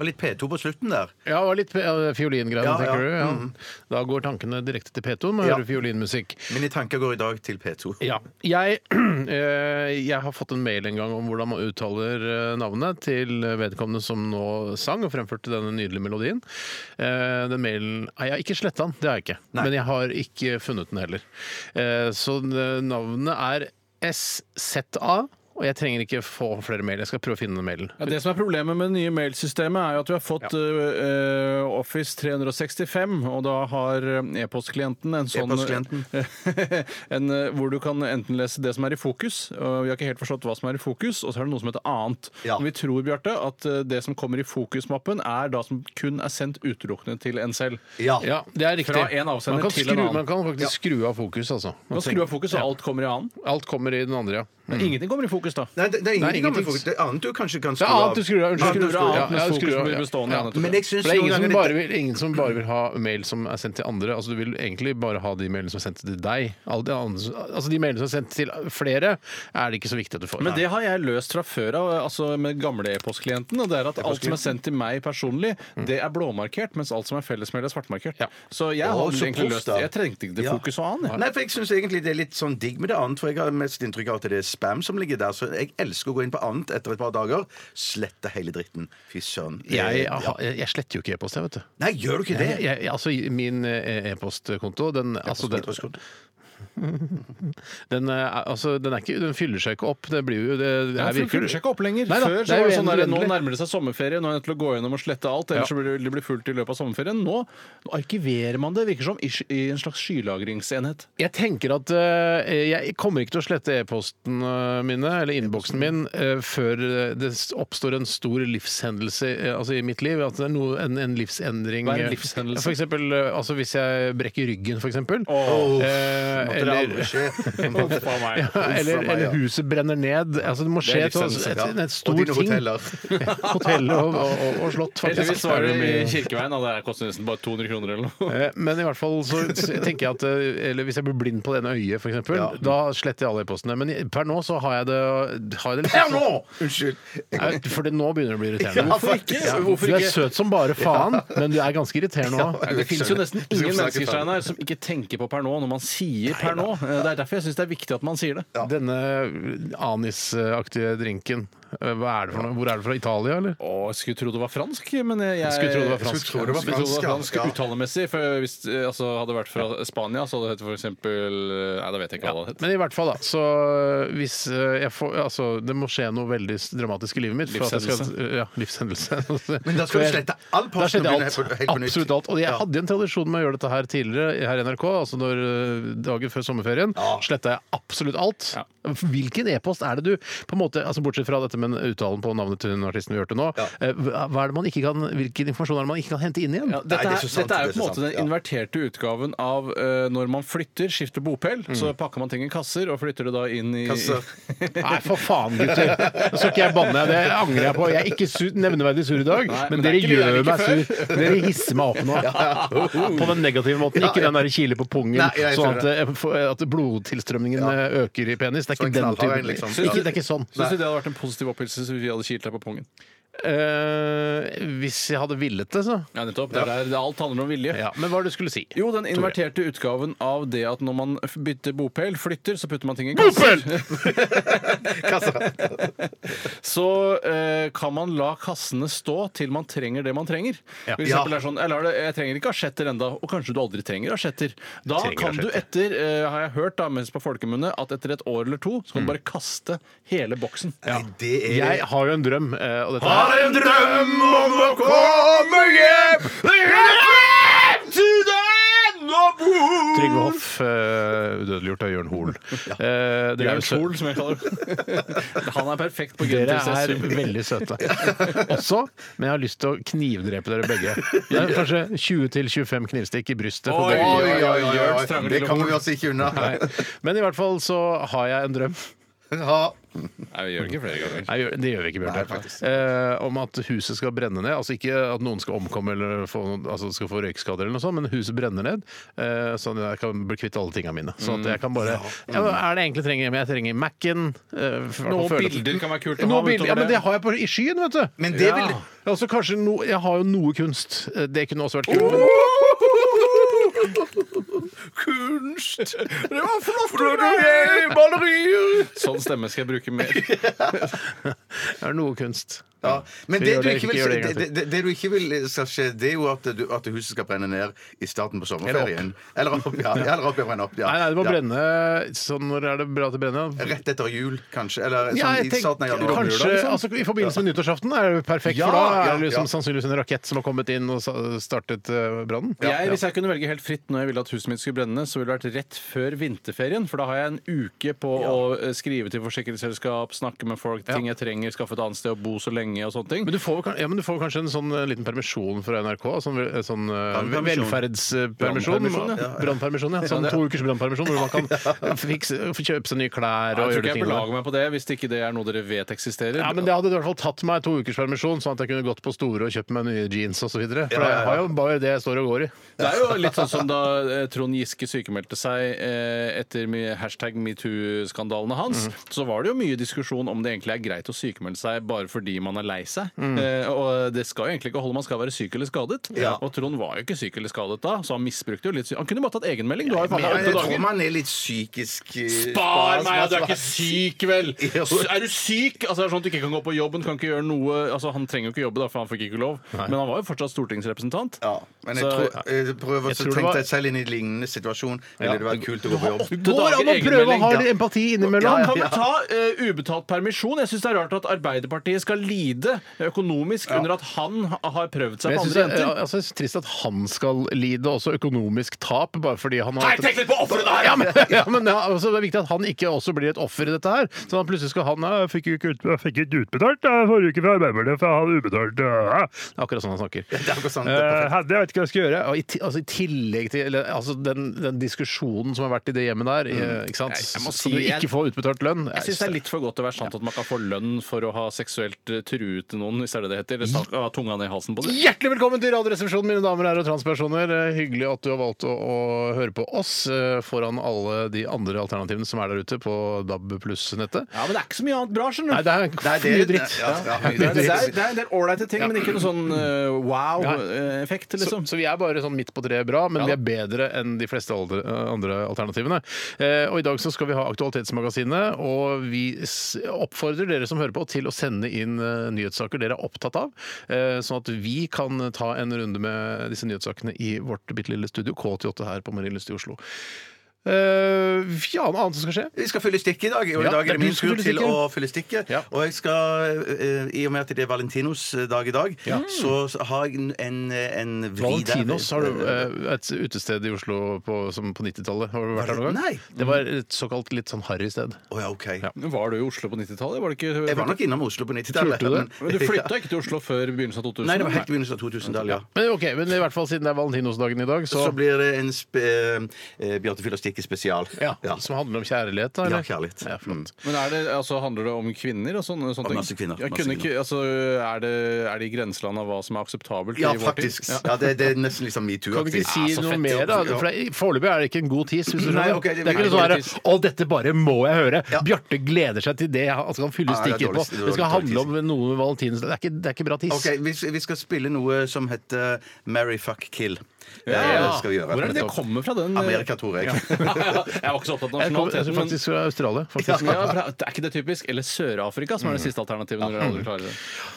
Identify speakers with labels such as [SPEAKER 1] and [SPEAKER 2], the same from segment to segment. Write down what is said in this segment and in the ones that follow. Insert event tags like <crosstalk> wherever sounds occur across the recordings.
[SPEAKER 1] Og litt P2 på slutten der.
[SPEAKER 2] ja, og litt eh, fiolingreier,
[SPEAKER 1] Ja,
[SPEAKER 2] tenker
[SPEAKER 1] ja. Mhm.
[SPEAKER 2] du. Ja. Da går tankene direkte til P2 med å
[SPEAKER 1] Ja.
[SPEAKER 2] høre fiolinmusikk.
[SPEAKER 1] Mine tanker går i dag til P2.
[SPEAKER 2] Ja. Jeg, <clears throat> eh, jeg har fått en mail en gang om hvordan man uttaler eh, navnet til vedkommende som nå sang og fremførte denne nydelige melodien. Eh, Den mailen Nei, jeg har ikke sletta den, det har jeg ikke.
[SPEAKER 1] Nei.
[SPEAKER 2] Men jeg har ikke funnet den heller. Eh, Så eh, navnet er SZA. Og jeg trenger ikke få flere mail. Jeg skal prøve å finne den mailen.
[SPEAKER 3] Ja, det som er Problemet med det nye mailsystemet er jo at vi har fått eh, eh, Office 365, og da har eh, e-postklienten en sånn <laughs> en, eh, Hvor du kan enten lese det som er i fokus, og vi har ikke helt forstått hva som er i fokus, og så er det noe som heter annet.
[SPEAKER 1] Ja.
[SPEAKER 3] Men vi tror Bjarte, at eh, det som kommer i fokusmappen, er da som kun er sendt utelukkende til en selv.
[SPEAKER 1] Ja.
[SPEAKER 2] Ja, det er riktig.
[SPEAKER 3] Fra en avsender
[SPEAKER 2] man kan
[SPEAKER 3] til en
[SPEAKER 2] skru,
[SPEAKER 3] annen.
[SPEAKER 2] Man kan faktisk skru av fokus, altså. Man
[SPEAKER 3] Man skrur av fokus, og alt kommer i annen.
[SPEAKER 2] tenker- Alt kommer i den andre, ja.
[SPEAKER 1] Mm.
[SPEAKER 3] Men ingenting kommer i fokus, da.
[SPEAKER 1] Nei, det, det er
[SPEAKER 2] Nei,
[SPEAKER 1] ingenting
[SPEAKER 2] ingenting.
[SPEAKER 1] gammel fokus. Det er annet du kanskje kan
[SPEAKER 2] Det
[SPEAKER 1] skru
[SPEAKER 2] er annet
[SPEAKER 1] av.
[SPEAKER 2] du skrur av. Unnskyld.
[SPEAKER 3] Skrur av
[SPEAKER 2] Ja,
[SPEAKER 3] annet mens
[SPEAKER 2] ja,
[SPEAKER 3] fokus
[SPEAKER 2] skrur av,
[SPEAKER 3] blir
[SPEAKER 2] ja.
[SPEAKER 3] bestående,
[SPEAKER 2] Ja.
[SPEAKER 3] ja, nettopp.
[SPEAKER 1] Men jeg
[SPEAKER 2] For
[SPEAKER 1] syns
[SPEAKER 2] det er
[SPEAKER 1] noen
[SPEAKER 2] ingen som,
[SPEAKER 1] ganger
[SPEAKER 2] bare
[SPEAKER 1] det-
[SPEAKER 2] vil, ingen som bare vil ha mail som er sendt til andre. Altså, du vil egentlig bare ha de mailene som er sendt til deg. Alle de, andre, altså, de mailene som er sendt til flere, er det ikke så viktig at du får.
[SPEAKER 3] Men det har jeg løst fra før av altså med gamle e-postklienten. og det er at Alt som er sendt til meg personlig, det er blåmarkert, mens alt som er fellesmail, er svartmarkert.
[SPEAKER 2] Ja.
[SPEAKER 3] Så jeg
[SPEAKER 1] Å,
[SPEAKER 3] har
[SPEAKER 1] så
[SPEAKER 3] egentlig
[SPEAKER 1] proff,
[SPEAKER 3] løst
[SPEAKER 1] da.
[SPEAKER 3] det. Jeg trengte ikke det
[SPEAKER 1] Ja.
[SPEAKER 3] fokuset og annet.
[SPEAKER 1] Nei, for jeg syns egentlig det er litt sånn digg med det annet, for jeg har mest inntrykk av at det er spam som ligger der, så jeg elsker å gå inn på annet etter et par dager. Slette hele dritten. Fy søren. Det-
[SPEAKER 2] jeg,
[SPEAKER 1] ja.
[SPEAKER 2] har- jeg sletter jo ikke e-post, jeg, vet du.
[SPEAKER 1] Nei, gjør du ikke
[SPEAKER 2] Jeg,
[SPEAKER 1] det?
[SPEAKER 2] jeg, altså, min eh, e-postkonto, den, altså, den, den, eh, altså, den, er ikke, den fyller seg ikke opp. Det blir jo det, det
[SPEAKER 3] Jeg
[SPEAKER 2] er
[SPEAKER 3] fyller seg ikke opp lenger.
[SPEAKER 2] Nei da,
[SPEAKER 3] Før
[SPEAKER 2] det
[SPEAKER 3] så
[SPEAKER 2] er
[SPEAKER 3] var det
[SPEAKER 2] jo
[SPEAKER 3] sånn der, Nå
[SPEAKER 2] endelig.
[SPEAKER 3] nærmer det seg sommerferie, nå er jeg nødt til å gå gjennom og slette alt. Ellers
[SPEAKER 2] Ja.
[SPEAKER 3] så blir det- det blir fullt i løpet av sommerferien. Nå arkiverer man det, virker som, i sk- i en slags skylagringsenhet.
[SPEAKER 2] Jeg tenker at eh, jeg kommer ikke til å slette e-posten eh, mine, eller innboksen min, eh, før eh, det s- oppstår en stor livshendelse eh, altså i mitt liv. At det er noe, en, en livsendring.
[SPEAKER 3] Hva er en
[SPEAKER 2] eh,
[SPEAKER 3] livshendelse?
[SPEAKER 2] For eksempel, eh, altså hvis jeg brekker ryggen, for eksempel.
[SPEAKER 3] <laughs>
[SPEAKER 1] Åh,
[SPEAKER 2] Eh,
[SPEAKER 1] måtte det aldri
[SPEAKER 2] eller,
[SPEAKER 1] <laughs> skje.
[SPEAKER 2] ja, <laughs> eller, eller huset brenner ned. Altså, det må skje
[SPEAKER 3] Det er
[SPEAKER 2] til et,
[SPEAKER 3] livshendelse,
[SPEAKER 2] et, et, et
[SPEAKER 1] Og
[SPEAKER 2] stor
[SPEAKER 1] dine
[SPEAKER 2] ting.
[SPEAKER 1] hoteller. <laughs>
[SPEAKER 2] <laughs> Hotell og, og, og, og slott, faktisk.
[SPEAKER 3] Heldigvis var det i Kirkeveien, da. Det koster nesten bare 200 kroner eller noe.
[SPEAKER 2] Eh, Men i hvert fall så tenker jeg at eh, Eller hvis jeg blir blind på det ene øyet, f.eks., eksempel
[SPEAKER 1] Ja.
[SPEAKER 2] da sletter jeg alle e-postene. Men i- per nå så har jeg det, har jeg det litt
[SPEAKER 1] Unnskyld.
[SPEAKER 2] Nei, For det, nå begynner det å bli irriterende.
[SPEAKER 1] Ja, faktisk.
[SPEAKER 2] Ja,
[SPEAKER 3] Hvorfor
[SPEAKER 2] Du er
[SPEAKER 3] ikke?
[SPEAKER 2] søt som bare faen, men du er ganske irriterende òg.
[SPEAKER 3] Nei, Det finnes jo nesten
[SPEAKER 1] Vi skal
[SPEAKER 3] ingen
[SPEAKER 1] snakke
[SPEAKER 3] mennesker
[SPEAKER 1] ferdig.
[SPEAKER 3] Steinar, som ikke tenker på per nå når man sier per nå. Det er derfor jeg syns det er viktig at man sier det.
[SPEAKER 2] Denne anisaktige drinken, eh, hva er det for noe? Hvor er det fra? Italia, eller?
[SPEAKER 3] Å, jeg skulle tro det var fransk, men jeg, jeg
[SPEAKER 2] Skulle tro det var fransk.
[SPEAKER 3] Skulle tro det var
[SPEAKER 1] Skulle tro det var fransk,
[SPEAKER 3] fransk,
[SPEAKER 1] ja.
[SPEAKER 3] uttalemessig. For hvis eh, altså, hadde det vært fra Spania, så hadde det hett for eksempel eh, Nei, da vet jeg ikke hva det hadde hett.
[SPEAKER 2] Men i hvert fall, da. Så hvis eh, jeg får Altså, det må skje noe veldig dramatisk i livet mitt. for at jeg skal- Ja, livshendelse. Altså,
[SPEAKER 1] Men da skal du slette all posten
[SPEAKER 2] Da sletter
[SPEAKER 1] og
[SPEAKER 2] jeg alt.
[SPEAKER 1] begynne helt på- helt på nytt.
[SPEAKER 2] Absolutt alt. Og jeg
[SPEAKER 1] Ja.
[SPEAKER 2] hadde en tradisjon med å gjøre dette her tidligere her i NRK, altså når, eh, dagen før sommerferien. Sletta jeg absolutt alt. Hvilken e-post er det du på en måte, altså Bortsett fra dette med uttalen på navnet til den artisten vi hørte nå. eh, Hva er det man ikke kan, hvilken informasjon er det man ikke kan hente inn igjen?
[SPEAKER 3] Ja, dette,
[SPEAKER 1] Nei, det er
[SPEAKER 3] er,
[SPEAKER 1] så sant,
[SPEAKER 3] dette er jo
[SPEAKER 1] det er
[SPEAKER 3] på en
[SPEAKER 1] så
[SPEAKER 3] måte
[SPEAKER 1] sant,
[SPEAKER 3] den
[SPEAKER 1] ja.
[SPEAKER 3] inverterte utgaven av eh, når man flytter, skifter bopel, så pakker man ting i kasser og flytter det da inn i
[SPEAKER 1] Kasser.
[SPEAKER 2] Nei, for faen, gutter! Nå skal ikke jeg banne. Det angrer jeg på. Jeg er ikke sur, nevneverdig sur i dag,
[SPEAKER 3] Nei,
[SPEAKER 2] men, dere
[SPEAKER 3] men det er ikke-
[SPEAKER 2] gjør
[SPEAKER 3] det er
[SPEAKER 2] meg
[SPEAKER 3] ikke
[SPEAKER 2] sur. Dere hisser meg opp nå. På den negative måten. Ikke den der kile på pungen,
[SPEAKER 1] Nei, jeg
[SPEAKER 2] sånn
[SPEAKER 1] tror
[SPEAKER 2] at, eh, for- at blodtilstrømningen eh, øker i penis. Det er ikke
[SPEAKER 1] Sånn
[SPEAKER 2] den
[SPEAKER 1] knallhard en,
[SPEAKER 2] typen.
[SPEAKER 1] liksom.
[SPEAKER 2] Ikke, det er ikke sånn.
[SPEAKER 3] Syns du det hadde vært en positiv opphilsen hvis vi hadde kilt deg på pungen?
[SPEAKER 2] Eh, hvis jeg hadde villet det, så.
[SPEAKER 3] Ja, nettopp. Det er der alt handler om vilje.
[SPEAKER 2] Ja, men hva var det du skulle si?
[SPEAKER 3] Jo, den inverterte utgaven av det at når man f- bytter bopel, flytter, så putter man ting i kasser. <laughs> så eh, kan man la kassene stå til man trenger det man trenger.
[SPEAKER 2] Ja.
[SPEAKER 3] For eksempel er det sånn, jeg, lar det, jeg trenger ikke asjetter enda, og kanskje du aldri trenger asjetter. Da
[SPEAKER 2] Trenger
[SPEAKER 3] kan du etter, eh, har jeg hørt da, mens på folkemunne, at etter et år eller to,
[SPEAKER 2] Mm.
[SPEAKER 3] så kan du bare kaste hele boksen.
[SPEAKER 1] Nei, <laughs> det er
[SPEAKER 2] Jeg har jo en drøm, eh, og dette er
[SPEAKER 1] en drøm om å komme hjem!
[SPEAKER 2] Trygve Hoff, eh, udødeliggjort av Jørn Hoel. Eh, dere er jo sø-
[SPEAKER 3] Sol, som jeg kaller det. <laughs> Han er perfekt på grunn
[SPEAKER 2] Dere
[SPEAKER 3] til
[SPEAKER 2] er <laughs>
[SPEAKER 3] sesum.
[SPEAKER 2] veldig søte. Også, men jeg har lyst til å knivdrepe dere begge. Det er kanskje 20-25 knivstikk i brystet. på
[SPEAKER 3] Oi,
[SPEAKER 2] begge.
[SPEAKER 3] oi, oi, oi, oi.
[SPEAKER 1] <laughs> Det kommer vi oss ikke unna.
[SPEAKER 2] Nei. Men i hvert fall så har jeg en drøm ha
[SPEAKER 3] Nei, vi gjør det ikke flere ganger.
[SPEAKER 2] Nei, gjør- det gjør vi ikke, Bjørte. Eh, om at huset skal brenne ned. Altså ikke at noen skal omkomme eller få, noen- altså skal få røykskader, eller noe sånt, men huset brenner ned. Eh, sånn at jeg kan bli kvitt alle tingene mine. Sånn at jeg kan bare
[SPEAKER 1] Mm,
[SPEAKER 2] ja, Hva er det jeg egentlig trenger? Men jeg trenger Mac-en. eh, for-
[SPEAKER 3] Noen
[SPEAKER 2] for å føle-
[SPEAKER 3] bilder kan være kult å ha
[SPEAKER 2] Noen
[SPEAKER 3] utover
[SPEAKER 2] bilder, ja, men
[SPEAKER 3] det.
[SPEAKER 2] det har jeg på, i skyen, vet du.
[SPEAKER 1] Men det vil-
[SPEAKER 2] ja. Altså, kanskje no, jeg har jo noe kunst. Eh, Det kunne også vært kult. men-
[SPEAKER 3] Kunst!
[SPEAKER 2] Det var flott! Malerier!
[SPEAKER 3] Sånn stemme skal jeg
[SPEAKER 2] <laughs>
[SPEAKER 3] bruke mer.
[SPEAKER 2] Det er noe kunst.
[SPEAKER 1] Ja. Men
[SPEAKER 2] Så
[SPEAKER 1] det
[SPEAKER 2] gjør
[SPEAKER 1] du
[SPEAKER 2] det,
[SPEAKER 1] ikke
[SPEAKER 2] ikke
[SPEAKER 1] vil,
[SPEAKER 2] gjør det en gang
[SPEAKER 1] det, det, det du ikke vil skal skje, det er jo at, du, at huset skal brenne ned i starten på sommerferien. Eller opp,
[SPEAKER 2] <laughs>
[SPEAKER 1] ja. Eller opp, ja, brenne opp, ja.
[SPEAKER 2] Nei, nei, det må
[SPEAKER 1] Ja.
[SPEAKER 2] brenne Sånn når er det bra at det brenner?
[SPEAKER 1] Rett etter jul, kanskje. Eller
[SPEAKER 2] Ja,
[SPEAKER 1] sånn,
[SPEAKER 2] jeg
[SPEAKER 1] i starten av
[SPEAKER 2] tenker,
[SPEAKER 1] januar.
[SPEAKER 2] kanskje, altså, I forbindelse med nyttårsaften er det jo perfekt,
[SPEAKER 1] Ja,
[SPEAKER 2] for da
[SPEAKER 1] ja,
[SPEAKER 2] er det liksom
[SPEAKER 1] ja.
[SPEAKER 2] sannsynligvis en rakett som har kommet inn og sa- startet eh, brannen.
[SPEAKER 3] Jeg, hvis jeg kunne velge helt fritt når jeg ville at huset mitt skulle brenne, ned, så ville det vært rett før vinterferien. For da har jeg en uke på å eh, skrive til forsikringsselskap, snakke med folk, ting jeg trenger, skaffe et annet sted å bo så lenge og sånne ting.
[SPEAKER 2] Men du, får, kan- ja, men du får kanskje en sånn eh, liten permisjon fra NRK? Sånn, vel- eh, sånn eh,
[SPEAKER 1] Brannpermisjon.
[SPEAKER 2] velferdspermisjon?
[SPEAKER 3] Brannpermisjon, ja.
[SPEAKER 2] Brannpermisjon, ja. Sånn to ukers brannpermisjon hvor man kan fikse, få kjøpe seg nye klær
[SPEAKER 3] jeg
[SPEAKER 2] og
[SPEAKER 3] tror
[SPEAKER 2] gjøre
[SPEAKER 3] ikke
[SPEAKER 2] de
[SPEAKER 3] jeg
[SPEAKER 2] tingene.
[SPEAKER 3] belager meg på det hvis det ikke det er noe dere vet eksisterer.
[SPEAKER 2] Ja, men Det hadde i hvert fall tatt meg to ukers permisjon, sånn at jeg kunne gått på store og kjøpt meg nye jeans osv. For jeg har jo bare det jeg står og går i.
[SPEAKER 3] Det er jo litt sånn som da eh, Trond Giske sykemeldte seg eh, etter mi- hashtag metoo-skandalene hans. Så var det jo mye diskusjon om det egentlig er greit å sykemelde seg bare fordi man er lei seg. Eh, og det skal jo egentlig ikke holde, man skal være syk eller skadet. Og Trond var jo ikke syk eller skadet da, så han misbrukte jo litt sy- Han kunne bare tatt egenmelding. Du har jo faen
[SPEAKER 1] Ja,
[SPEAKER 3] meg
[SPEAKER 1] jeg
[SPEAKER 3] åtte
[SPEAKER 1] tror
[SPEAKER 3] dager.
[SPEAKER 1] man er litt psykisk eh,
[SPEAKER 3] Spar meg!
[SPEAKER 1] spas-
[SPEAKER 3] Du er ikke syk, vel!
[SPEAKER 1] Jo.
[SPEAKER 3] S- Er du syk? Altså, det er sånn at du ikke kan gå på jobben, kan ikke gjøre noe Altså, Han trenger jo ikke jobbe, da, for han fikk ikke lov. Men han var jo fortsatt stortingsrepresentant.
[SPEAKER 1] Ja, men jeg,
[SPEAKER 3] Så-
[SPEAKER 1] tror, jeg prøver
[SPEAKER 2] Jeg
[SPEAKER 1] å
[SPEAKER 2] tror det
[SPEAKER 1] tenke
[SPEAKER 2] var-
[SPEAKER 1] deg selv inn i en lignende situasjon. Ville det vært kult å gå på jobb?
[SPEAKER 2] <laughs>
[SPEAKER 3] åtte
[SPEAKER 2] Går an å
[SPEAKER 3] dager
[SPEAKER 2] prøve å ha
[SPEAKER 3] egenmelding.
[SPEAKER 2] litt empati innimellom!
[SPEAKER 3] Kan vi ta eh, ubetalt permisjon? Jeg syns det er rart at Arbeiderpartiet skal lide økonomisk under at han har prøvd seg
[SPEAKER 2] Men jeg
[SPEAKER 3] på andre
[SPEAKER 2] synes, det er-
[SPEAKER 3] jenter.
[SPEAKER 2] altså, jeg synes trist at han skal lide også økonomisk tap bare fordi han har <laughs>
[SPEAKER 3] litt på offeret
[SPEAKER 2] ja, men, ja, men ja, altså, Det er viktig at han ikke også blir et offer i dette her. Så han plutselig skal han «Nei, jeg fikk jo ikke, ut, jeg fikk ikke utbetalt jeg, forrige uke fra Arbeiderpartiet, for jeg hadde ubetalt ja». Det er akkurat sånn han snakker.
[SPEAKER 1] Det er akkurat sånn, det er
[SPEAKER 2] Eh,
[SPEAKER 1] perfekt.
[SPEAKER 2] Hedde, jeg vet ikke hva jeg skal gjøre. Og i, ti- altså, I tillegg til eller, altså, den, den diskusjonen som har vært i det hjemmet der, eh, ikke sant?
[SPEAKER 3] Mm. Nei, jeg må
[SPEAKER 2] som du
[SPEAKER 3] si, jeg-
[SPEAKER 2] ikke får utbetalt lønn
[SPEAKER 3] Jeg syns det er litt for godt til å være sant at man kan få lønn for å ha seksuelt eh, truet til noen, hvis det er det det heter. Eller stak- ha tunga ned i halsen på det.
[SPEAKER 2] Hjertelig velkommen til Radioresepsjonen, mine damer og herrer og transpersoner. Eh, Hyggelig at du har valgt å, å høre på oss eh, foran alle de andre alternativene som er der ute på DAB pluss-nettet.
[SPEAKER 3] Ja, men det er ikke så mye annet bra, skjønner
[SPEAKER 2] Nei,
[SPEAKER 3] du.
[SPEAKER 2] det er
[SPEAKER 1] Nei, det-
[SPEAKER 2] mye dritt.
[SPEAKER 1] ja, ja, mye
[SPEAKER 3] Det er, det
[SPEAKER 1] dritt.
[SPEAKER 3] er, det er en del ålreite ting, men ikke noe sånn eh, wow-effekt,
[SPEAKER 2] Så,
[SPEAKER 3] liksom.
[SPEAKER 2] så vi er bare sånn midt på treet bra, men vi
[SPEAKER 3] Ja da.
[SPEAKER 2] er bedre enn de fleste aldre, andre alternativene. Eh, og i dag så skal vi ha Aktualitetsmagasinet, og vi s- oppfordrer dere som hører på til å sende inn eh, nyhetssaker dere er opptatt av, eh, sånn at vi kan ta en runde med disse nyhetssakene i vårt bitte lille studio K88 her på Marienlyst i Oslo. Eh, ja, noe annet som skal skje?
[SPEAKER 1] Vi skal fylle stikket i dag. Og
[SPEAKER 2] Ja,
[SPEAKER 1] i dag
[SPEAKER 2] det er
[SPEAKER 1] er det min
[SPEAKER 2] du som
[SPEAKER 1] tur
[SPEAKER 2] fyller
[SPEAKER 1] til
[SPEAKER 2] stikket.
[SPEAKER 1] å fylle stikket.
[SPEAKER 2] Ja.
[SPEAKER 1] Og jeg skal, eh, i og med at det er Valentinos eh, dag i dag, så har jeg en, en, eh, en vri der.
[SPEAKER 2] Valentinos har du eh, et utested i Oslo på, som på 90-tallet. Har du vært
[SPEAKER 1] Var
[SPEAKER 2] der
[SPEAKER 1] det-
[SPEAKER 2] noen gang?
[SPEAKER 1] Nei.
[SPEAKER 2] Det var et såkalt litt sånn harry sted.
[SPEAKER 1] Å ja, OK.
[SPEAKER 3] Var du i Oslo på 90-tallet? Var det ikke
[SPEAKER 1] Jeg var nok innom Oslo på 90-tallet.
[SPEAKER 2] Turte du Sånn, det?
[SPEAKER 1] men-
[SPEAKER 3] Men du flytta ikke til Oslo før begynnelsen av 2000?
[SPEAKER 1] <laughs> Nei, det var helt i begynnelsen av 2000-tallet. Ja.
[SPEAKER 2] Men ok, men i hvert fall siden det er valentinosdagen i dag, så,
[SPEAKER 1] Så blir det en spe, eh, Bjarte fyller stikket spesial.
[SPEAKER 2] ja, Som handler om kjærlighet, da? eller?
[SPEAKER 1] Ja, kjærlighet. Mm.
[SPEAKER 2] Ja, flott.
[SPEAKER 3] Men er det, altså, Handler det om kvinner og sånne,
[SPEAKER 1] Om
[SPEAKER 3] sånne ting?
[SPEAKER 1] masse kvinner,
[SPEAKER 3] Jeg
[SPEAKER 1] masse
[SPEAKER 3] kunne
[SPEAKER 1] kvinner.
[SPEAKER 3] Ikke, altså, er, det, er det i grenseland av hva som er akseptabelt?
[SPEAKER 1] Ja,
[SPEAKER 3] i vår
[SPEAKER 1] faktisk.
[SPEAKER 3] tid?
[SPEAKER 1] Ja, det, det er nesten liksom
[SPEAKER 2] Kan du
[SPEAKER 1] metoo-aktig.
[SPEAKER 2] ikke si
[SPEAKER 1] Ja, så
[SPEAKER 2] noe
[SPEAKER 1] fett.
[SPEAKER 2] mer, da? For det- Foreløpig er det ikke en god tis. Hvis du
[SPEAKER 1] Nei,
[SPEAKER 2] skjønner.
[SPEAKER 1] ok, det
[SPEAKER 2] det, er ikke noe
[SPEAKER 1] blir
[SPEAKER 2] sånn
[SPEAKER 1] dårlig
[SPEAKER 2] her, Å, dette bare må jeg høre!
[SPEAKER 1] Ja.
[SPEAKER 2] Bjarte gleder seg til det han altså, han fyller
[SPEAKER 1] Ja, det er
[SPEAKER 2] stikket på.
[SPEAKER 1] dårlig- det er
[SPEAKER 2] Det skal
[SPEAKER 1] dårlig
[SPEAKER 2] handle om noe med valentines. Det er ikke, det er ikke bra tis.
[SPEAKER 1] Ok, vi, vi skal spille noe som heter Marry, fuck, kill.
[SPEAKER 3] Ja.
[SPEAKER 1] Eh, det skal vi gjøre.
[SPEAKER 3] Hvor er det det kommer fra, den? eh,
[SPEAKER 1] Amerika, tror <laughs> jeg.
[SPEAKER 3] jeg var ikke så opptatt av
[SPEAKER 2] Jeg kom- jeg er
[SPEAKER 3] nasjonaliteten, men
[SPEAKER 2] faktisk fra Australia.
[SPEAKER 3] ja,
[SPEAKER 2] Faktisk.
[SPEAKER 3] fra- det er ikke det typisk? Eller Sør-Afrika, som er det siste alternativet. når dere aldri klarer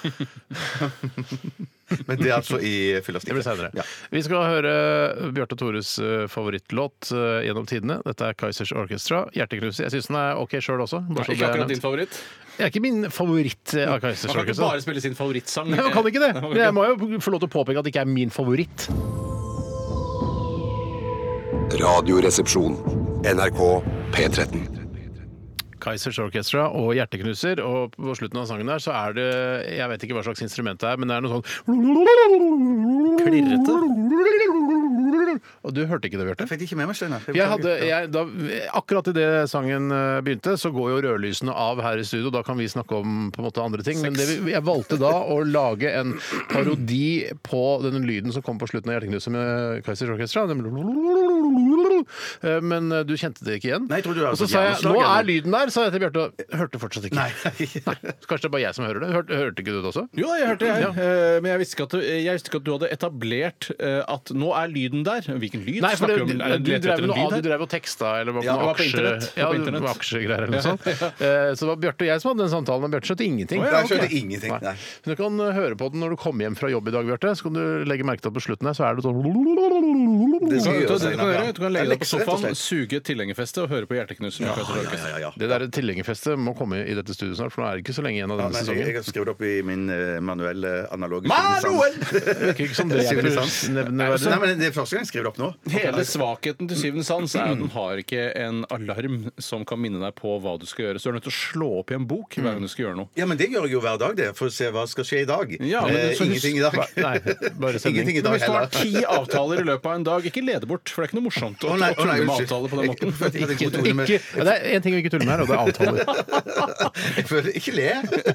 [SPEAKER 3] Mm. det.
[SPEAKER 1] Men det er altså i fyllastikk.
[SPEAKER 2] Det blir senere.
[SPEAKER 1] Ja.
[SPEAKER 2] Vi skal høre Bjarte Tores eh, favorittlåt eh, gjennom tidene. Dette er Kaizers Orchestra. Hjerteknuser. Jeg syns den er OK sjøl også. bare så det
[SPEAKER 3] Ikke
[SPEAKER 2] er
[SPEAKER 3] akkurat
[SPEAKER 2] nevnt.
[SPEAKER 3] din favoritt.
[SPEAKER 2] Det er ikke min favoritt eh, av
[SPEAKER 3] Man
[SPEAKER 2] Kaizers
[SPEAKER 3] kan ikke
[SPEAKER 2] Orchestra.
[SPEAKER 3] bare spille sin favorittsang.
[SPEAKER 2] Nei, man kan ikke det.
[SPEAKER 3] Nei, <laughs> man
[SPEAKER 2] Men jeg må jo få lov til å påpeke at det ikke er min favoritt.
[SPEAKER 4] Radioresepsjon. NRK P13.
[SPEAKER 2] Kaizers Orchestra og Hjerteknuser. Og på slutten av sangen der så er det Jeg vet ikke hva slags instrument det er, men det er noe sånn Klirrete? Og Og du hørte ikke det, Bjarte?
[SPEAKER 1] Jeg fikk ikke med meg, Steinar.
[SPEAKER 2] Jeg hadde, jeg, da, akkurat idet sangen eh, begynte, så går jo rødlysene av her i studio. Da kan vi snakke om på en måte andre ting. Men det, vi- jeg valgte da å lage en parodi på den lyden som kom på slutten av Hjerteknuset med Kaizers Orkestra. Den- Eh, Men eh, du kjente det ikke igjen.
[SPEAKER 1] Nei, jeg trodde du hadde
[SPEAKER 2] Og så
[SPEAKER 1] fått
[SPEAKER 2] sa jeg
[SPEAKER 1] hjerneslag,
[SPEAKER 2] nå er
[SPEAKER 1] eller?"
[SPEAKER 2] lyden der, sa jeg til Bjarte. og Hørte fortsatt ikke. <laughs>
[SPEAKER 1] Nei.
[SPEAKER 2] Kanskje det er bare jeg som hører det. Hørte, hørte ikke du det også?
[SPEAKER 3] Jo da, jeg hørte det, jeg. Eh, Men jeg visste, ikke at du, jeg visste ikke at du hadde etablert eh, at nå er lyden der. Hvilken lyd?
[SPEAKER 2] Nei, for
[SPEAKER 3] Snakker
[SPEAKER 2] det,
[SPEAKER 3] vi om?
[SPEAKER 2] du,
[SPEAKER 3] Er det
[SPEAKER 2] du,
[SPEAKER 3] leter
[SPEAKER 2] drev
[SPEAKER 3] etter en
[SPEAKER 2] noe,
[SPEAKER 3] lyd
[SPEAKER 2] av-
[SPEAKER 3] her?
[SPEAKER 2] du drev og teksta eller var
[SPEAKER 3] Ja,
[SPEAKER 2] noe
[SPEAKER 3] det var på
[SPEAKER 2] aksje-
[SPEAKER 3] internett. Det var
[SPEAKER 2] Ja, det
[SPEAKER 3] på
[SPEAKER 2] var
[SPEAKER 3] internett.
[SPEAKER 2] aksjegreier eller noe
[SPEAKER 3] <laughs>
[SPEAKER 2] sånt. Eh, Så det var Bjarte og jeg som hadde den samtalen, og Bjarte skjønte ingenting.
[SPEAKER 3] Å, ja,
[SPEAKER 1] Jeg skjønte ingenting. Nei.
[SPEAKER 2] Nei. Men du kan eh, høre på den når du kommer hjem fra jobb i dag, Bjarte. Så kan du legge merke til at på slutten her så er det sånn
[SPEAKER 1] Det
[SPEAKER 3] Så
[SPEAKER 1] skal jeg gjøre,
[SPEAKER 3] vet du hva du kan
[SPEAKER 1] Steinar.
[SPEAKER 3] gjøre? Du kan legge
[SPEAKER 1] Det er lekser, rett
[SPEAKER 3] deg på
[SPEAKER 1] og
[SPEAKER 3] sofaen,
[SPEAKER 1] slett. Ah,
[SPEAKER 3] suge tilhengerfestet og høre på Hjerteknuser. med Kaiser Orkestra.
[SPEAKER 1] Ja, ja, ja.
[SPEAKER 2] Det der tilhengerfestet må komme i dette studioet snart, for nå er det ikke så lenge igjen av
[SPEAKER 1] Ja,
[SPEAKER 2] denne
[SPEAKER 1] nei, jeg, sånn. jeg
[SPEAKER 2] sesongen.
[SPEAKER 1] har skrevet opp i min eh, manuelle analoge
[SPEAKER 2] Manuel!
[SPEAKER 1] syvende sans.
[SPEAKER 2] Det virker ikke som det
[SPEAKER 1] Syvende
[SPEAKER 2] jeg
[SPEAKER 1] sans.
[SPEAKER 2] nevner.
[SPEAKER 1] Nei, men Det er første gang jeg skriver det opp nå.
[SPEAKER 3] Hele svakheten til syvende sans er at den har ikke en alarm som kan minne deg på hva du skal gjøre. Så du er nødt til å slå opp i en bok hver gang du skal gjøre noe.
[SPEAKER 1] Ja, men det gjør jeg jo hver dag, det. For å se hva skal skje i dag.
[SPEAKER 3] Ja, men
[SPEAKER 1] eh,
[SPEAKER 3] så-
[SPEAKER 1] ingenting i dag.
[SPEAKER 2] Nei, bare sending.
[SPEAKER 1] <laughs> ingenting i
[SPEAKER 3] Men
[SPEAKER 1] dag
[SPEAKER 3] hvis du har
[SPEAKER 1] heller.
[SPEAKER 3] ti avtaler i løpet av en dag, ikke lede bort, for det er ikke noe morsomt å
[SPEAKER 1] Å,
[SPEAKER 3] å
[SPEAKER 1] nei, å, nei,
[SPEAKER 3] tulle med
[SPEAKER 1] unnskyld.
[SPEAKER 3] avtaler på
[SPEAKER 1] <laughs>
[SPEAKER 3] den
[SPEAKER 1] Jeg-
[SPEAKER 3] måten.
[SPEAKER 1] jeg- jeg- jeg-
[SPEAKER 2] Ikke, ja, det er én ting vi ikke tuller med her, og det er avtaler.
[SPEAKER 1] <laughs> Jeg føler ikke le.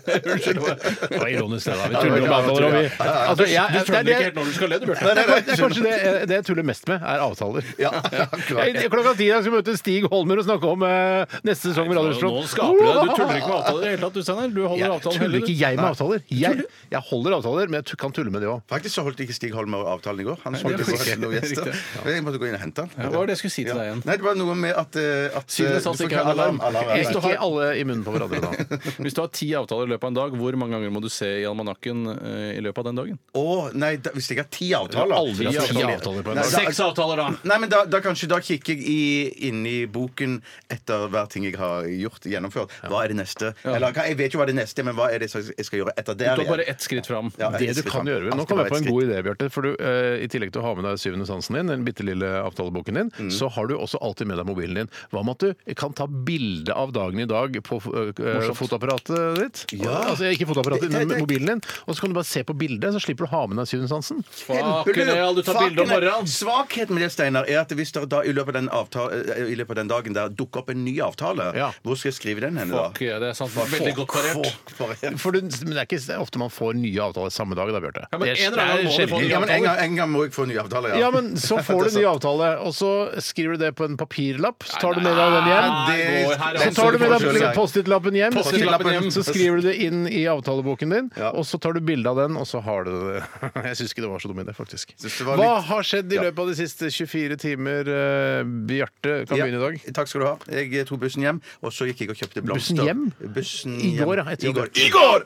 [SPEAKER 3] Unnskyld.
[SPEAKER 2] Det var ironisk, det. da. Vi
[SPEAKER 1] Ja,
[SPEAKER 2] tuller
[SPEAKER 1] det
[SPEAKER 2] med
[SPEAKER 1] var-
[SPEAKER 2] avtaler. Og vi,
[SPEAKER 1] ja, ja, ja.
[SPEAKER 2] altså, jeg,
[SPEAKER 3] Du
[SPEAKER 2] det
[SPEAKER 3] føler
[SPEAKER 2] er det-
[SPEAKER 3] ikke helt når du skal le, du, Bjarte.
[SPEAKER 1] Nei, nei, nei,
[SPEAKER 2] Det er kanskje det, det jeg tuller mest med, er
[SPEAKER 3] <laughs>
[SPEAKER 2] avtaler.
[SPEAKER 1] Ja, akkurat.
[SPEAKER 2] Jeg- Klokka ti i dag skal vi møte Stig Holmer og snakke om eh, neste sesong med
[SPEAKER 3] Altså, Nå
[SPEAKER 2] Radioresepsjonen.
[SPEAKER 3] skaper du deg. Du tuller ikke med avtaler i det hele tatt, du, Steinar. Du holder
[SPEAKER 2] <laughs> Jeg
[SPEAKER 3] avtalen
[SPEAKER 2] tuller
[SPEAKER 3] heldig,
[SPEAKER 2] ikke
[SPEAKER 3] du.
[SPEAKER 2] jeg med avtaler. Jeg, jeg holder avtaler, men jeg tu- kan tulle med det òg.
[SPEAKER 1] Faktisk så holdt ikke Stig Holmer avtalen i går. Han
[SPEAKER 3] det
[SPEAKER 1] holdt
[SPEAKER 3] er
[SPEAKER 1] ikke
[SPEAKER 3] riktig.
[SPEAKER 1] noen gjester. Jeg måtte gå inn og hente han.
[SPEAKER 3] Ja, Hva var det jeg skulle si til deg igjen?
[SPEAKER 1] Nei, det var noe med at, eh, at
[SPEAKER 3] Siden det
[SPEAKER 1] eh,
[SPEAKER 3] sa
[SPEAKER 1] du får
[SPEAKER 3] ikke er alarm.
[SPEAKER 1] alarm
[SPEAKER 3] Hvis
[SPEAKER 1] ja.
[SPEAKER 3] du
[SPEAKER 2] Ikke alle i munnen på hverandre da.
[SPEAKER 3] Hvis du har ti avtaler i løpet av en dag, hvor mange ganger må du se i almanakken eh, i løpet av den dagen?
[SPEAKER 1] Å, nei, da, hvis jeg har ti avtaler
[SPEAKER 2] aldri hatt ti
[SPEAKER 1] Nei,
[SPEAKER 2] avtaler på en
[SPEAKER 1] da-
[SPEAKER 2] dag.
[SPEAKER 3] avtaler, da!
[SPEAKER 1] Nei, men da, da kanskje da kikker jeg i, inn i boken etter hver ting jeg har gjort, gjennomført. Hva er det neste? Eller hva- jeg vet jo hva det neste er, men hva er det jeg skal gjøre etter det?
[SPEAKER 3] Du tar
[SPEAKER 1] igjen?
[SPEAKER 3] bare ett skritt fram.
[SPEAKER 1] Ja,
[SPEAKER 2] Det
[SPEAKER 1] jeg
[SPEAKER 2] du
[SPEAKER 1] skal
[SPEAKER 2] kan
[SPEAKER 1] ta-
[SPEAKER 2] gjøre, Nå
[SPEAKER 1] alltid
[SPEAKER 2] kom jeg
[SPEAKER 1] bare
[SPEAKER 2] på en
[SPEAKER 1] et
[SPEAKER 2] god idé, Bjarte. For du, eh, I tillegg til å ha med deg syvende sansen din, den bitte lille avtaleboken din,
[SPEAKER 1] Mm.
[SPEAKER 2] så har du også alltid med deg mobilen din. Hva med at du kan ta bilde av dagen i dag på eh, fotoapparatet ditt?
[SPEAKER 1] Ja.
[SPEAKER 2] Altså, ikke fotoapparatet,
[SPEAKER 1] Det- det-
[SPEAKER 2] men
[SPEAKER 1] det-
[SPEAKER 2] mobilen din. Og så kan du bare se på bildet, så slipper du å ha med deg syvende sansen.
[SPEAKER 3] Faken, ja, du tar bilde om
[SPEAKER 1] Faken,
[SPEAKER 3] morgenen!
[SPEAKER 1] Svakheten med det, Steinar, er at hvis det da i løpet av den, avtale, eh, i løpet av den dagen der dukker opp en ny avtale,
[SPEAKER 2] Ja.
[SPEAKER 1] hvor skal jeg skrive den hen? da?
[SPEAKER 3] Fuck, ja, det er sant. Veldig godt parert.
[SPEAKER 1] Fuck, parert.
[SPEAKER 2] For du, men det er ikke ofte man får nye avtaler samme dag, da, Bjarte.
[SPEAKER 3] Ja, men
[SPEAKER 2] Det er-
[SPEAKER 3] en eller annen
[SPEAKER 2] det er
[SPEAKER 3] må du få
[SPEAKER 2] sjelden.
[SPEAKER 3] nye
[SPEAKER 1] Ja, men en gang, en gang må jeg få nye avtaler, ja.
[SPEAKER 2] Ja, men <laughs> så får
[SPEAKER 1] Det
[SPEAKER 2] du
[SPEAKER 1] er
[SPEAKER 2] ny
[SPEAKER 1] sant.
[SPEAKER 2] avtale, og så skriver du det på en papirlapp. Så tar du med deg den hjem.
[SPEAKER 3] Nei, det går her,
[SPEAKER 2] Så
[SPEAKER 3] altså.
[SPEAKER 2] tar du med deg
[SPEAKER 1] Post-it-lappen.
[SPEAKER 2] Post-It-lappen hjem,
[SPEAKER 3] Post-it-lappen
[SPEAKER 2] skriver-
[SPEAKER 3] hjem.
[SPEAKER 2] så skriver du det inn i avtaleboken din,
[SPEAKER 1] Ja.
[SPEAKER 2] og så tar du bilde av den, og så har du det. <laughs> Jeg syns ikke det var så dum idé, faktisk.
[SPEAKER 1] Synes det var
[SPEAKER 2] Hva
[SPEAKER 1] litt-
[SPEAKER 2] har skjedd i
[SPEAKER 1] Ja.
[SPEAKER 2] løpet av de siste 24 timer? eh, Bjarte kan
[SPEAKER 1] Ja,
[SPEAKER 2] begynne i dag.
[SPEAKER 1] Takk skal du ha. Jeg tok bussen hjem, og så gikk jeg og kjøpte blomster.
[SPEAKER 2] Bussen hjem?
[SPEAKER 1] Bussen
[SPEAKER 2] I går, ja,
[SPEAKER 1] hjem.
[SPEAKER 2] etter
[SPEAKER 1] I går.
[SPEAKER 2] jobb.
[SPEAKER 1] I går!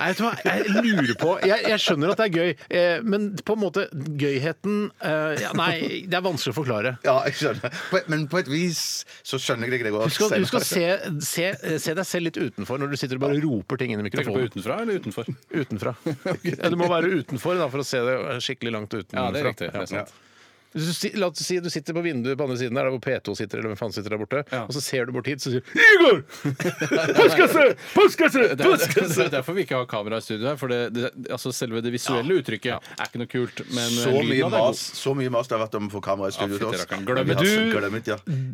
[SPEAKER 2] Nei, vet du hva? Jeg lurer på jeg, jeg skjønner at det er gøy, eh, men på en måte gøyheten eh, ja, Nei, det er vanskelig å forklare.
[SPEAKER 1] Ja, jeg skjønner. På- Men på et vis så skjønner jeg deg.
[SPEAKER 2] Du skal, du skal se, se, se deg selv litt utenfor når du sitter og bare roper ting inn i
[SPEAKER 3] Tenker du på
[SPEAKER 2] mikrofonen.
[SPEAKER 3] utenfra eller
[SPEAKER 1] <laughs>
[SPEAKER 3] utenfor?
[SPEAKER 2] <laughs> Utenfra. Ja, du må være utenfor da, for å se det skikkelig langt utenfra.
[SPEAKER 3] Ja, det er riktig. Det er sant.
[SPEAKER 2] Hvis du si- La oss si du sitter på vinduet på andre siden der, der hvor P2 sitter, eller hvem faen sitter der borte,
[SPEAKER 3] Ja.
[SPEAKER 2] og så ser du bort hit, så sier du
[SPEAKER 3] <laughs>
[SPEAKER 2] Igor! Postkasse! Postkasse!
[SPEAKER 3] Det er, det
[SPEAKER 2] Postkasse!
[SPEAKER 3] er derfor vi ikke har kamera i studio her. For det, det, altså selve det visuelle uttrykket er ikke noe kult. Men
[SPEAKER 1] <laughs> Så
[SPEAKER 3] lyden
[SPEAKER 1] mye,
[SPEAKER 3] av det er god.
[SPEAKER 1] mas, så mye mas det har vært om å få kamera i studio til oss.
[SPEAKER 3] fytti rakkeren. Glemmer
[SPEAKER 1] Ja,
[SPEAKER 2] du-
[SPEAKER 1] glemmet,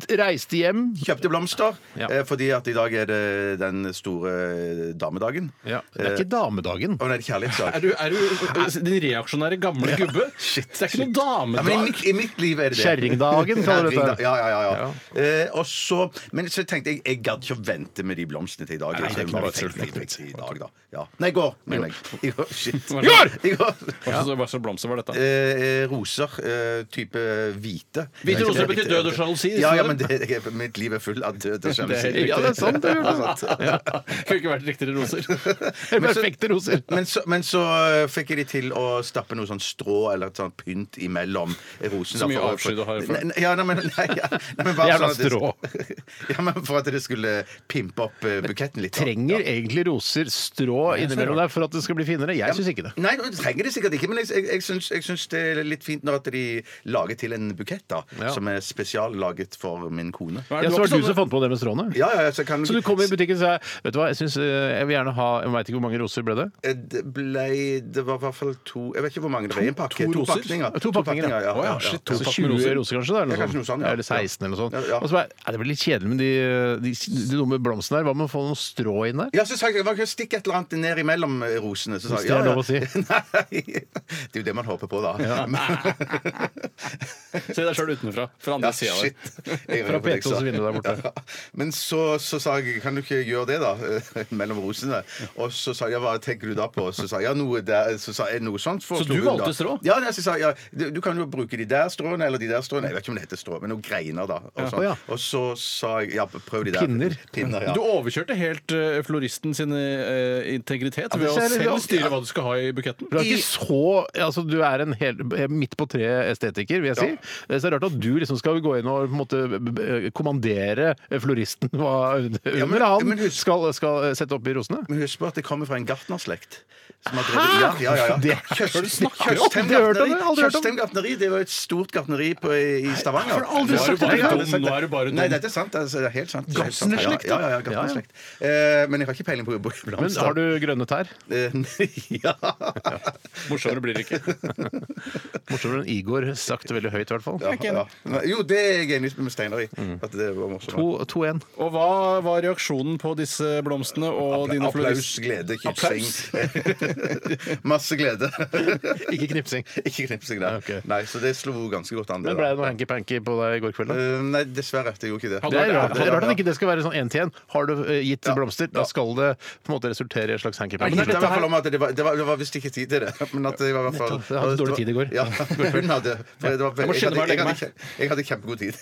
[SPEAKER 1] ja.
[SPEAKER 2] Reiste hjem.
[SPEAKER 1] Kjøpte blomster,
[SPEAKER 2] Ja.
[SPEAKER 1] eh, fordi at i dag er det den store eh, damedagen.
[SPEAKER 2] Ja. eh, Det er ikke damedagen.
[SPEAKER 1] Å nei, det er kjærlighetsdag.
[SPEAKER 3] Er du, er du altså, din reaksjonære gamle gubbe?
[SPEAKER 1] <laughs> Shit,
[SPEAKER 3] det er ikke noe
[SPEAKER 1] Ja, men i
[SPEAKER 3] damedag.
[SPEAKER 1] mitt, I mitt liv er det det.
[SPEAKER 2] Kjerringdagen, kaller du dette.
[SPEAKER 1] Kjerringdag- Ja, ja, ja. ja. Eh, og så, men så tenkte jeg jeg gadd ikke å vente med de blomstene til i dag. Nei,
[SPEAKER 2] det er ikke noe vits.
[SPEAKER 1] I dag, da. Ja. Nei, i går, mener jeg. I går, shit.
[SPEAKER 3] I
[SPEAKER 2] går!
[SPEAKER 1] <laughs> I går.
[SPEAKER 3] Hva slags- hva slags blomster var dette?
[SPEAKER 1] Eh, roser. Eh, type hvite.
[SPEAKER 3] Hvite roser betyr død og sjalusi,
[SPEAKER 1] Ja, ja,
[SPEAKER 3] sier
[SPEAKER 1] men det, jeg- mitt liv er full av død og sjalusi.
[SPEAKER 2] Ja, <laughs> det er sant.
[SPEAKER 1] <laughs>
[SPEAKER 2] Det gjør det.
[SPEAKER 3] <laughs> Kunne ikke vært riktigere roser.
[SPEAKER 2] Perfekte roser.
[SPEAKER 1] Men så, men så eh, fikk jeg de til å stappe noe sånn strå eller et sånt pynt imellom rosen.
[SPEAKER 3] Så
[SPEAKER 1] da,
[SPEAKER 3] mye
[SPEAKER 1] for å-
[SPEAKER 3] avsky du har for-
[SPEAKER 1] Nei, nei, Ja, nei, men, <laughs> nei, ja, nei, men bare
[SPEAKER 2] Jævla
[SPEAKER 1] sånn at det-
[SPEAKER 2] strå.
[SPEAKER 1] <laughs> Ja, men For at det skulle pimpe opp eh, buketten litt. da.
[SPEAKER 2] Trenger egentlig roser strå innimellom der for at det skal bli finere? Jeg syns ikke det.
[SPEAKER 1] Nei, du trenger det sikkert ikke, men jeg, jeg, jeg, syns, jeg syns det er litt fint når at de lager til en bukett da,
[SPEAKER 2] Ja.
[SPEAKER 1] som er spesiallaget for min kone.
[SPEAKER 3] Hva er
[SPEAKER 2] Ja,
[SPEAKER 3] det
[SPEAKER 2] så var det du
[SPEAKER 3] ikke sånn-
[SPEAKER 2] som fant på det med stråene?
[SPEAKER 1] Ja, ja, ja, så kan
[SPEAKER 2] Så du kom i butikken og sa Vet du hva, jeg, synes, eh, jeg vil gjerne ha Jeg veit ikke hvor mange roser ble det?
[SPEAKER 1] Eh, Det ble Det var i hvert fall to Jeg vet ikke hvor mange det ble i en pakke.
[SPEAKER 3] to roser?
[SPEAKER 1] pakninger.
[SPEAKER 2] To pakninger, ja.
[SPEAKER 1] ja.
[SPEAKER 2] Å, ja, shit, to
[SPEAKER 3] Altså
[SPEAKER 2] pakk med roser.
[SPEAKER 3] 20
[SPEAKER 2] roser kanskje, da, eller,
[SPEAKER 1] Ja,
[SPEAKER 2] noe
[SPEAKER 1] kanskje noe
[SPEAKER 2] sånt.
[SPEAKER 1] sånt, ja.
[SPEAKER 2] eller 16 eller noe sånt.
[SPEAKER 1] Ja, ja.
[SPEAKER 2] Og så bare, ja, det blir litt kjedelig med de, de, de dumme blomstene her. Hva med å få noe strå inn der?
[SPEAKER 1] Ja, så sa jeg, man kan stikke et eller annet ned imellom rosene. Så sa
[SPEAKER 2] Hvis
[SPEAKER 1] jeg,
[SPEAKER 2] det
[SPEAKER 1] ja,
[SPEAKER 2] er
[SPEAKER 1] ja.
[SPEAKER 2] lov å si.
[SPEAKER 1] <laughs> Nei, det er jo det man håper på, da. <laughs>
[SPEAKER 5] Se deg sjøl utenfra. Fra
[SPEAKER 1] Ja,
[SPEAKER 5] andre sida
[SPEAKER 1] shit.
[SPEAKER 5] der.
[SPEAKER 1] Jeg
[SPEAKER 2] Fra
[SPEAKER 1] hører på deg,
[SPEAKER 2] Petos
[SPEAKER 1] så.
[SPEAKER 2] vindu der borte.
[SPEAKER 1] <laughs> Ja. Men så, så sa jeg kan du ikke gjøre det, da? <laughs> Mellom rosene. Og så sa jeg hva tenker du da på? Så sa jeg ja, noe der Så sa jeg noe sånt.
[SPEAKER 5] Så du valgte strå?
[SPEAKER 1] Ja, nei, så sa jeg, ja, du, du kan jo bruke de der stråene eller de der stråene. Jeg vet ikke om det heter strå, men noen greiner, da. Og, sånn.
[SPEAKER 2] Å, ja.
[SPEAKER 1] og så sa jeg ja, prøv de der.
[SPEAKER 2] Pinner.
[SPEAKER 1] Pinner, ja.
[SPEAKER 3] Du overkjørte helt eh, floristen sin eh, integritet ved å
[SPEAKER 2] ser litt
[SPEAKER 3] selv
[SPEAKER 2] rart-
[SPEAKER 3] styre hva du skal ha i buketten.
[SPEAKER 2] Du er ikke så altså, Du er en hel, midt på treet estetiker, vil jeg si. Så det er rart at du liksom skal gå inn og på en måte b- b- kommandere eh, floristen hva under
[SPEAKER 1] men- men
[SPEAKER 2] han
[SPEAKER 1] husk-
[SPEAKER 2] skal, skal eh, sette opp i rosene.
[SPEAKER 1] Men husk på at det kommer fra en gartnerslekt. som har drevet- Ja, ja, ja,
[SPEAKER 2] Det
[SPEAKER 1] ja.
[SPEAKER 2] er- Hva er det du snakker om?
[SPEAKER 1] Tjøstheim
[SPEAKER 2] Aldri hørt om det, aldri hørt om det.
[SPEAKER 1] Tjøstheim gartneri det var et stort gartneri på, i Stavanger.
[SPEAKER 2] har du aldri
[SPEAKER 1] Nå er
[SPEAKER 2] sagt
[SPEAKER 1] du bare
[SPEAKER 2] det?
[SPEAKER 1] dum,
[SPEAKER 3] Nå er du bare dum.
[SPEAKER 1] Nei, dette er sant. altså, Det er helt sant. Det er helt sant.
[SPEAKER 2] Gartnerslekt,
[SPEAKER 1] Ja, ja, ja,
[SPEAKER 2] da.
[SPEAKER 1] gartnerslekt. Eh, Men jeg har ikke peiling på blomster.
[SPEAKER 2] Men har du grønne tær?
[SPEAKER 1] Eh, <laughs> Ja.
[SPEAKER 5] Morsommere blir det ikke.
[SPEAKER 2] Morsommere enn Igor sagt veldig høyt, i hvert fall.
[SPEAKER 1] ja. Nei, Jo, det er jeg enig med Steinar i.
[SPEAKER 3] Mm.
[SPEAKER 1] At det var morsomt.
[SPEAKER 2] 2-1.
[SPEAKER 3] <laughs> Og hva var reaksjonen på disse blomstene og dine
[SPEAKER 1] Applaus,
[SPEAKER 3] florist...
[SPEAKER 1] glede, kyssing. <laughs> Masse glede.
[SPEAKER 2] <laughs> Ikke knipsing.
[SPEAKER 1] Ikke knipsing, nei.
[SPEAKER 2] Ok.
[SPEAKER 1] Nei, så det slo ganske godt an. det
[SPEAKER 2] Men
[SPEAKER 1] da.
[SPEAKER 2] ble det noe hanky-panky på deg i går kveld? da?
[SPEAKER 1] Eh, nei, dessverre. Det gjorde ikke det.
[SPEAKER 2] Det er rart, det er rart
[SPEAKER 1] Ja,
[SPEAKER 2] at ikke det skal være sånn én til én. Har du eh, gitt
[SPEAKER 1] Ja.
[SPEAKER 2] blomster, da skal det på en måte resultere i en slags hanky
[SPEAKER 1] Men det, er i hvert fall om at det, var, det, var, det var visst ikke tid til det. <laughs> Men at det var i hvert fall
[SPEAKER 2] Nettopp. Jeg hadde dårlig tid i går.
[SPEAKER 1] Ja, <laughs> hun hadde, for det var,
[SPEAKER 3] Jeg må skynde meg å
[SPEAKER 1] jeg,
[SPEAKER 3] legge
[SPEAKER 1] hadde,
[SPEAKER 3] meg.
[SPEAKER 1] jeg, hadde, jeg hadde kjempegod
[SPEAKER 2] <laughs>
[SPEAKER 1] tid.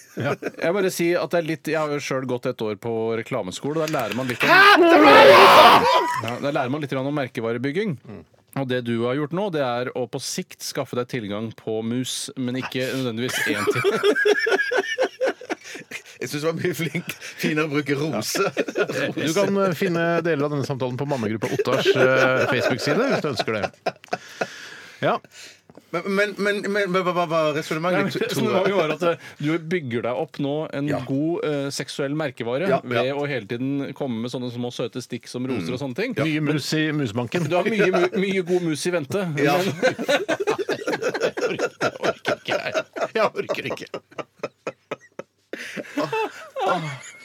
[SPEAKER 3] Jeg bare si at det er litt Jeg har jo sjøl gått et år på reklameskole. Der lærer man litt om ja, Der lærer man litt grann om merkevarebygging. Og det du har gjort nå, det er å på sikt skaffe deg tilgang på mus, men ikke nødvendigvis én til.
[SPEAKER 1] <laughs> Jeg syns du var mye flink. Finere å bruke rose.
[SPEAKER 2] Du kan eh, finne deler av denne samtalen på mammagruppa Ottars eh, Facebook-side hvis du ønsker det. Ja.
[SPEAKER 1] <laughs> Men, men, men, men, men hva var resonnementet?
[SPEAKER 3] Så det var jo bare at eh, Du bygger deg opp nå en
[SPEAKER 1] Ja.
[SPEAKER 3] god eh, seksuell merkevare
[SPEAKER 1] Ja, Mm.
[SPEAKER 3] ved
[SPEAKER 1] ja.
[SPEAKER 3] å hele tiden komme med sånne små søte stikk som roser og sånne ting.
[SPEAKER 2] Mye mus i musbanken.
[SPEAKER 3] Du har mye, mu- mye god mus i vente.
[SPEAKER 1] Ja.
[SPEAKER 3] Men <laughs>
[SPEAKER 2] Jeg orker ikke. jeg. Jeg orker ikke.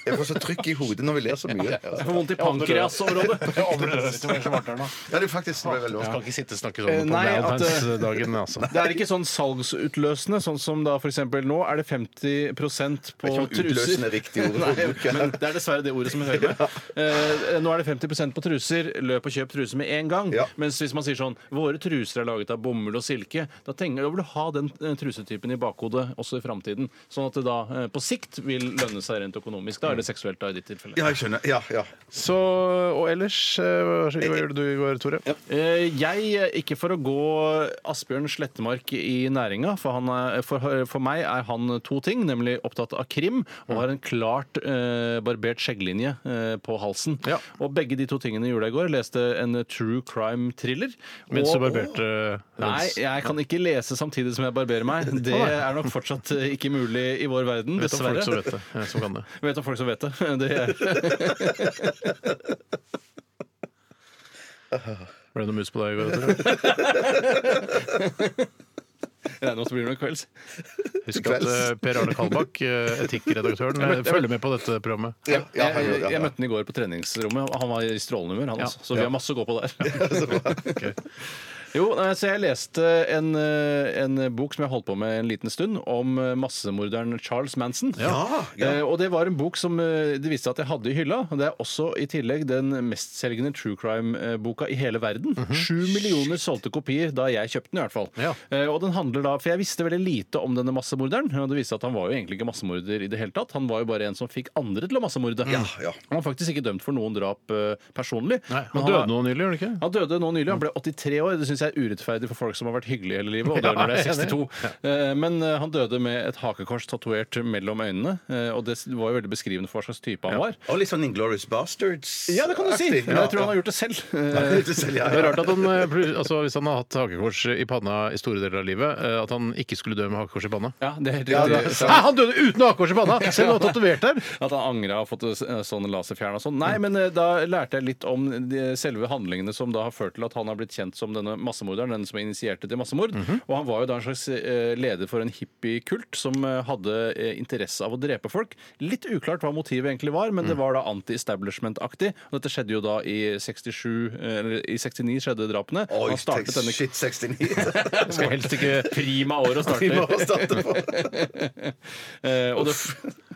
[SPEAKER 1] Jeg får så trykk i hodet når vi ler så mye.
[SPEAKER 3] jeg får vondt i pankreasområdet.
[SPEAKER 1] Ja, det er faktisk det ble
[SPEAKER 2] Skal
[SPEAKER 1] veldig vanskelig.
[SPEAKER 2] ikke sitte og snakke
[SPEAKER 3] Eh,
[SPEAKER 2] sånn på
[SPEAKER 3] nei, at, eh,
[SPEAKER 2] Valentine's-dagen, altså.
[SPEAKER 3] Det er ikke sånn salgsutløsende, sånn som da f.eks. nå er det 50 på
[SPEAKER 1] Ikke om
[SPEAKER 3] truser.
[SPEAKER 1] utløsende er riktig ord å
[SPEAKER 3] <laughs> Nei,
[SPEAKER 1] bruke.
[SPEAKER 3] men det er dessverre det ordet som
[SPEAKER 1] <laughs>
[SPEAKER 3] hører med. Eh, nå er det 50 på truser. Løp og kjøp truser med en gang.
[SPEAKER 1] Ja.
[SPEAKER 3] Mens hvis man sier sånn Våre truser er laget av bomull og silke, da, tenker, da vil du ha den eh, trusetypen i bakhodet også i framtiden. Sånn at det da eh, på sikt vil lønne seg rent økonomisk. Da er det seksuelt da i ditt tilfelle.
[SPEAKER 1] Ja, jeg skjønner. Ja, ja.
[SPEAKER 2] <laughs> Så, og ellers, eh, hva hva gjorde du i går, Tore?
[SPEAKER 3] Eh, Jeg, ikke for å gå Asbjørn Slettemark i næringa, for, han er, for, for meg er han to ting, nemlig opptatt av krim og har en klart eh, barbert skjegglinje eh, på halsen.
[SPEAKER 2] Ja.
[SPEAKER 3] Og begge de to tingene gjorde jeg i går. Leste en true crime-thriller.
[SPEAKER 2] Mens
[SPEAKER 3] og-
[SPEAKER 2] du barberte eh,
[SPEAKER 3] Nei, jeg kan ikke lese samtidig som jeg barberer
[SPEAKER 2] <laughs>
[SPEAKER 3] meg. Det er nok fortsatt eh, ikke mulig i vår verden,
[SPEAKER 2] Vet om folk
[SPEAKER 3] dessverre.
[SPEAKER 2] som vet det. eh, Som kan det.
[SPEAKER 3] Vet om folk som vet det. <laughs> det er.
[SPEAKER 2] Ble det noe mus på deg i går? Tore?
[SPEAKER 3] Regner med at det blir noe kvelds.
[SPEAKER 2] Husk at eh, Per Arne Kalbakk, eh, etikkredaktøren, eh, følger med på dette programmet.
[SPEAKER 1] Ja, ja,
[SPEAKER 3] jeg,
[SPEAKER 1] ja,
[SPEAKER 3] jeg,
[SPEAKER 1] ja, ja.
[SPEAKER 3] møtte han i går på treningsrommet, og han var i strålende humør, han
[SPEAKER 2] Ja.
[SPEAKER 3] også. Så vi
[SPEAKER 2] Ja.
[SPEAKER 3] har masse å gå
[SPEAKER 1] <laughs>
[SPEAKER 3] på der.
[SPEAKER 1] Så
[SPEAKER 3] <laughs>
[SPEAKER 1] bra.
[SPEAKER 3] Jo, nei, så jeg leste en, eh, en bok som jeg holdt på med en liten stund, om eh, massemorderen Charles Manson.
[SPEAKER 1] Ja, ja.
[SPEAKER 3] Eh, og det var en bok som eh, det viste seg at jeg hadde i hylla. Og det er også i tillegg den mestselgende true crime-boka i hele verden. Sju millioner solgte kopier da jeg kjøpte den, i hvert fall.
[SPEAKER 2] Ja.
[SPEAKER 3] Eh, og den handler da, For jeg visste veldig lite om denne massemorderen. Og det viste seg at han var jo egentlig ikke massemorder i det hele tatt. Han var jo bare en som fikk andre til å massemorde.
[SPEAKER 1] Ja, ja.
[SPEAKER 3] Han var faktisk ikke dømt for noen drap eh, personlig.
[SPEAKER 2] Nei,
[SPEAKER 3] men
[SPEAKER 2] han døde nå nylig, gjorde han ikke?
[SPEAKER 3] han døde nå nylig. Han ble 83 år. Det syns jeg er urettferdig for folk som har vært hyggelige hele livet og dør når de er
[SPEAKER 2] Ja, jeg er enig.
[SPEAKER 3] 62. Eh, Men eh, han døde med et hakekors tatovert mellom øynene, eh, og det var jo veldig beskrivende for hva slags type han var.
[SPEAKER 1] Og litt sånn Inglorious Bastards.
[SPEAKER 3] Ja, det kan du si!
[SPEAKER 1] Aktig.
[SPEAKER 3] Men jeg tror han har gjort det selv. Eh,
[SPEAKER 1] <laughs>
[SPEAKER 2] Det er rart at han, eh, plut- altså Hvis han har hatt hakekors i panna i store deler av livet, eh, at han ikke skulle dø med hakekors i <laughs> panna.
[SPEAKER 3] <laughs> Ja, det er helt
[SPEAKER 1] Ja,
[SPEAKER 3] riktig.
[SPEAKER 1] det-
[SPEAKER 2] Hæ, han døde uten hakekors i panna! Selv om han var tatovert der!
[SPEAKER 3] <laughs> At han angra og fått eh, sånn laserfjern og sånn. Nei, men eh, da lærte jeg litt om de selve handlingene som da har ført til at han har blitt kjent som denne massemorderen, den som initierte til massemord.
[SPEAKER 1] Mhm.
[SPEAKER 3] Og han var jo da en slags eh, leder for en hippiekult som eh, hadde eh, interesse av å drepe folk. Litt uklart hva motivet egentlig var, men det
[SPEAKER 1] Mhm.
[SPEAKER 3] var da anti-establishment-aktig. Og dette skjedde jo da i 67, eh, eller i 69 skjedde drapene.
[SPEAKER 1] Oi,
[SPEAKER 3] han startet denne <laughs>
[SPEAKER 1] shit, 69.
[SPEAKER 3] Det skal helst ikke prima år å starte.
[SPEAKER 1] <laughs> Prima å starte på.
[SPEAKER 3] <laughs> Eh, og det,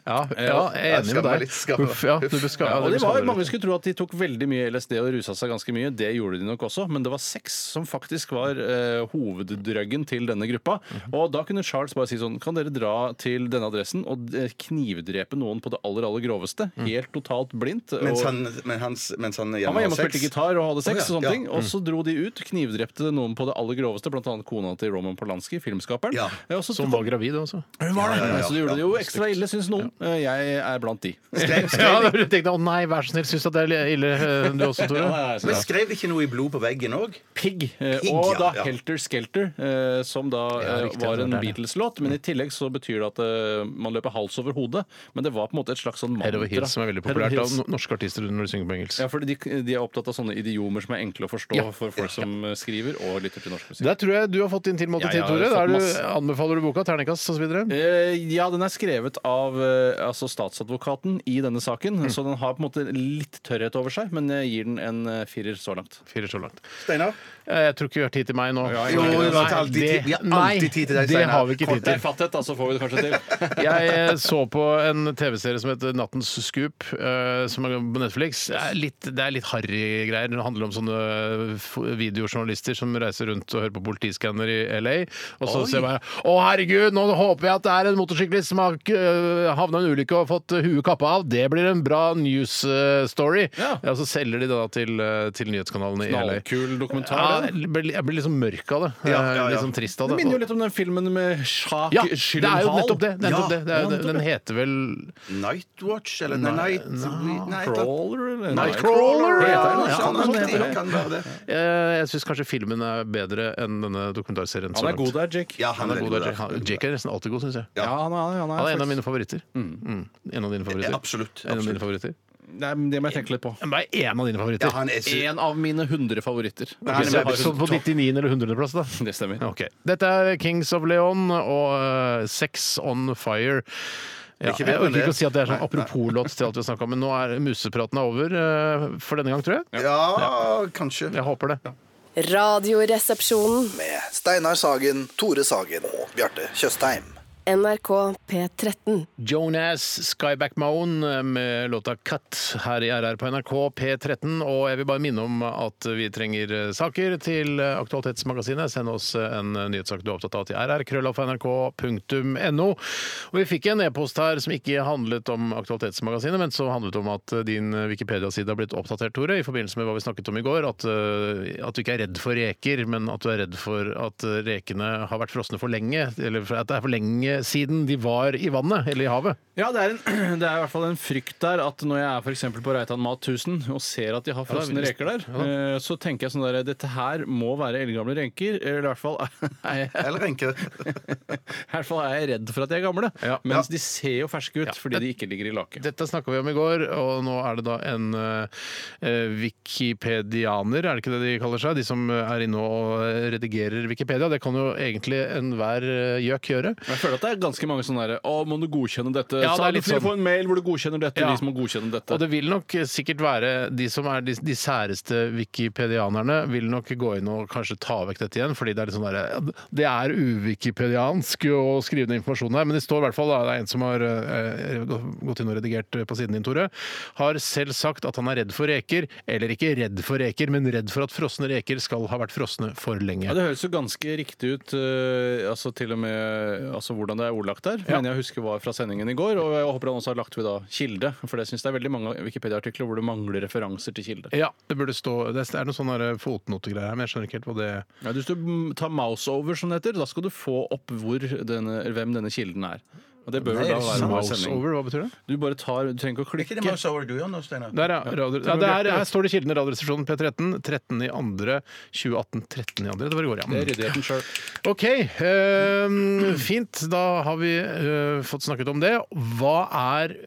[SPEAKER 2] Ja, ja, jeg er
[SPEAKER 1] jeg
[SPEAKER 2] enig
[SPEAKER 1] skammer
[SPEAKER 2] med
[SPEAKER 1] meg
[SPEAKER 2] deg.
[SPEAKER 1] litt, skammer meg.
[SPEAKER 2] Uff, ja, du blir skammet-
[SPEAKER 3] Ja,
[SPEAKER 2] ja,
[SPEAKER 3] og
[SPEAKER 2] du
[SPEAKER 3] det
[SPEAKER 2] blir
[SPEAKER 3] var,
[SPEAKER 2] skammet.
[SPEAKER 3] mange skulle tro at de tok veldig mye LSD og rusa seg ganske mye. Det gjorde de nok også, men det var sex som faktisk var eh, hoveddrøggen til denne gruppa.
[SPEAKER 1] Mhm.
[SPEAKER 3] Og da kunne Charles bare si sånn Kan dere dra til denne adressen og eh, knivdrepe noen på det aller, aller groveste? Helt totalt blindt.
[SPEAKER 1] Mens
[SPEAKER 3] og-
[SPEAKER 1] han, Mhm. men hans, mens han
[SPEAKER 3] han
[SPEAKER 1] gjennom
[SPEAKER 3] var hjemme og
[SPEAKER 1] sex.
[SPEAKER 3] spilte gitar og hadde sex.
[SPEAKER 1] Å, ja. Mhm.
[SPEAKER 3] Og sånne
[SPEAKER 1] Ja.
[SPEAKER 3] ting Og så dro de ut, knivdrepte noen på det aller groveste, bl.a. kona til Roman Polanski, filmskaperen.
[SPEAKER 1] Ja.
[SPEAKER 3] Eh, og så
[SPEAKER 2] Som var gravid også.
[SPEAKER 3] Hun var det!
[SPEAKER 1] ja, ja,
[SPEAKER 3] Så det gjorde
[SPEAKER 1] ja.
[SPEAKER 3] det jo ekstra ille, syns noen. Eh, Jeg er blant de.
[SPEAKER 1] Skrev, skrev,
[SPEAKER 2] <laughs> Ja, du tenkte, Å nei, vær så snill, syns du at det er ille, eh, du også, Tore?
[SPEAKER 1] men skrev de ikke noe i blod på veggen òg?
[SPEAKER 3] Pig, eh,
[SPEAKER 1] Pig,
[SPEAKER 3] og
[SPEAKER 1] ja,
[SPEAKER 3] da
[SPEAKER 1] ja.
[SPEAKER 3] Helter Skelter, eh, som
[SPEAKER 2] Ja,
[SPEAKER 3] da eh,
[SPEAKER 2] riktig,
[SPEAKER 3] var
[SPEAKER 2] det var
[SPEAKER 3] en
[SPEAKER 2] der, ja.
[SPEAKER 3] Beatles-låt. Men i tillegg så betyr det at eh, man løper hals over hodet. Men det var på en måte et slags sånn
[SPEAKER 2] Head over
[SPEAKER 3] mantra.
[SPEAKER 2] heels, som er veldig
[SPEAKER 3] Head over
[SPEAKER 2] populært av
[SPEAKER 3] heels.
[SPEAKER 2] no- norske artister når de synger på engelsk.
[SPEAKER 3] Ja, fordi de, de er opptatt av sånne idiomer som er enkle å forstå for folk som eh, skriver og lytter til norsk musikk.
[SPEAKER 2] Der tror jeg du har fått din tilmålte
[SPEAKER 3] Ja,
[SPEAKER 2] tid,
[SPEAKER 3] jeg har
[SPEAKER 2] Tore.
[SPEAKER 3] fått
[SPEAKER 2] Der du,
[SPEAKER 3] masse.
[SPEAKER 2] anbefaler du boka? Terningkast osv.?
[SPEAKER 3] Eh, ja, den er skrevet av eh, altså statsadvokaten i denne saken,
[SPEAKER 2] Mm.
[SPEAKER 3] så den har på en måte litt tørrhet over seg, men jeg gir den en eh, firer så langt.
[SPEAKER 2] Fire så langt.
[SPEAKER 1] Steinar?
[SPEAKER 2] Eh, Jeg tror ikke vi har tid til meg nå.
[SPEAKER 1] Jo, vi har alltid tid. Vi har alltid tid til deg,
[SPEAKER 2] det
[SPEAKER 1] Steinar.
[SPEAKER 2] har vi ikke tid
[SPEAKER 3] Det er
[SPEAKER 2] til.
[SPEAKER 3] fatthet, da, så får vi det kanskje til.
[SPEAKER 2] <laughs> Jeg eh, så på en TV-serie som heter Nattens Scoop, eh, som er på Netflix. Det er litt, det er litt harry greier. Det handler om sånne f- videojournalister som reiser rundt og hører på politiskanner i LA. Og så ser man Å, herregud, nå håper jeg at det er en motorsyklist som har havna i en ulykke og fått eh, huet kappa av. Det blir en bra news eh, story.
[SPEAKER 3] Ja.
[SPEAKER 2] Og så selger de det da til, eh, til nyhetskanalene i LA.
[SPEAKER 3] Knallkul dokumentar.
[SPEAKER 2] Ja,
[SPEAKER 3] den.
[SPEAKER 2] jeg blir jeg blir liksom mørk av det.
[SPEAKER 1] Ja, ja, ja.
[SPEAKER 2] Litt sånn trist av
[SPEAKER 3] Det
[SPEAKER 2] det.
[SPEAKER 3] minner jo litt om den filmen med Shaq
[SPEAKER 2] ja,
[SPEAKER 3] ja,
[SPEAKER 2] det er jo nettopp det. det, er nettopp
[SPEAKER 1] Ja,
[SPEAKER 2] det. det er,
[SPEAKER 3] ja,
[SPEAKER 2] den heter vel
[SPEAKER 1] Nightwatch? Eller nei, Night... Night-
[SPEAKER 3] Crawler, eller?
[SPEAKER 2] Nightcrawler,
[SPEAKER 1] Ja,
[SPEAKER 3] Heter den
[SPEAKER 1] noe
[SPEAKER 3] det?
[SPEAKER 1] sånt,
[SPEAKER 3] Ja, den heter
[SPEAKER 1] ja,
[SPEAKER 3] det.
[SPEAKER 1] kan være det.
[SPEAKER 2] Eh, Jeg syns kanskje filmen er bedre enn denne dokumentarserien.
[SPEAKER 3] Han
[SPEAKER 2] så
[SPEAKER 3] er god
[SPEAKER 2] langt.
[SPEAKER 3] der, Jake.
[SPEAKER 1] Ja,
[SPEAKER 2] Han er god der.
[SPEAKER 1] der.
[SPEAKER 2] Han- Jake er nesten alltid god, syns jeg.
[SPEAKER 1] Ja.
[SPEAKER 3] han er, han er,
[SPEAKER 2] Han er en av mine favoritter. Mm. En av dine favoritter.
[SPEAKER 1] Ja, absolutt,
[SPEAKER 2] En av
[SPEAKER 1] absolutt.
[SPEAKER 2] mine favoritter.
[SPEAKER 3] Nei, men det må jeg tenke litt på.
[SPEAKER 2] Men Bare en av dine favoritter.
[SPEAKER 1] Ja, han er sy-
[SPEAKER 3] En av mine 100 favoritter.
[SPEAKER 1] Nei,
[SPEAKER 2] Så
[SPEAKER 1] men-
[SPEAKER 2] jeg- så på 99. sånn eller 100. plass, da.
[SPEAKER 3] Det stemmer.
[SPEAKER 2] Ok. Dette er Kings of Leon og eh, Sex on Fire. Ja,
[SPEAKER 1] Ikke
[SPEAKER 2] jeg
[SPEAKER 1] bedre enn
[SPEAKER 2] orker ikke
[SPEAKER 1] det.
[SPEAKER 2] å si at det er sånn
[SPEAKER 1] Nei, nei.
[SPEAKER 2] apropos-låt til alt vi har snakka om, men nå er musepraten er over eh, for denne gang, tror jeg.
[SPEAKER 1] Ja, kanskje.
[SPEAKER 2] Jeg håper det.
[SPEAKER 6] Radioresepsjonen.
[SPEAKER 7] med Steinar Sagen, Tore Sagen og Bjarte Tjøstheim.
[SPEAKER 6] NRK P13.
[SPEAKER 2] Jonas Skyback Moan eh, med låta 'Cut' her i RR på NRK P13. Og jeg vil bare minne om at vi trenger eh, saker til eh, Aktualitetsmagasinet. Send oss eh, en eh, nyhetssak du er opptatt av til rr.krøllalfa.nrk.no. Og vi fikk en e-post her som ikke handlet om Aktualitetsmagasinet, men som handlet om at eh, din eh, Wikipedia-side har blitt oppdatert, Tore, i forbindelse med hva vi snakket om i går. At, eh, at du ikke er redd for reker, men at du er redd for at eh, rekene har vært frosne for lenge. Eller for at det er for lenge siden de var i vannet eller i havet.
[SPEAKER 3] Ja, det er, en, <clears throat> det er i hvert fall en frykt der at når jeg er for eksempel på Reitan Mat 1000 og ser at de har frosne
[SPEAKER 2] Ja, da-
[SPEAKER 3] reker der, eh, så tenker jeg sånn der Dette her må være eldgamle renker. Eller i hvert fall <laughs> er jeg,
[SPEAKER 1] Eller renke.
[SPEAKER 3] i hvert fall er jeg redd for at de er gamle.
[SPEAKER 2] Ja.
[SPEAKER 3] Mens de ser jo ferske ut
[SPEAKER 2] Ja.
[SPEAKER 3] fordi de ikke ligger i lake.
[SPEAKER 2] Dette snakka vi om i går, og nå er det da en eh, wikipedianer, er det ikke det de kaller seg? De som er inne og eh, redigerer Wikipedia. Det kan jo egentlig enhver eh, gjøk gjøre.
[SPEAKER 3] Men Jeg føler at det er ganske mange sånne derre Å, må du godkjenne dette?
[SPEAKER 2] Ja, det er
[SPEAKER 3] Så
[SPEAKER 2] litt
[SPEAKER 3] vil du
[SPEAKER 2] sånn.
[SPEAKER 3] få en mail hvor du godkjenner dette,
[SPEAKER 2] Ja.
[SPEAKER 3] de som må godkjenne dette.
[SPEAKER 2] Og det vil nok sikkert være de som er de, de særeste wikipedianerne, vil nok gå inn og kanskje ta vekk dette igjen, fordi det er litt sånn derre ja, Det er uwikipediansk å skrive ned informasjon her, men det står i hvert fall da, det er en som har eh, gått inn og redigert eh, på siden din, Tore, har selv sagt at han er redd for reker, eller ikke redd for reker, men redd for at frosne reker skal ha vært frosne for lenge.
[SPEAKER 3] Ja, Det høres jo ganske riktig ut, eh, altså til og med altså, hvordan det er ordlagt der. Men jeg husker var fra sendingen i går, og jeg håper han også har lagt ved da kilde. For jeg syns det er veldig mange Wikipedia-artikler hvor det mangler referanser til kilde.
[SPEAKER 2] Ja, det burde stå Det er noen sånne der eh, fotnotegreier her, men jeg skjønner ikke helt hva det
[SPEAKER 3] Ja, hvis du mm, tar mouse over, som det heter, da skal du få opp hvor denne, hvem denne kilden er. Og det bør jo da være vår
[SPEAKER 2] Mouse
[SPEAKER 3] sending.
[SPEAKER 2] over, hva betyr det?
[SPEAKER 3] Du bare tar, du trenger ikke å
[SPEAKER 1] Er ikke
[SPEAKER 3] klikke.
[SPEAKER 1] det Mouse Over du gjør nå, Steinar?
[SPEAKER 2] Der, ja. Radio, ja, det er, her står det kildene Radioresepsjonen P13. 13 i andre 2018. 13 i andre, Det var i går,
[SPEAKER 3] Det
[SPEAKER 2] ja.
[SPEAKER 3] er ryddigheten sjøl.
[SPEAKER 2] OK. ehm, fint. Da har vi eh, fått snakket om det. Hva er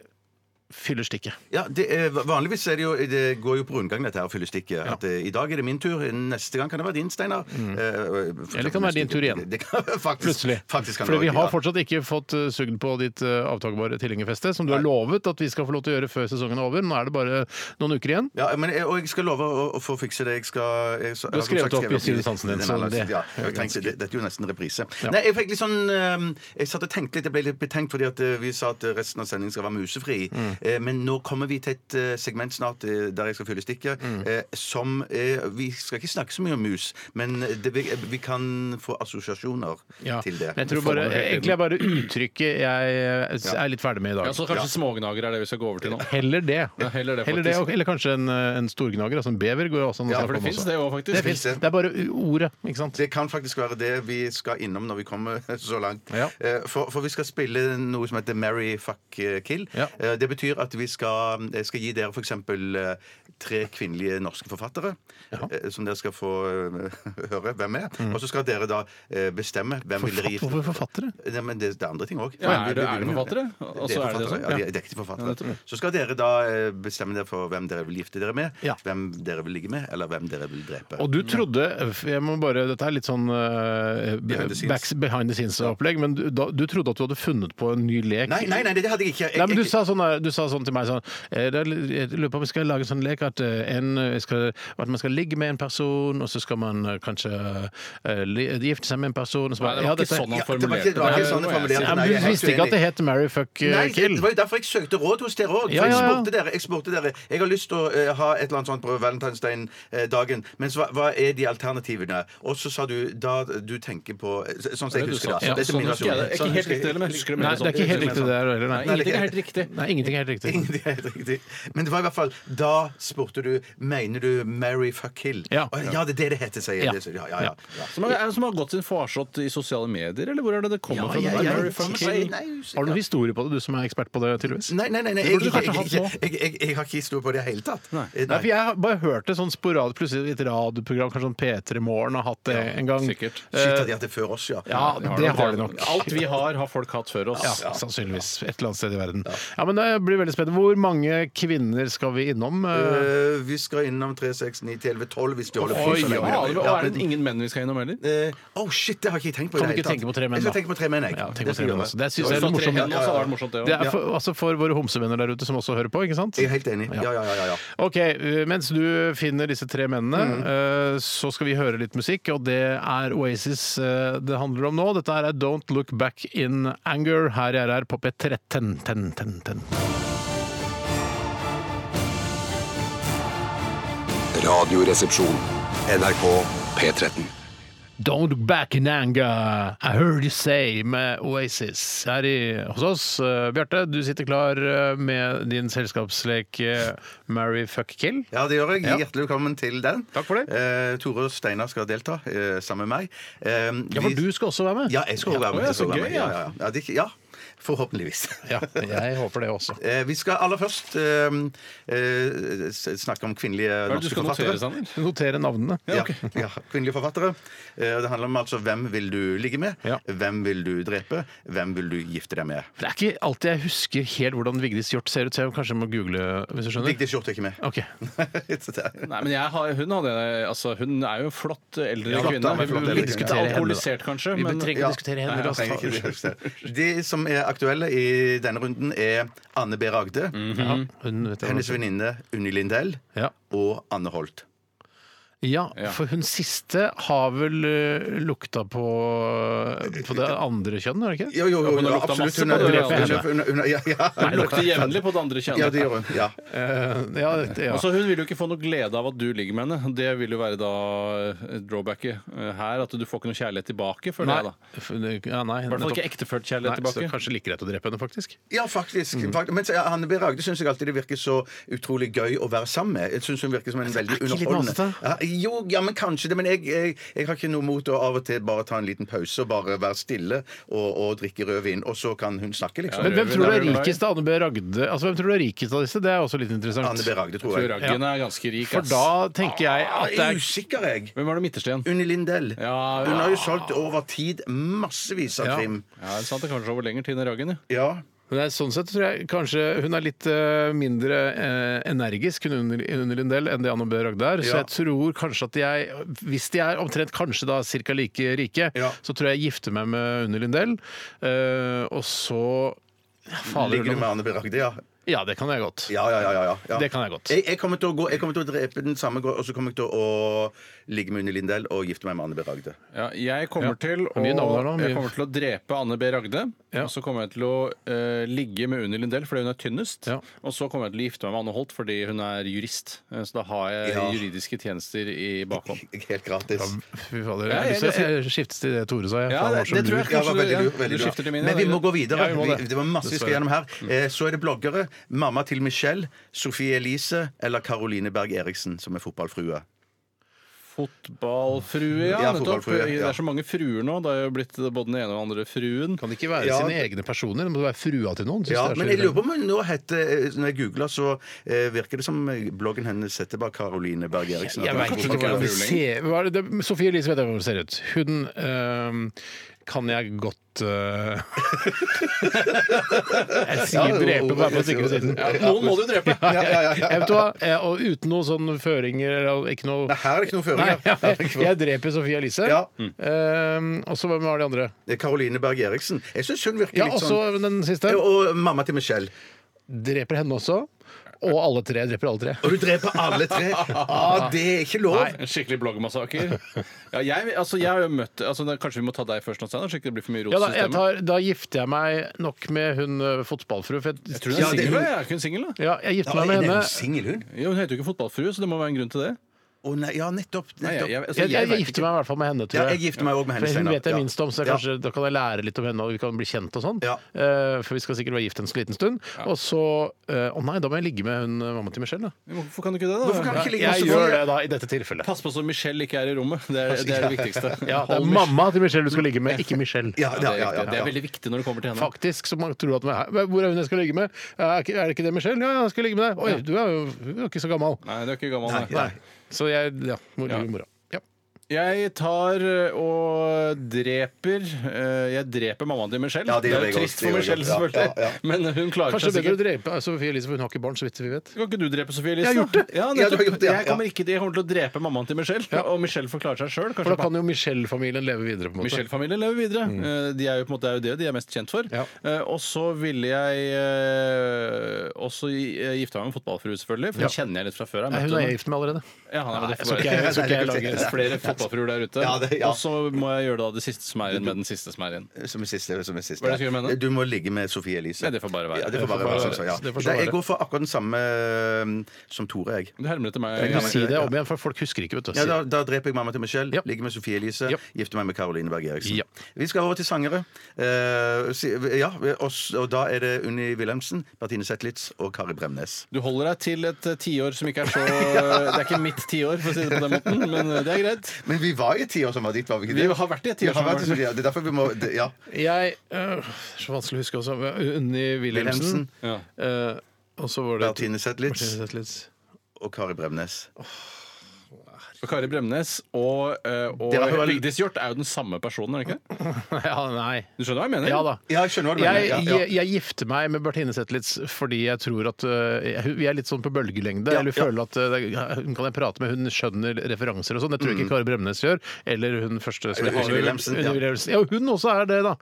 [SPEAKER 2] fyllestikket.
[SPEAKER 1] Ja, det er, Vanligvis er det jo, det går jo på rundgang, dette her fyllestikket. At, eh, I dag er det min tur, neste gang kan det være din, Steinar. Eh, for
[SPEAKER 2] Mm. Eller det kan
[SPEAKER 1] eksempel
[SPEAKER 2] være din
[SPEAKER 1] neste
[SPEAKER 2] tur
[SPEAKER 1] uke.
[SPEAKER 2] igjen.
[SPEAKER 1] Det kan, <laughs> faktisk,
[SPEAKER 2] Plutselig.
[SPEAKER 1] Faktisk kan
[SPEAKER 2] Fordi vi
[SPEAKER 1] det,
[SPEAKER 2] har
[SPEAKER 1] ja.
[SPEAKER 2] fortsatt ikke fått eh, sugd på ditt eh, avtagbare tilhengerfeste, som du har lovet at vi skal få lov til å gjøre før sesongen er over. Nå er det bare noen uker igjen.
[SPEAKER 1] Ja, men jeg, og jeg skal love å, å få fikse det. Jeg skal, jeg, så,
[SPEAKER 2] Du har
[SPEAKER 1] jeg
[SPEAKER 2] skrevet
[SPEAKER 1] som sagt
[SPEAKER 2] opp i
[SPEAKER 1] skrevet
[SPEAKER 2] sidesansen din,
[SPEAKER 1] den
[SPEAKER 2] så
[SPEAKER 1] aller
[SPEAKER 2] det-
[SPEAKER 1] siden, ja,
[SPEAKER 2] det er
[SPEAKER 1] jeg tenkte,
[SPEAKER 2] ganske
[SPEAKER 1] det, dette er jo nesten reprise. Nei, jeg fikk litt sånn eh, Jeg satt og tenkte litt, jeg ble litt betenkt fordi at eh, vi sa at resten av sendingen skal være musefri.
[SPEAKER 2] Mm.
[SPEAKER 1] Eh, Men nå kommer vi til et eh, segment snart eh, der jeg skal fylle stikket,
[SPEAKER 2] Mm.
[SPEAKER 1] eh, som eh, Vi skal ikke snakke så mye om mus, men eh, det, vi, vi kan få assosiasjoner
[SPEAKER 2] Ja.
[SPEAKER 1] til det.
[SPEAKER 2] Men Jeg tror bare, eh, egentlig er bare uttrykket jeg eh, er litt ferdig med i dag.
[SPEAKER 3] Ja, så kanskje smågnager er det vi skal gå over til nå.
[SPEAKER 2] Heller det.
[SPEAKER 3] Ja, heller det, faktisk.
[SPEAKER 2] og- eller kanskje en, eh, en storgnager, altså en bever. går jo også an å
[SPEAKER 3] Ja,
[SPEAKER 2] snakke
[SPEAKER 3] for det
[SPEAKER 2] om
[SPEAKER 3] fins
[SPEAKER 2] også.
[SPEAKER 3] det òg,
[SPEAKER 2] Det
[SPEAKER 3] faktisk.
[SPEAKER 2] finnes. Det er bare u- ordet, ikke sant?
[SPEAKER 1] Det kan faktisk være det vi skal innom når vi kommer <laughs> så langt.
[SPEAKER 2] Ja.
[SPEAKER 1] Eh, For, for vi skal spille noe som heter Marry, fuck, eh, kill.
[SPEAKER 2] Ja.
[SPEAKER 1] Eh, Det betyr at vi skal, jeg skal gi dere f.eks. tre kvinnelige norske forfattere. eh, Som dere skal få eh, <laughs> høre hvem er. Og så skal dere da eh, bestemme hvem vil dere
[SPEAKER 2] Forfatt-
[SPEAKER 1] gifte
[SPEAKER 2] Hvorfor forfattere?
[SPEAKER 1] Nei, men det, det er andre ting òg.
[SPEAKER 3] Ja, er det- er det forfattere? Og så er det det sånn?
[SPEAKER 1] Ja, de er de er ekte forfattere. Så skal dere da eh, bestemme dere for hvem dere vil gifte dere med,
[SPEAKER 2] Ja.
[SPEAKER 1] hvem dere vil ligge med, eller hvem dere vil drepe.
[SPEAKER 2] Og du trodde jeg må bare, Dette er litt sånn eh,
[SPEAKER 1] Behind the scenes.
[SPEAKER 2] backs- behind the scenes-opplegg, men du, da, du trodde at du hadde funnet på en ny lek?
[SPEAKER 1] Nei, nei, nei, det hadde jeg ikke. Jeg,
[SPEAKER 2] Nei, men du
[SPEAKER 1] jeg-
[SPEAKER 2] sa, sånn, der- du sa sånn til meg sånn eh, da l- Jeg lurer på om vi skal lage en sånn lek at, eh, en, eh, skal, at man skal ligge med en person, og så skal man eh, kanskje eh, li- gifte seg med en person og så bare,
[SPEAKER 3] Nei, det var ikke
[SPEAKER 2] dette-
[SPEAKER 3] sånn
[SPEAKER 1] Ja,
[SPEAKER 3] han
[SPEAKER 1] det var ikke-
[SPEAKER 3] formulerte
[SPEAKER 1] det var ikke sånn jeg
[SPEAKER 3] må jeg
[SPEAKER 1] formulerte
[SPEAKER 3] si.
[SPEAKER 2] ja,
[SPEAKER 1] Nei,
[SPEAKER 2] men
[SPEAKER 1] jeg er
[SPEAKER 2] Du
[SPEAKER 1] helt
[SPEAKER 2] visste ikke at det
[SPEAKER 1] uenig.
[SPEAKER 2] het marry, fuck, eh,
[SPEAKER 1] Nei,
[SPEAKER 2] kill.
[SPEAKER 1] det var jo derfor jeg søkte råd hos dere òg.
[SPEAKER 2] Ja, ja, ja.
[SPEAKER 1] Jeg spurte dere jeg spurte dere, jeg har lyst til å eh, ha et eller annet sånt på valentinsdagen, men så, hva- hva er de alternativene? Og så sa du da du tenker på eh, så- Sånn som jeg
[SPEAKER 3] du
[SPEAKER 1] husker
[SPEAKER 3] sa.
[SPEAKER 1] det.
[SPEAKER 3] Ja,
[SPEAKER 1] Dette er
[SPEAKER 3] sånn
[SPEAKER 1] min
[SPEAKER 3] husker jeg det.
[SPEAKER 1] versjon.
[SPEAKER 3] Ikke
[SPEAKER 1] Sånn
[SPEAKER 3] helt
[SPEAKER 1] husker jeg-
[SPEAKER 3] riktig, men jeg husker det
[SPEAKER 2] Nei,
[SPEAKER 3] mer
[SPEAKER 2] det er ikke helt riktig det der heller. Nei.
[SPEAKER 3] Ingenting er helt riktig.
[SPEAKER 2] Nei, ingenting er helt riktig.
[SPEAKER 1] <laughs> Ingenting er helt riktig. Men det var i hvert fall da spurte du Mener du marry, fuck, kill?
[SPEAKER 2] Ja.
[SPEAKER 1] Å, ja det er det det heter, sier jeg.
[SPEAKER 2] Ja.
[SPEAKER 1] Det- Ja, ja, ja.
[SPEAKER 3] Som har, er det som har gått sin farsott i sosiale medier, eller hvor er det det
[SPEAKER 1] Ja,
[SPEAKER 3] kommer fra?
[SPEAKER 1] jeg-
[SPEAKER 3] det der?
[SPEAKER 1] jeg-
[SPEAKER 3] Mary Fuck
[SPEAKER 1] Nei,
[SPEAKER 3] Hill?
[SPEAKER 1] nei,
[SPEAKER 2] Har du noen historie på det, du som er ekspert på det, tydeligvis?
[SPEAKER 1] Nei, nei, nei, nei,
[SPEAKER 2] burde
[SPEAKER 1] jeg,
[SPEAKER 2] du
[SPEAKER 1] jeg,
[SPEAKER 2] kanskje hatt
[SPEAKER 1] jeg,
[SPEAKER 2] nå.
[SPEAKER 1] jeg, jeg, jeg har ikke historie på det i det hele tatt. Eh,
[SPEAKER 2] Nei, for Jeg har bare hørt det sånn sporadisk, plutselig i et radioprogram, kanskje sånn P3 Morgen har hatt det en gang.
[SPEAKER 3] sikkert.
[SPEAKER 1] Shit, hadde jeg hatt det før oss, ja.
[SPEAKER 2] Eh, Ja, det har de nok.
[SPEAKER 3] Alt vi har, har folk hatt før oss.
[SPEAKER 2] Ja, sannsynligvis. Et eller annet sted i verden. Ja, men Det blir veldig spennende. Hvor mange kvinner skal vi innom? Eh,
[SPEAKER 1] Eh, vi skal innom 3, 6, 9, 10, 11, 12 hvis de holder på.
[SPEAKER 3] Oi, ja, og er det ingen menn vi skal innom heller?
[SPEAKER 1] Eh, oh shit, det har ikke jeg tenkt på. i
[SPEAKER 2] Kan du ikke
[SPEAKER 1] det hele
[SPEAKER 2] tenke
[SPEAKER 1] tatt.
[SPEAKER 2] på tre menn,
[SPEAKER 1] Jeg skal
[SPEAKER 2] da?
[SPEAKER 1] tenke på tre menn, jeg.
[SPEAKER 2] Ja, tenk
[SPEAKER 1] Det
[SPEAKER 2] på
[SPEAKER 1] skal
[SPEAKER 2] tre
[SPEAKER 1] jeg
[SPEAKER 2] menn
[SPEAKER 1] gjøre.
[SPEAKER 2] også. Det synes
[SPEAKER 3] Hvis
[SPEAKER 2] jeg er litt
[SPEAKER 3] det er tre
[SPEAKER 2] morsomt.
[SPEAKER 3] menn, så hadde det vært morsomt, det
[SPEAKER 2] Det
[SPEAKER 3] også.
[SPEAKER 2] er for, altså for våre homsevenner der ute som også hører på, ikke sant?
[SPEAKER 1] Jeg er helt enig. Ja, ja, ja, ja, ja.
[SPEAKER 2] Ok, eh, mens du finner disse tre
[SPEAKER 1] Mm.
[SPEAKER 2] mennene, eh, så skal vi høre litt musikk, og det er Oasis eh, det handler om nå. Dette her er Don't Look Back in Anger her i RR på P13. Ten, ten, ten.
[SPEAKER 4] Radioresepsjon. NRK P13.
[SPEAKER 2] Don't look back in anger, I heard you say med Oasis her i, hos oss. Eh, Bjarte, du sitter klar eh, med din selskapslek eh, Marry fuck kill.
[SPEAKER 1] Ja, det gjør jeg.
[SPEAKER 2] Ja.
[SPEAKER 1] Hjertelig velkommen til den.
[SPEAKER 2] Takk for det.
[SPEAKER 1] Eh, Tore og Steinar skal delta eh, sammen med meg. Eh,
[SPEAKER 2] Ja, for
[SPEAKER 1] vi-
[SPEAKER 2] du skal også være med?
[SPEAKER 1] Ja, jeg skal også være med.
[SPEAKER 3] ja,
[SPEAKER 1] jeg skal
[SPEAKER 3] så
[SPEAKER 1] være
[SPEAKER 3] gøy,
[SPEAKER 1] med. ja, ja. ja, det- ja. Forhåpentligvis.
[SPEAKER 2] Ja, jeg håper det også.
[SPEAKER 1] <laughs> Eh, Vi skal aller først eh, eh, s- snakke om kvinnelige
[SPEAKER 3] Hva er det du
[SPEAKER 1] norske
[SPEAKER 3] skal notere,
[SPEAKER 1] forfattere.
[SPEAKER 3] Sander?
[SPEAKER 2] Notere navnene.
[SPEAKER 1] Ja, <laughs> ja, Kvinnelige forfattere. Eh, og Det handler om altså hvem vil du ligge med,
[SPEAKER 2] Ja.
[SPEAKER 1] hvem vil du drepe, hvem vil du gifte deg med.
[SPEAKER 2] Det er ikke alltid jeg husker helt hvordan Vigdis Hjort ser ut, så jeg kanskje må google, hvis du skjønner.
[SPEAKER 1] Vigdis Hjorth er ikke med. <laughs> sånn
[SPEAKER 2] Ok.
[SPEAKER 1] Så det er-
[SPEAKER 3] Nei, men jeg har, hun, hadde, altså, hun er jo en flott eldre
[SPEAKER 1] Ja, flott
[SPEAKER 3] kvinne.
[SPEAKER 1] dame, flott
[SPEAKER 3] Hun-
[SPEAKER 1] eldre
[SPEAKER 3] Litt
[SPEAKER 1] kvinne.
[SPEAKER 3] alkoholisert, kanskje.
[SPEAKER 2] Vi
[SPEAKER 3] Men,
[SPEAKER 2] trenger ikke
[SPEAKER 1] Ja.
[SPEAKER 2] diskutere
[SPEAKER 1] Nei,
[SPEAKER 2] henne.
[SPEAKER 1] jeg
[SPEAKER 2] la oss
[SPEAKER 1] trenger ikke
[SPEAKER 2] ta-
[SPEAKER 1] diskutere det. De som er aktuelle i denne runden, er Anne B. Ragde,
[SPEAKER 2] Ja, hun vet jeg
[SPEAKER 1] hennes
[SPEAKER 2] hva-
[SPEAKER 1] venninne Unni Lindell
[SPEAKER 2] ja.
[SPEAKER 1] og Anne Holt.
[SPEAKER 2] ja, for hun siste har vel eh, lukta på, på det andre kjønn, har hun ikke? det?
[SPEAKER 1] Jo, jo, jo,
[SPEAKER 3] hun har
[SPEAKER 1] jo,
[SPEAKER 3] lukta
[SPEAKER 1] absolutt.
[SPEAKER 3] masse
[SPEAKER 1] Hun
[SPEAKER 3] på
[SPEAKER 1] er-
[SPEAKER 3] det,
[SPEAKER 1] hun er- hun er- hun er- ja, ja.
[SPEAKER 3] hun lukter jevnlig på det andre kjønnet.
[SPEAKER 1] Ja, det gjør hun. Ja.
[SPEAKER 2] Eh, ja, det- ja.
[SPEAKER 3] Altså, hun vil jo ikke få noe glede av at du ligger med henne. Det vil jo være da eh, drawbacket eh, her. At du får ikke noe kjærlighet tilbake, føler
[SPEAKER 2] Nei.
[SPEAKER 3] jeg da.
[SPEAKER 2] Ja, nei,
[SPEAKER 3] I hvert fall
[SPEAKER 2] nettopp.
[SPEAKER 3] ikke ektefølt
[SPEAKER 2] Nei,
[SPEAKER 3] kjærlighet
[SPEAKER 2] så det er
[SPEAKER 3] tilbake.
[SPEAKER 2] kanskje like greit å drepe henne, faktisk.
[SPEAKER 1] Ja, faktisk. faktisk. Men så- ja, Hanne B. Ragde syns jeg alltid det virker så utrolig gøy å være sammen med. Jeg synes hun virker som en veldig
[SPEAKER 2] ikke litt
[SPEAKER 1] underholdende
[SPEAKER 2] masete?
[SPEAKER 1] ja, Jo, ja, men kanskje det. Men jeg, jeg, jeg har ikke noe mot å av og til bare ta en liten pause og bare være stille og, og drikke rødvin, og så kan hun snakke, liksom.
[SPEAKER 2] Men hvem
[SPEAKER 3] vi
[SPEAKER 2] tror du
[SPEAKER 3] det,
[SPEAKER 2] er
[SPEAKER 3] Rødvin?
[SPEAKER 2] rikest av Anne B. Ragde? Altså, hvem tror du er rikest av disse? Det er også litt
[SPEAKER 1] Anne B.
[SPEAKER 2] interessant.
[SPEAKER 1] Ragde, tror jeg.
[SPEAKER 3] Raggen er ganske rik,
[SPEAKER 2] For
[SPEAKER 3] ass.
[SPEAKER 2] da tenker jeg at det
[SPEAKER 1] Jeg er
[SPEAKER 2] er
[SPEAKER 1] usikker, jeg.
[SPEAKER 3] Hvem var det midtersten?
[SPEAKER 1] Unni Lindell.
[SPEAKER 3] Ja,
[SPEAKER 1] Hun har jo solgt over tid massevis av
[SPEAKER 2] Ja.
[SPEAKER 1] krim.
[SPEAKER 3] Ja, det er sant, det er kanskje over lenger tid enn Raggen, ja.
[SPEAKER 1] Ja.
[SPEAKER 2] Men det er, sånn sett tror jeg kanskje hun er litt eh, mindre eh, energisk hun Unni Unni Lindell enn det Anne B. Ragde er. Så
[SPEAKER 1] Ja.
[SPEAKER 2] jeg tror kanskje at jeg, hvis de er omtrent kanskje da cirka like rike,
[SPEAKER 1] Ja.
[SPEAKER 2] så tror jeg jeg gifter meg med Unni Lindell. Eh, og så ja, fader,
[SPEAKER 1] Ligger du
[SPEAKER 2] nå-
[SPEAKER 1] med Anne B. Ragde, ja?
[SPEAKER 2] Ja, det kan jeg godt.
[SPEAKER 1] Ja, ja, ja, ja, ja, ja.
[SPEAKER 2] Det kan jeg godt.
[SPEAKER 1] Jeg, jeg, kommer til å gå, jeg kommer til å drepe den samme, og så kommer jeg til å ligge med Unni Lindell og gifte meg med Anne B. Ragde.
[SPEAKER 3] Ja, jeg kommer, til å,
[SPEAKER 2] er mye navn her nå, mye.
[SPEAKER 3] jeg kommer til å drepe Anne B. Ragde.
[SPEAKER 2] Ja.
[SPEAKER 3] Og så kommer jeg til å eh, ligge med Unni Lindell fordi hun er tynnest.
[SPEAKER 2] Ja.
[SPEAKER 3] Og så kommer jeg til å gifte meg med Anne Holt fordi hun er jurist. Eh, Så da har jeg
[SPEAKER 1] Ja.
[SPEAKER 3] juridiske tjenester i bakhånd.
[SPEAKER 1] <laughs> Helt gratis.
[SPEAKER 2] Fy fader,
[SPEAKER 3] Ja,
[SPEAKER 2] jeg, jeg,
[SPEAKER 3] jeg-
[SPEAKER 2] jeg, jeg skiftes til det Tore sa. Jeg,
[SPEAKER 3] Ja,
[SPEAKER 2] Faen,
[SPEAKER 3] det,
[SPEAKER 2] var så
[SPEAKER 3] det
[SPEAKER 2] lur.
[SPEAKER 3] tror jeg
[SPEAKER 1] Ja, det
[SPEAKER 3] kanskje
[SPEAKER 1] var
[SPEAKER 3] du,
[SPEAKER 1] veldig
[SPEAKER 3] ja,
[SPEAKER 1] lurt. veldig
[SPEAKER 3] du
[SPEAKER 1] lurt.
[SPEAKER 3] skifter til mine.
[SPEAKER 1] Men
[SPEAKER 3] da,
[SPEAKER 1] vi må
[SPEAKER 3] Vidar.
[SPEAKER 1] gå videre.
[SPEAKER 3] Ja, vi må
[SPEAKER 1] Vi-
[SPEAKER 3] det.
[SPEAKER 1] det var masse vi skal gjennom her.
[SPEAKER 2] Mm.
[SPEAKER 1] Eh, Så er det bloggere. Mamma til Michelle, Sophie Elise eller Caroline Berg Eriksen, som er fotballfrue.
[SPEAKER 3] Fotballfrue, ja.
[SPEAKER 1] Ja,
[SPEAKER 3] nettopp.
[SPEAKER 1] fotballfrue, ja.
[SPEAKER 3] Det er så mange fruer nå. Det er jo blitt både den ene og den andre fruen.
[SPEAKER 2] Kan det ikke være
[SPEAKER 1] Ja,
[SPEAKER 2] sine
[SPEAKER 1] det-
[SPEAKER 2] egne personer? Det må være frua til noen. synes
[SPEAKER 1] Ja,
[SPEAKER 2] det er så
[SPEAKER 1] men jeg lurer
[SPEAKER 2] irriterende.
[SPEAKER 1] på om hun nå heter Når jeg googler, så eh, virker det som bloggen hennes heter bare Caroline Berg Eriksen.
[SPEAKER 2] Jeg vet ikke hvordan det ser hva er det, det, Sofie Elise vet jeg hvordan det ser ut. Hun øhm, kan jeg godt øh, <laughs> Jeg sier drepe bare for å sikre siden.
[SPEAKER 3] Noen må du
[SPEAKER 2] <laughs>
[SPEAKER 3] drepe!
[SPEAKER 2] Jeg vet du hva, jeg, og uten noen sånne føringer eller ikke noe
[SPEAKER 1] Her er det ikke noen
[SPEAKER 2] Nei,
[SPEAKER 1] føringer.
[SPEAKER 2] jeg, jeg dreper Sofie Elise.
[SPEAKER 1] Ja.
[SPEAKER 2] Øhm, og så hvem var de andre?
[SPEAKER 1] Det er Caroline Berg Eriksen. Jeg syns hun virker
[SPEAKER 2] Ja,
[SPEAKER 1] litt
[SPEAKER 2] og
[SPEAKER 1] sånn
[SPEAKER 2] så den siste.
[SPEAKER 1] Og mamma til Michelle.
[SPEAKER 2] Dreper henne også. Og alle tre. Dreper alle tre.
[SPEAKER 1] Og du dreper alle
[SPEAKER 3] <laughs>
[SPEAKER 1] tre! Ah, det er ikke lov!
[SPEAKER 3] En skikkelig bloggmassaker. Ja, jeg, altså, jeg har jo møtt altså, det, Kanskje vi må ta deg først, nå, Steinar? så ikke det blir for mye rot i
[SPEAKER 2] Ja, da, jeg
[SPEAKER 3] systemet.
[SPEAKER 2] tar, da gifter jeg meg nok med hun øh, fotballfrue. for Jeg,
[SPEAKER 3] Tror du
[SPEAKER 1] Ja,
[SPEAKER 3] hun er
[SPEAKER 1] det-
[SPEAKER 3] singel? da? Er ikke hun singel, da?
[SPEAKER 2] ja, jeg gifter
[SPEAKER 1] Ja,
[SPEAKER 2] meg
[SPEAKER 1] Ah, er
[SPEAKER 2] med
[SPEAKER 1] det
[SPEAKER 2] henne.
[SPEAKER 1] en singel hun?
[SPEAKER 3] Jo, hun heter jo ikke fotballfrue, så det må være en grunn til det.
[SPEAKER 1] Å nei, ja, nettopp. nettopp.
[SPEAKER 3] Nei, jeg, jeg, altså,
[SPEAKER 2] Jeg, jeg,
[SPEAKER 3] vet
[SPEAKER 2] gifter meg i hvert fall med henne,
[SPEAKER 1] Ja,
[SPEAKER 2] tror
[SPEAKER 1] jeg
[SPEAKER 2] jeg.
[SPEAKER 1] gifter meg òg med henne.
[SPEAKER 2] For hun
[SPEAKER 1] senere.
[SPEAKER 2] vet jeg
[SPEAKER 1] Ja.
[SPEAKER 2] minst om, så jeg
[SPEAKER 1] Ja.
[SPEAKER 2] kanskje, da kan jeg lære litt om henne, og vi kan bli kjent og sånn.
[SPEAKER 1] Ja.
[SPEAKER 2] Eh, for vi skal sikkert være gift en så liten stund. Og så eh, Å nei, da må jeg ligge med hun eh, mamma til Michelle, da.
[SPEAKER 3] ikke. Hvorfor kan du ikke det, da?
[SPEAKER 1] Hvorfor kan du ikke
[SPEAKER 2] Jeg,
[SPEAKER 1] ligge med Sofie?
[SPEAKER 2] gjør det, da, i dette tilfellet.
[SPEAKER 3] Pass på så Michelle ikke er i rommet. Det er det, er det
[SPEAKER 1] <laughs>
[SPEAKER 3] viktigste.
[SPEAKER 2] Ja, det
[SPEAKER 3] Hold
[SPEAKER 2] er
[SPEAKER 3] Mich-
[SPEAKER 2] mamma til Michelle du skal ligge med, ikke Michelle.
[SPEAKER 1] Ja, ja,
[SPEAKER 3] Ja,
[SPEAKER 1] ja, ja,
[SPEAKER 3] Det er
[SPEAKER 1] ja.
[SPEAKER 3] veldig viktig når det kommer til henne.
[SPEAKER 2] Faktisk, så man tror at man er, Hvor er hun jeg skal ligge med? Eh, Er ikke- er det ikke det Michelle? Ja, jeg skal ligge med deg. Oi, du er jo du er ikke så gammel.
[SPEAKER 3] Nei, du er ikke gammel,
[SPEAKER 1] Nei, nei.
[SPEAKER 2] Så jeg Ja, mor,
[SPEAKER 3] Ja.
[SPEAKER 2] mora. Ja.
[SPEAKER 3] Jeg tar eh, og dreper eh, Jeg dreper mammaen til Michelle.
[SPEAKER 1] Ja, det gjør
[SPEAKER 3] er
[SPEAKER 1] jeg
[SPEAKER 3] jo
[SPEAKER 1] også.
[SPEAKER 3] trist
[SPEAKER 1] Det
[SPEAKER 3] for
[SPEAKER 1] gjør jeg
[SPEAKER 3] Michelle,
[SPEAKER 1] også.
[SPEAKER 3] selvfølgelig.
[SPEAKER 1] Ja, ja,
[SPEAKER 3] Men hun klarer
[SPEAKER 2] Kanskje
[SPEAKER 3] seg
[SPEAKER 2] det er bedre å
[SPEAKER 3] sikkert.
[SPEAKER 2] drepe altså, Sofie Elise, for hun har ikke barn, så vidt vi vet.
[SPEAKER 3] Kan ikke du drepe Sofie Elise?
[SPEAKER 2] Jeg har
[SPEAKER 3] da?
[SPEAKER 2] gjort det.
[SPEAKER 3] Ja,
[SPEAKER 1] Ja, du har
[SPEAKER 3] nettopp.
[SPEAKER 1] gjort det, ja,
[SPEAKER 3] Jeg kommer
[SPEAKER 1] ja.
[SPEAKER 3] ikke Jeg kommer til å drepe mammaen til Michelle, og Michelle får klare seg sjøl.
[SPEAKER 2] For da kan jo Michelle-familien leve videre, på en måte.
[SPEAKER 3] Michelle-familien lever videre. Eh, De er jo på en måte det er jo det de er mest kjent for.
[SPEAKER 2] Ja.
[SPEAKER 3] Eh, Og så ville jeg eh, også gi- eh, gifta meg med en fotballfrue, selvfølgelig. For hun kjenner jeg litt fra før. Jeg
[SPEAKER 2] Nei,
[SPEAKER 3] møtte
[SPEAKER 2] hun er jeg
[SPEAKER 3] henne.
[SPEAKER 2] gift med allerede.
[SPEAKER 3] Ja, nei, men
[SPEAKER 2] så
[SPEAKER 3] det
[SPEAKER 2] ikke
[SPEAKER 3] får være-
[SPEAKER 2] jeg- så ikke jeg
[SPEAKER 3] Det er flere fotballfruer der ute.
[SPEAKER 1] Ja, det- ja.
[SPEAKER 3] Og så må jeg gjøre da det siste som er igjen, med den siste som er igjen.
[SPEAKER 1] Som er siste. Som er siste.
[SPEAKER 3] Hva er det du skulle mene?
[SPEAKER 1] Du må ligge med Sofie Elise.
[SPEAKER 3] Nei, det får bare være.
[SPEAKER 1] Ja, det får bare
[SPEAKER 2] Det får
[SPEAKER 1] være.
[SPEAKER 2] bare
[SPEAKER 1] sånn, så,
[SPEAKER 2] være. Det får så
[SPEAKER 1] ja. Nei,
[SPEAKER 2] være.
[SPEAKER 1] Jeg går for akkurat den samme um, som Tore, jeg.
[SPEAKER 3] Du hermer etter meg.
[SPEAKER 1] Jeg kan-
[SPEAKER 2] Si det om igjen, for folk husker ikke, vet du.
[SPEAKER 1] Ja, da, da dreper jeg mamma til Michelle,
[SPEAKER 2] Ja.
[SPEAKER 1] ligger med Sofie Elise,
[SPEAKER 2] Ja.
[SPEAKER 1] gifter meg med Caroline Berg Eriksen.
[SPEAKER 2] Ja.
[SPEAKER 1] Vi skal over til sangere. Eh, si- ja, og, s- og da er det Unni Wilhelmsen, Bertine Zetlitz og Kari Bremnes.
[SPEAKER 3] Du holder deg til et eh, tiår som ikke er så Det er ikke mitt tiår, for å si det på den måten, men eh, det er greit.
[SPEAKER 1] Men vi var i et tiår som var ditt, var vi ikke
[SPEAKER 3] Vi
[SPEAKER 1] det?
[SPEAKER 3] har vært i et
[SPEAKER 1] Vi
[SPEAKER 3] tiår
[SPEAKER 1] har
[SPEAKER 3] som
[SPEAKER 1] vært
[SPEAKER 3] har
[SPEAKER 1] i et tiår, ja, det er derfor vi må det- Ja.
[SPEAKER 2] Jeg øh, Så vanskelig å huske også. øh, Unni Wilhelmsen.
[SPEAKER 1] Wilhelmsen.
[SPEAKER 3] Ja.
[SPEAKER 2] øh, og så var det
[SPEAKER 1] Bertine Zetlitz
[SPEAKER 2] Martine Zetlitz.
[SPEAKER 1] og Kari Bremnes.
[SPEAKER 3] Kari Bremnes og, eh,
[SPEAKER 1] Det var vel-
[SPEAKER 3] og Vigdis Hjorth er jo den samme personen, er det ikke?
[SPEAKER 2] <laughs> Ja, nei.
[SPEAKER 3] Du skjønner hva jeg mener?
[SPEAKER 2] Ja da.
[SPEAKER 1] Ja, jeg skjønner hva du mener.
[SPEAKER 2] Jeg,
[SPEAKER 1] Ja, ja.
[SPEAKER 2] jeg, jeg gifter meg med Bertine Zetlitz fordi jeg tror at øh, jeg, vi er litt sånn på bølgelengde.
[SPEAKER 1] Ja,
[SPEAKER 2] eller
[SPEAKER 1] ja.
[SPEAKER 2] føler at øh, det er- hun kan jeg prate med, hun skjønner referanser og sånn. Det tror jeg ikke Kari Bremnes gjør. Eller hun første som-
[SPEAKER 1] Unni Wilhelmsen, ja.
[SPEAKER 2] Unni Wilhelmsen. Ja, hun også er det, da.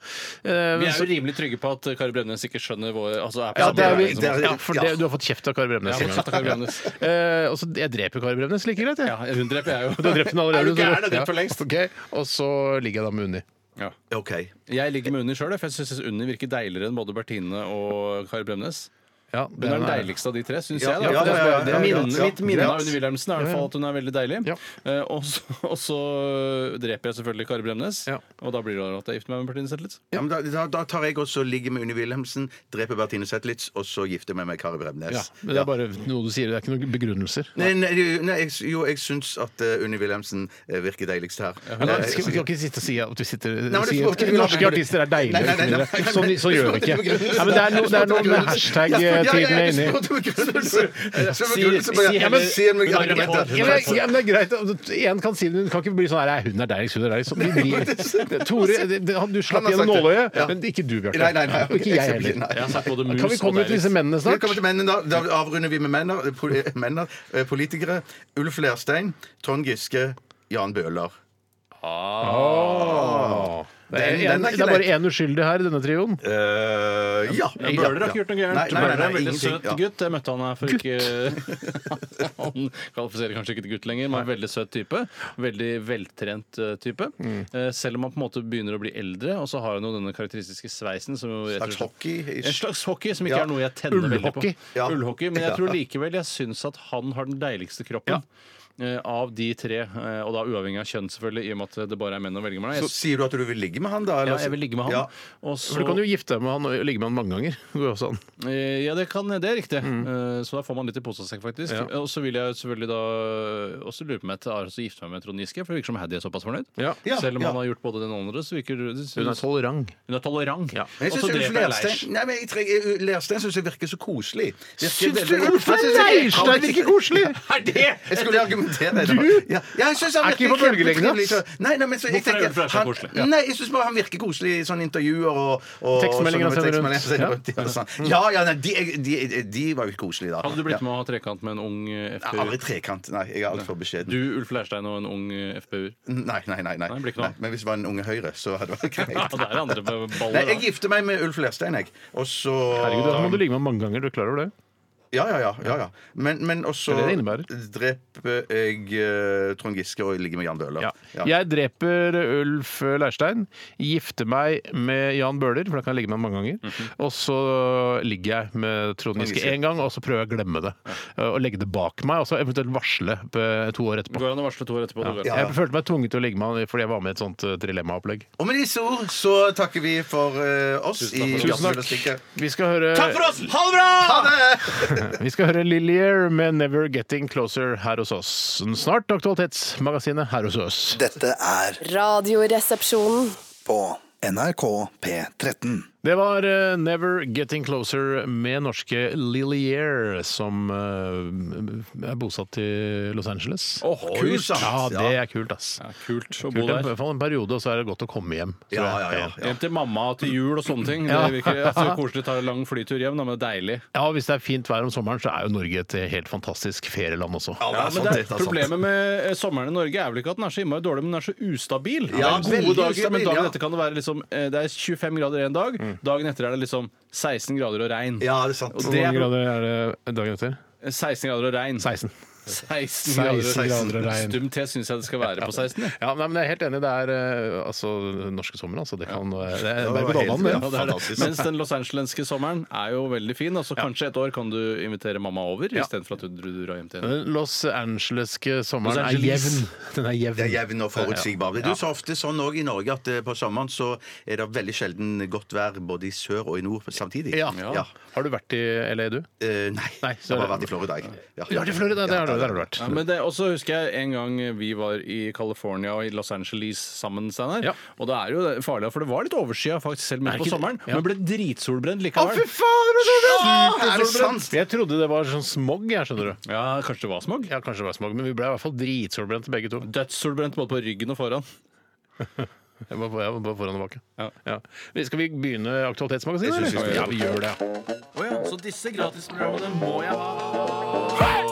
[SPEAKER 2] Eh,
[SPEAKER 3] Vi er
[SPEAKER 2] så-
[SPEAKER 3] jo rimelig trygge på at Kari Bremnes ikke skjønner vår altså er på
[SPEAKER 2] Ja,
[SPEAKER 3] samme
[SPEAKER 2] det er vi,
[SPEAKER 3] leie som
[SPEAKER 1] det er-
[SPEAKER 3] oss.
[SPEAKER 2] ja, for det,
[SPEAKER 1] ja.
[SPEAKER 2] du har fått kjeft av Kari Bremnes.
[SPEAKER 3] Jeg har fått kjeft av Kari Bremnes.
[SPEAKER 2] <laughs> Eh, og så, jeg dreper Kari Bremnes like greit, jeg.
[SPEAKER 3] Ja, hun dreper jeg jo.
[SPEAKER 2] Du har drept henne
[SPEAKER 3] Er
[SPEAKER 2] allerede.
[SPEAKER 3] du gæren? Jeg
[SPEAKER 2] Ja.
[SPEAKER 3] drept for lengst.
[SPEAKER 2] Ok, Og så ligger jeg da med Unni.
[SPEAKER 3] Ja.
[SPEAKER 1] OK.
[SPEAKER 3] Jeg ligger med Unni sjøl, for jeg syns Unni virker deiligere enn både Bertine og Kari Bremnes.
[SPEAKER 2] Ja,
[SPEAKER 3] Hun er den deiligste av de tre, syns jeg. da.
[SPEAKER 1] ja, ja, ja, ja, ja, ja.
[SPEAKER 3] Minnet- Mitt minne av
[SPEAKER 1] Greit.
[SPEAKER 3] Unni Wilhelmsen er i hvert fall at hun er veldig deilig.
[SPEAKER 2] Ja.
[SPEAKER 3] Eh, og, så, og så eh, dreper jeg selvfølgelig Kari Bremnes,
[SPEAKER 2] Ja.
[SPEAKER 3] og da blir det at jeg gifter meg med Bertine Zetlitz.
[SPEAKER 1] Ja, men da, da, da tar jeg også ligge med Unni Wilhelmsen, dreper Bertine Zetlitz, og så gifter jeg meg med Kari Bremnes.
[SPEAKER 2] Ja, men det er bare noe du sier, det er ikke noen begrunnelser.
[SPEAKER 1] Nei, nei, nei jeg, jo, jeg syns at eh, Unni Wilhelmsen eh, virker deiligst her.
[SPEAKER 2] Men da,
[SPEAKER 1] Eh,
[SPEAKER 2] skal, vi
[SPEAKER 1] <laughs>
[SPEAKER 2] kan ikke sitte og si at vi sitter
[SPEAKER 1] Nei, men
[SPEAKER 2] og
[SPEAKER 1] det
[SPEAKER 2] sier
[SPEAKER 1] får
[SPEAKER 2] at
[SPEAKER 1] ikke vi-
[SPEAKER 2] norske artister er
[SPEAKER 1] Nei, nei,
[SPEAKER 2] deilige.
[SPEAKER 1] nei,
[SPEAKER 2] og så
[SPEAKER 1] nei,
[SPEAKER 2] videre.
[SPEAKER 1] nei,
[SPEAKER 2] Sånn,
[SPEAKER 1] nei,
[SPEAKER 2] så gjør vi
[SPEAKER 1] det
[SPEAKER 2] ikke.
[SPEAKER 1] får ikke begrunnelse.
[SPEAKER 2] Nei, men det er noe, det er noe med
[SPEAKER 1] Jeg får
[SPEAKER 2] hashtag eh,
[SPEAKER 1] ikke
[SPEAKER 2] er tiden jeg er inne i. Ja, men- Ja, men- ja, men det er greit. En kan si det, men du kan ikke bli sånn her Hun er deiligst, hun er deiligst. Så vi blir- Tore, det- det- han- du slapp
[SPEAKER 1] Han har
[SPEAKER 2] gjennom
[SPEAKER 1] sagt det.
[SPEAKER 2] nåløyet,
[SPEAKER 1] Ja.
[SPEAKER 2] men ikke du, Bjarte.
[SPEAKER 1] Nei, nei, nei.
[SPEAKER 2] Og ikke jeg heller.
[SPEAKER 1] Nei.
[SPEAKER 3] Jeg har sagt både mus
[SPEAKER 2] Kan vi komme ut liksom
[SPEAKER 3] og
[SPEAKER 2] til disse
[SPEAKER 3] deilig.
[SPEAKER 2] mennene snart?
[SPEAKER 1] Velkommen til mennene. Da, da avrunder vi med mennene, pol- eh, mennene, eh, politikere. Ulf Lerstein, Trond Giske, Jan Bøhler. Ah.
[SPEAKER 2] Det Ah. er,
[SPEAKER 1] Den- den er
[SPEAKER 2] en,
[SPEAKER 1] ikke
[SPEAKER 2] det er bare
[SPEAKER 1] lett.
[SPEAKER 2] én uskyldig her i denne trioen.
[SPEAKER 1] Eh, ja.
[SPEAKER 3] Bøhler har ikke gjort noe
[SPEAKER 1] Nei,
[SPEAKER 3] gærent.
[SPEAKER 1] nei, nei,
[SPEAKER 3] Bøhler er
[SPEAKER 1] nei,
[SPEAKER 3] en veldig
[SPEAKER 1] ingenting,
[SPEAKER 3] søt
[SPEAKER 1] ja.
[SPEAKER 3] gutt. Jeg møtte han her for ikke <laughs> Han kvalifiserer kanskje ikke til gutt lenger, men en veldig søt type. Veldig veltrent eh, type.
[SPEAKER 1] Mm.
[SPEAKER 3] Eh, Selv om han på en måte begynner å bli eldre, og så har han jo denne karakteristiske sveisen som jo rett og
[SPEAKER 1] Slags
[SPEAKER 3] slett
[SPEAKER 1] hockey.
[SPEAKER 3] en slags hockey som ikke
[SPEAKER 1] Ja.
[SPEAKER 3] er noe jeg tenner veldig på.
[SPEAKER 2] Ullhockey.
[SPEAKER 1] Ja.
[SPEAKER 3] Ullhockey. Men
[SPEAKER 1] Ja.
[SPEAKER 3] jeg tror likevel jeg syns at han har den deiligste kroppen. eh, Av de tre, eh, og da uavhengig av kjønn, selvfølgelig, i og med at det bare er menn å velge mellom.
[SPEAKER 1] Så
[SPEAKER 3] Jeg,
[SPEAKER 1] sier du at du vil ligge med han, da? eller?
[SPEAKER 3] ja, jeg vil ligge med han.
[SPEAKER 1] Ja.
[SPEAKER 3] Og
[SPEAKER 2] For Du
[SPEAKER 3] så
[SPEAKER 2] kan jo gifte deg med han og ligge med han mange ganger. Det går jo sånn. også an.
[SPEAKER 3] Eh, Ja, det, kan, det er riktig.
[SPEAKER 2] Mm.
[SPEAKER 3] Eh, Så da får man litt i pose og sekk, faktisk. Og så vil jeg selvfølgelig da også lure på meg til altså, gifte meg med Trond Giske, for det virker som Haddy er såpass fornøyd.
[SPEAKER 2] Ja.
[SPEAKER 1] Ja,
[SPEAKER 3] Selv om
[SPEAKER 1] ja.
[SPEAKER 3] han har gjort både den og den andre, så virker det
[SPEAKER 2] Hun er
[SPEAKER 3] synes,
[SPEAKER 2] tolerant.
[SPEAKER 3] Hun er tolerant.
[SPEAKER 1] Men
[SPEAKER 3] Og
[SPEAKER 1] jeg
[SPEAKER 3] så
[SPEAKER 1] synes Ulf
[SPEAKER 3] dreper jeg Leish.
[SPEAKER 1] Lerstein Nei, men jeg trenger- Lerstein syns jeg virker så koselig. Virker
[SPEAKER 2] Syns du
[SPEAKER 1] veldig-
[SPEAKER 2] Ulf
[SPEAKER 1] Han synes jeg-
[SPEAKER 2] Leirstein virker koselig?
[SPEAKER 3] Er det?
[SPEAKER 1] Jeg skulle argumentere det.
[SPEAKER 2] Du?
[SPEAKER 1] Ja, ja, jeg synes han
[SPEAKER 2] Er
[SPEAKER 1] virker
[SPEAKER 2] ikke på bølgelengde,
[SPEAKER 1] kjempetrivelig.
[SPEAKER 2] ass.
[SPEAKER 1] Nei, nei, men så, jeg
[SPEAKER 3] Hvorfor er
[SPEAKER 1] tenker,
[SPEAKER 3] Ulf Leirstein
[SPEAKER 1] han,
[SPEAKER 3] koselig? Ja.
[SPEAKER 1] Nei, jeg synes bare han virker koselig i sånne intervjuer og, og
[SPEAKER 2] Tekstmeldinger
[SPEAKER 1] sånne
[SPEAKER 2] han sender rundt.
[SPEAKER 1] tekstmeldinger han sender rundt, ja, sånn. Ja, ja, nei, de, de, de var jo ikke koselige da.
[SPEAKER 3] Hadde du blitt
[SPEAKER 1] Ja.
[SPEAKER 3] med å ha trekant med en ung eh,
[SPEAKER 1] Nei, Aldri
[SPEAKER 3] FPU?
[SPEAKER 1] trekant. Nei, jeg er altfor beskjeden.
[SPEAKER 3] Du, Ulf Leirstein, og en ung
[SPEAKER 1] <laughs>
[SPEAKER 3] eh, FPU-er.
[SPEAKER 1] Nei, nei, nei. nei.
[SPEAKER 3] Nei, blir ikke noe.
[SPEAKER 1] nei men hvis det var en unge Høyre, så hadde det vært
[SPEAKER 3] <laughs>
[SPEAKER 1] greit.
[SPEAKER 3] Ja, det er andre baller.
[SPEAKER 1] Nei,
[SPEAKER 3] da.
[SPEAKER 1] jeg gifter meg med Ulf Lerstein, jeg. Og så
[SPEAKER 2] Herregud, da må du ligge med han mange ganger. Du er klar over det?
[SPEAKER 1] Ja, ja, ja. ja, ja. Men, men også
[SPEAKER 2] Det er det det innebærer.
[SPEAKER 1] dreper jeg eh, Trond Giske og ligger med Jan Bøhler.
[SPEAKER 2] Ja.
[SPEAKER 1] Ja.
[SPEAKER 2] Jeg dreper Ulf Leirstein, gifter meg med Jan Bøhler, for da kan jeg ligge med ham mange ganger.
[SPEAKER 1] Mhm.
[SPEAKER 2] Og så ligger jeg med Trond Giske
[SPEAKER 1] Giske.
[SPEAKER 2] én gang, og så prøver jeg å glemme det. Eh, Og legge det bak meg, og så eventuelt varsle eh, to år etterpå.
[SPEAKER 3] Går an å varsle to år etterpå. det går an.
[SPEAKER 1] Ja.
[SPEAKER 2] Jeg følte meg tvunget til å ligge med han fordi jeg var med i et sånt eh, dilemmaopplegg.
[SPEAKER 1] Og med disse ord så takker vi for eh, oss i
[SPEAKER 2] Tusen takk.
[SPEAKER 1] Jazzmøllerstykket.
[SPEAKER 2] Vi skal høre
[SPEAKER 1] oss! Ha det bra! Ha det!
[SPEAKER 2] Vi skal høre Lillier med 'Never Getting Closer' her hos oss. Snart Aktualitetsmagasinet her hos oss.
[SPEAKER 7] Dette er
[SPEAKER 6] Radioresepsjonen.
[SPEAKER 7] på NRK P13.
[SPEAKER 2] Det var eh, 'Never Getting Closer' med norske Lillier, som eh, er bosatt i Los Angeles.
[SPEAKER 3] Åh,
[SPEAKER 1] Kult, sant?
[SPEAKER 2] Ja, det er kult, ass.
[SPEAKER 3] ja, kult å bo
[SPEAKER 2] Kult, I
[SPEAKER 3] der.
[SPEAKER 2] hvert fall en periode, og så er det godt å komme hjem. tror
[SPEAKER 1] Ja,
[SPEAKER 2] jeg.
[SPEAKER 1] ja, ja, ja.
[SPEAKER 3] Hjem til mamma til jul og sånne ting. Det
[SPEAKER 2] Ja.
[SPEAKER 3] virker altså,
[SPEAKER 1] <laughs>
[SPEAKER 3] koselig å ta en lang flytur hjem, da, men det er deilig.
[SPEAKER 2] Ja, og Hvis det er fint vær om sommeren, så er jo Norge et helt fantastisk ferieland også.
[SPEAKER 1] Ja, det er
[SPEAKER 3] Ja, men
[SPEAKER 1] sant,
[SPEAKER 3] det
[SPEAKER 1] det er
[SPEAKER 3] er,
[SPEAKER 1] sant.
[SPEAKER 3] problemet med eh, sommeren i Norge er vel ikke at den er så innmari dårlig, men den er så ustabil.
[SPEAKER 1] Ja,
[SPEAKER 3] det er gode
[SPEAKER 1] veldig
[SPEAKER 3] dager,
[SPEAKER 1] ustabil,
[SPEAKER 3] men dagen
[SPEAKER 1] ja. Mm.
[SPEAKER 3] etter kan det være liksom eh, Det er 25 grader en dag, dagen etter er det liksom 16 grader og regn.
[SPEAKER 1] Ja, det er sant.
[SPEAKER 3] Og
[SPEAKER 2] Hvor
[SPEAKER 3] det
[SPEAKER 2] mange
[SPEAKER 3] er pro-
[SPEAKER 2] grader er det dagen etter?
[SPEAKER 3] 16 grader og regn.
[SPEAKER 2] 16.
[SPEAKER 3] 16
[SPEAKER 2] 16 grader og regn.
[SPEAKER 3] Stum T syns jeg det skal være på 16. jeg.
[SPEAKER 2] Ja, nei, men Jeg er helt enig. Det er eh, altså norske sommer, altså. Det kan eh, Det er
[SPEAKER 1] Ja,
[SPEAKER 2] berg- og
[SPEAKER 1] helt-
[SPEAKER 2] dalbane, det.
[SPEAKER 1] ja.
[SPEAKER 3] Ja, det er det.
[SPEAKER 1] Fantastisk.
[SPEAKER 3] Mens den losangelenske sommeren er jo veldig fin. Altså, kanskje et år kan du invitere mamma over istedenfor at du du drar hjem til henne.
[SPEAKER 2] Den Los Angeleske sommeren
[SPEAKER 3] Los
[SPEAKER 2] er
[SPEAKER 3] Angeles.
[SPEAKER 2] jevn. Den er jevn.
[SPEAKER 1] Det er jevn og forutsigbar. Det er jo så ofte sånn også i Norge at eh, på sommeren så er det veldig sjelden godt vær både i sør og i nord samtidig.
[SPEAKER 2] Ja. Har du vært i LA, du?
[SPEAKER 1] Eh, nei.
[SPEAKER 2] Nei,
[SPEAKER 1] jeg har bare
[SPEAKER 2] så-
[SPEAKER 1] vært i Florida, jeg. Ja.
[SPEAKER 2] Ja, til Florida. Det har du, der har du vært.
[SPEAKER 3] Ja, men det, og så husker jeg en gang vi var i California og i Los Angeles sammen, Steinar.
[SPEAKER 2] Ja.
[SPEAKER 3] Og det er jo farlig, for det var litt overskya faktisk selv midt
[SPEAKER 2] Er
[SPEAKER 3] på
[SPEAKER 2] ikke det-
[SPEAKER 3] sommeren.
[SPEAKER 2] Ja.
[SPEAKER 3] Men ble dritsolbrent likevel.
[SPEAKER 2] faen!
[SPEAKER 1] Å, er det sant?
[SPEAKER 2] Jeg trodde det var sånn smog, jeg, skjønner du.
[SPEAKER 3] Ja, kanskje det var smog?
[SPEAKER 2] Ja, kanskje det var smog, men vi ble i hvert fall dritsolbrente begge to.
[SPEAKER 3] Dødssolbrent både på ryggen og foran.
[SPEAKER 2] Jeg var, jeg var bare foran og bak.
[SPEAKER 3] Ja.
[SPEAKER 2] Ja. Men Skal vi begynne Aktualitetsmagasinet,
[SPEAKER 1] Jeg synes
[SPEAKER 2] eller?
[SPEAKER 1] vi skal.
[SPEAKER 2] Ja, vi gjør det. ja.
[SPEAKER 3] Så disse gratisprogrammene må jeg ha.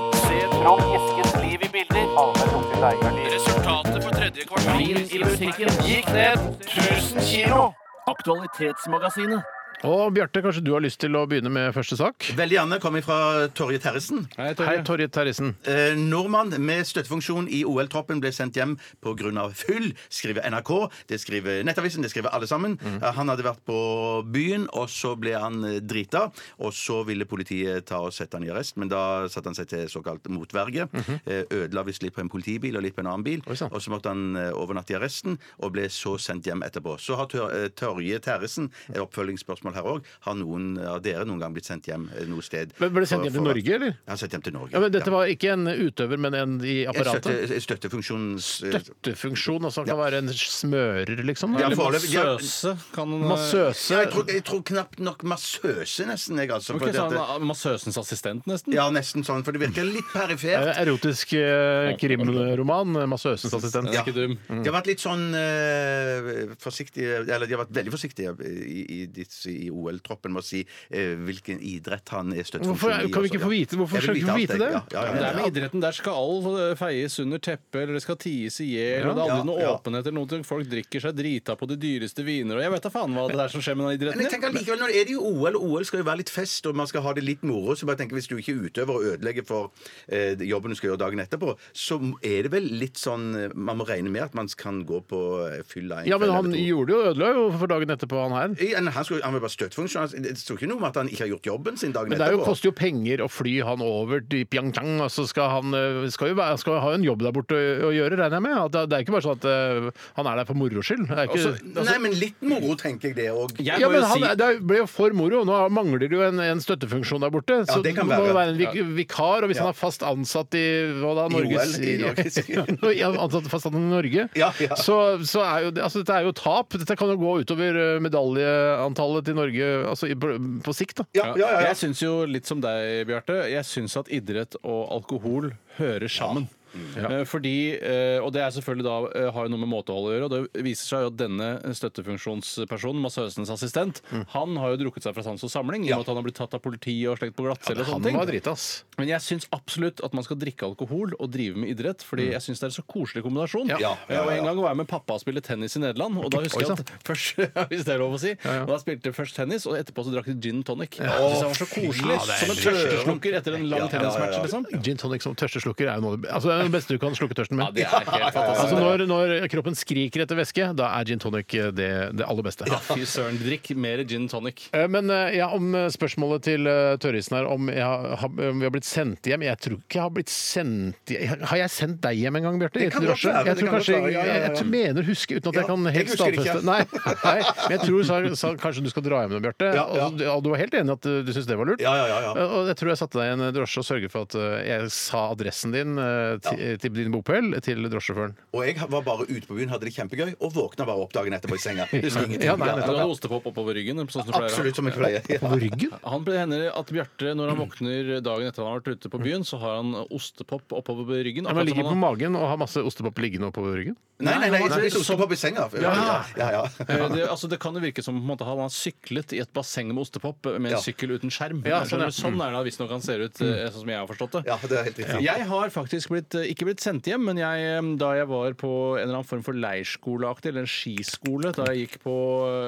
[SPEAKER 8] Bilen i butikken gikk ned 1000 kilo. Aktualitetsmagasinet.
[SPEAKER 2] Og Bjarte, kanskje du har lyst til å begynne med første sak?
[SPEAKER 1] Veldig gjerne kommer fra Torje Terresen.
[SPEAKER 2] Hei, Torje Terresen.
[SPEAKER 1] Eh, nordmann med støttefunksjon i OL-troppen ble sendt hjem pga. fyll, skriver NRK. Det skriver Nettavisen, det skriver alle sammen.
[SPEAKER 2] Mm.
[SPEAKER 1] Eh, Han hadde vært på byen, og så ble han eh, drita. Og så ville politiet ta og sette han i arrest, men da satte han seg til såkalt motverge. Eh, Ødela visst litt på en politibil og litt på en annen bil.
[SPEAKER 2] Mhm. Oi, sånn. sann.
[SPEAKER 1] Og så måtte han eh, overnatte i arresten, og ble så sendt hjem etterpå. Så har Tør- eh, Torje Terresen et oppfølgingsspørsmål spørsmål her òg. Har noen av dere noen gang blitt sendt hjem eh, noe sted?
[SPEAKER 2] Men ble det sendt
[SPEAKER 1] for-
[SPEAKER 2] hjem til
[SPEAKER 1] for-
[SPEAKER 2] Norge, eller?
[SPEAKER 1] Ja, sendt hjem til Norge.
[SPEAKER 2] Ja, men dette var ikke en utøver, men en i
[SPEAKER 1] Jeg støtte,
[SPEAKER 2] apparatet?
[SPEAKER 1] jeg eh, støttefunksjonens
[SPEAKER 2] Støttefunksjon, altså. Kan være en smører, liksom?
[SPEAKER 1] Ja,
[SPEAKER 2] Eller
[SPEAKER 1] foreløpig- ja.
[SPEAKER 3] Massøse kan eh,
[SPEAKER 1] Ja,
[SPEAKER 2] Massøse?
[SPEAKER 1] jeg, tror, jeg tror knapt nok massøse, nesten. Jeg, altså,
[SPEAKER 3] Ok,
[SPEAKER 1] fordi
[SPEAKER 3] så
[SPEAKER 1] at-
[SPEAKER 3] han er Massøsens assistent, nesten?
[SPEAKER 1] ja, nesten sånn, for det virker litt perifert.
[SPEAKER 2] Eh, Erotisk eh, krimroman. eh, Massøsens assistent.
[SPEAKER 1] Ja.
[SPEAKER 3] Ikke dum.
[SPEAKER 1] De har vært litt sånn eh, forsiktige Eller de har vært veldig forsiktige i, i, disse- i OL-troppen med å si eh, hvilken idrett han er
[SPEAKER 2] Hvorfor
[SPEAKER 1] støttefunksjon i.
[SPEAKER 2] er- kan vi
[SPEAKER 1] og
[SPEAKER 2] ikke
[SPEAKER 1] så-
[SPEAKER 2] få vite- hvorfor
[SPEAKER 1] Jeg vil
[SPEAKER 2] skal vi ikke få
[SPEAKER 1] alt,
[SPEAKER 2] vite det?
[SPEAKER 1] jeg. Ja, ja,
[SPEAKER 3] Men det er
[SPEAKER 1] ja,
[SPEAKER 3] med
[SPEAKER 1] ja.
[SPEAKER 3] idretten. Der skal all eh, feies under teppet, eller det skal ties i hjel, og det er
[SPEAKER 1] Ja,
[SPEAKER 3] aldri noe
[SPEAKER 1] ja.
[SPEAKER 3] åpenhet eller noe. til. Folk drikker seg drita på de dyreste viner, og jeg vet da faen hva det er som skjer med den
[SPEAKER 1] Men jeg
[SPEAKER 3] idretten.
[SPEAKER 1] tenker likevel, når det er det jo OL, og OL skal jo være litt fest, og man skal ha det litt moro, så bare tenker jeg, hvis du ikke utøver og ødelegger for eh, jobben du skal gjøre dagen etterpå, så er det vel litt sånn eh, Man må regne med at man kan gå på eh, fylla en
[SPEAKER 2] Ja, men
[SPEAKER 1] kveld
[SPEAKER 2] han
[SPEAKER 1] eller to.
[SPEAKER 2] gjorde jo ødela jo for dagen etterpå, han her.
[SPEAKER 1] I- Han, skulle, han var bare støttefunksjon. Han- Det sto ikke noe om at han ikke har gjort jobben sin dagen
[SPEAKER 2] Men det er jo,
[SPEAKER 1] etterpå.
[SPEAKER 2] koster jo penger å fly han over til Pyeongchang, og så skal han eh, skal jo være, skal ha en jobb der borte å, å gjøre, regner jeg med. At det, det er ikke bare sånn at eh, han er der for moro skyld. Det er ikke,
[SPEAKER 1] Nei, men litt moro tenker jeg det òg.
[SPEAKER 3] Jeg
[SPEAKER 2] ja,
[SPEAKER 3] må
[SPEAKER 2] men
[SPEAKER 3] jo
[SPEAKER 2] han,
[SPEAKER 3] si
[SPEAKER 2] Det ble jo for moro. Nå mangler det jo en, en støttefunksjon der borte. Så
[SPEAKER 1] det
[SPEAKER 2] det
[SPEAKER 1] kan
[SPEAKER 2] må
[SPEAKER 1] være.
[SPEAKER 2] jo være en vik vikar. Og hvis
[SPEAKER 1] Ja.
[SPEAKER 2] han er fast ansatt i hva da,
[SPEAKER 1] I
[SPEAKER 2] Norges
[SPEAKER 1] OL, i Norge.
[SPEAKER 2] <laughs> Ja, ansatt, fast ansatt i Norge,
[SPEAKER 1] <laughs> Ja, ja.
[SPEAKER 2] så, så er jo det altså, Dette er jo tap. Dette kan jo gå utover eh, medaljeantallet til Norge altså, i, på, på sikt. da.
[SPEAKER 1] Ja, ja, ja, ja.
[SPEAKER 3] Jeg syns jo litt som deg, Bjarte. Jeg syns at idrett og alkohol hører sammen. Eh, Fordi, eh, og det er selvfølgelig da eh, har jo noe med måtehold å gjøre. Og det viser seg jo at denne støttefunksjonspersonen, massøsens assistent,
[SPEAKER 1] Mm.
[SPEAKER 3] han har jo drukket seg fra sans og samling i og med at han har blitt tatt av politiet og slengt på glattcelle. og
[SPEAKER 2] Han
[SPEAKER 3] sånne ting.
[SPEAKER 2] var dritass.
[SPEAKER 3] Men jeg syns absolutt at man skal drikke alkohol og drive med idrett, fordi jeg syns det er en så koselig kombinasjon.
[SPEAKER 2] Mm.
[SPEAKER 3] Eh,
[SPEAKER 2] Ja.
[SPEAKER 1] Ja, ja, ja,
[SPEAKER 3] Og
[SPEAKER 1] ja.
[SPEAKER 3] en gang var jeg med pappa og spilte tennis i Nederland, og da husker
[SPEAKER 2] Oi,
[SPEAKER 3] jeg at <laughs> først, ja, hvis det er lov å si, og da spilte jeg først tennis, og etterpå så drakk vi gin tonic. Jeg synes det var så koselig. som en tørsteslukker etter en lang
[SPEAKER 1] Ja, ja, ja, ja.
[SPEAKER 3] tennismatch, liksom.
[SPEAKER 2] Gin tonic som tørsteslukker er jo noe av det, altså, det er det beste du kan slukke tørsten med.
[SPEAKER 3] Ja, det er helt fantastisk.
[SPEAKER 2] <laughs> Altså når, når kroppen skriker etter væske, da er gin tonic eh, det, det aller beste.
[SPEAKER 3] Fy søren, drikk mer gin tonic.
[SPEAKER 2] Eh, Men eh, ja, om eh, spørsmålet til eh, Tørrisen her, om, jeg har, har- om vi har blitt sendt hjem Jeg tror ikke jeg har blitt sendt hjem Har jeg sendt deg hjem en gang, Bjarte? i
[SPEAKER 1] kan
[SPEAKER 2] et
[SPEAKER 1] godt
[SPEAKER 2] drosje? Jeg
[SPEAKER 1] være, det
[SPEAKER 2] tror
[SPEAKER 1] kan
[SPEAKER 2] kanskje
[SPEAKER 1] godt
[SPEAKER 2] jeg,
[SPEAKER 1] være, ja, ja, ja.
[SPEAKER 2] jeg mener å huske, uten at jeg
[SPEAKER 1] Ja,
[SPEAKER 2] kan
[SPEAKER 1] jeg
[SPEAKER 2] helt
[SPEAKER 1] husker det ikke.
[SPEAKER 2] stadfeste Nei, nei, men jeg tror sa, sa, kanskje du skal dra hjem nå, Bjarte.
[SPEAKER 1] Ja, ja.
[SPEAKER 2] Og, og du var helt enig i at eh, du syntes det var lurt?
[SPEAKER 1] Ja, ja, ja, ja.
[SPEAKER 2] Eh, Og jeg tror jeg satte deg i en drosje og sørget for at eh, jeg sa adressen din eh, til, til din bopel til drosjesjåføren.
[SPEAKER 1] Og jeg var bare ute på byen, hadde det kjempegøy, og våkna bare opp dagen etterpå i
[SPEAKER 2] <laughs>
[SPEAKER 1] senga. Husker ingenting.
[SPEAKER 2] Ja, nei,
[SPEAKER 3] Du
[SPEAKER 2] nettopp.
[SPEAKER 3] hadde ostekopp oppover ryggen. Sånn som du pleier å ha.
[SPEAKER 1] Absolutt som jeg pleier. Ja.
[SPEAKER 2] På ryggen?
[SPEAKER 3] Han det hender at Bjarte, når han
[SPEAKER 2] <clears throat>
[SPEAKER 3] våkner dagen etter han har vært ute på byen, så har han ostepop oppover ryggen.
[SPEAKER 2] Mm. Ja, men
[SPEAKER 3] akkurat som
[SPEAKER 2] ligger på
[SPEAKER 3] han har-
[SPEAKER 2] magen og har masse ostepop liggende oppover ryggen?
[SPEAKER 1] Nei, nei, nei,
[SPEAKER 3] Nei,
[SPEAKER 1] jeg soste opp i senga. Ja, ja, ja.
[SPEAKER 3] Eh, Det, altså, det kan jo virke som på en måte, han har syklet i et basseng med ostepop eh, med
[SPEAKER 1] Ja.
[SPEAKER 3] en
[SPEAKER 1] Mm.
[SPEAKER 3] sykkel uten skjerm.
[SPEAKER 2] Ja,
[SPEAKER 3] Jeg skjønner,
[SPEAKER 2] sånn,
[SPEAKER 3] sånn er det visstnok han ser ut, eh, sånn som jeg har forstått det.
[SPEAKER 1] Ja, det er helt riktig.
[SPEAKER 3] Jeg har faktisk blitt, eh, ikke blitt sendt hjem, men jeg, eh, da jeg var på en eller annen form for leirskoleaktig, eller en skiskole, da jeg gikk på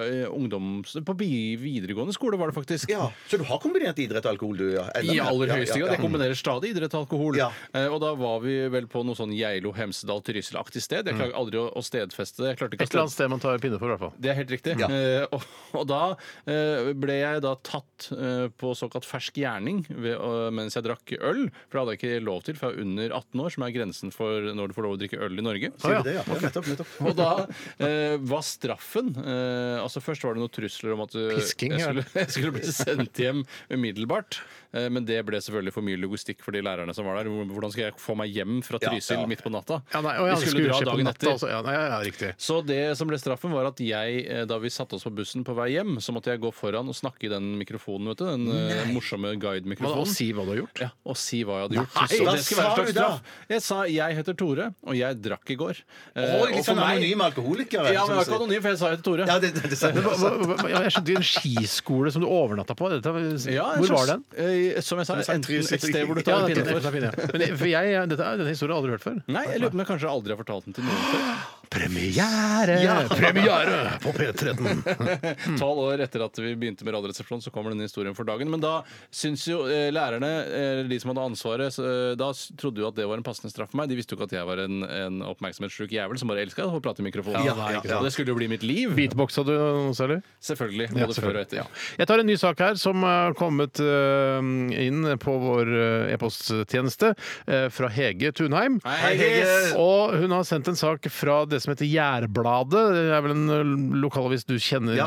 [SPEAKER 3] eh, ungdoms... På bi- videregående skole, var det faktisk.
[SPEAKER 1] Ja. Så du har kombinert idrett og alkohol, du? Ja. Eller-
[SPEAKER 3] I aller høyeste
[SPEAKER 1] Ja,
[SPEAKER 3] grad.
[SPEAKER 1] ja,
[SPEAKER 3] Jeg kombinerer stadig idrett og alkohol.
[SPEAKER 1] Ja.
[SPEAKER 3] Eh, og da var vi vel på noe sånn Geilo, Hemsedal, Trysil-aktig sted.
[SPEAKER 1] Mm.
[SPEAKER 3] Jeg klarer aldri å, å stedfeste det. Jeg klarte ikke
[SPEAKER 2] Et
[SPEAKER 3] å
[SPEAKER 2] eller
[SPEAKER 3] stedfeste
[SPEAKER 2] annet sted man tar pinne for, i hvert fall.
[SPEAKER 3] det er helt riktig.
[SPEAKER 1] Ja.
[SPEAKER 3] Eh, og, og da eh, ble jeg da tatt eh, på såkalt fersk gjerning ved, å- mens jeg drakk øl. For det hadde jeg ikke lov til, for jeg er under 18 år, som er grensen for når du får lov å drikke øl i Norge.
[SPEAKER 1] ja. Sier du det, ja. Ja, nettopp, nettopp.
[SPEAKER 3] Og da eh, var straffen eh, Altså Først var det noen trusler om at eh,
[SPEAKER 2] Pisking,
[SPEAKER 3] jeg,
[SPEAKER 2] ja.
[SPEAKER 3] skulle, <laughs> jeg skulle bli sendt hjem umiddelbart. Eh, men det ble selvfølgelig for mye logistikk for de lærerne som var der. Hvordan skal jeg få meg hjem fra
[SPEAKER 1] Ja,
[SPEAKER 3] Trysil
[SPEAKER 1] ja.
[SPEAKER 3] midt på natta?
[SPEAKER 2] Ja, nei, og jeg
[SPEAKER 3] Vi
[SPEAKER 2] hadde
[SPEAKER 3] skulle dra
[SPEAKER 2] skureskje på
[SPEAKER 3] dagen
[SPEAKER 2] natta
[SPEAKER 3] etter.
[SPEAKER 2] også. Ja, nei, ja, ja, riktig.
[SPEAKER 3] Så det som ble straffen var at jeg, eh, da vi satte oss på bussen på vei hjem, så måtte jeg gå foran og snakke i den mikrofonen, vet du. Den eh, morsomme
[SPEAKER 2] Man må
[SPEAKER 3] guide-mikrofonen.
[SPEAKER 2] si hva du har gjort.
[SPEAKER 3] Ja, og si hva jeg hadde gjort.
[SPEAKER 2] Nei,
[SPEAKER 3] så
[SPEAKER 1] hva
[SPEAKER 3] det skal være
[SPEAKER 1] sa
[SPEAKER 3] en
[SPEAKER 1] du
[SPEAKER 3] slags
[SPEAKER 1] da?
[SPEAKER 3] straff. Jeg sa jeg heter Tore, og jeg drakk i går. Eh,
[SPEAKER 1] Og litt
[SPEAKER 3] for
[SPEAKER 1] sånn
[SPEAKER 3] meg-
[SPEAKER 1] anonyme alkoholikere.
[SPEAKER 3] Ja, men jeg var ikke
[SPEAKER 1] som-
[SPEAKER 3] anonym, for jeg sa jeg heter Tore.
[SPEAKER 1] Ja, det, det, det, det,
[SPEAKER 2] Hva- hva- hva- ja, Jeg skjønte jo en skiskole som du overnatta på. Dette,
[SPEAKER 3] Ja, en
[SPEAKER 2] hvor var den?
[SPEAKER 3] slags- eh, som jeg sa,
[SPEAKER 1] sånn
[SPEAKER 3] enten et sted hvor du
[SPEAKER 2] Ja,
[SPEAKER 3] tar
[SPEAKER 2] dette,
[SPEAKER 3] pinne
[SPEAKER 2] dette,
[SPEAKER 3] for.
[SPEAKER 2] er pinne, ja. Men jeg- for jeg, jeg- dette, er- denne historien har jeg aldri hørt før.
[SPEAKER 3] Nei, jeg lurer på om jeg kanskje aldri har fortalt den til noen før.
[SPEAKER 2] Premiere! Premiere på P13!
[SPEAKER 1] Hmm.
[SPEAKER 3] Tolv år etter at vi begynte med Radioresepsjonen, så kommer denne historien for dagen. Men da syns jo eh, lærerne, eh, de som hadde ansvaret, så, eh, da s- trodde jo at det var en passende straff for meg. De visste jo ikke at jeg var en, en oppmerksomhetssjuk jævel som bare elska å prate i mikrofonen.
[SPEAKER 1] Ja, ja, ja.
[SPEAKER 3] Og Det skulle jo bli mitt liv.
[SPEAKER 2] Beatboxa du noe særlig?
[SPEAKER 3] Selvfølgelig.
[SPEAKER 2] Ja,
[SPEAKER 3] Både før og
[SPEAKER 2] selvfølgelig.
[SPEAKER 3] etter.
[SPEAKER 2] Ja. Jeg tar en ny sak her som er kommet eh, inn på vår eh, e-posttjeneste eh, fra Hege Tunheim.
[SPEAKER 3] Hei, Hege!
[SPEAKER 2] Og hun har sendt en sak fra det det som heter Jærbladet. Det er vel en ø, lokalavis du kjenner
[SPEAKER 1] Ja.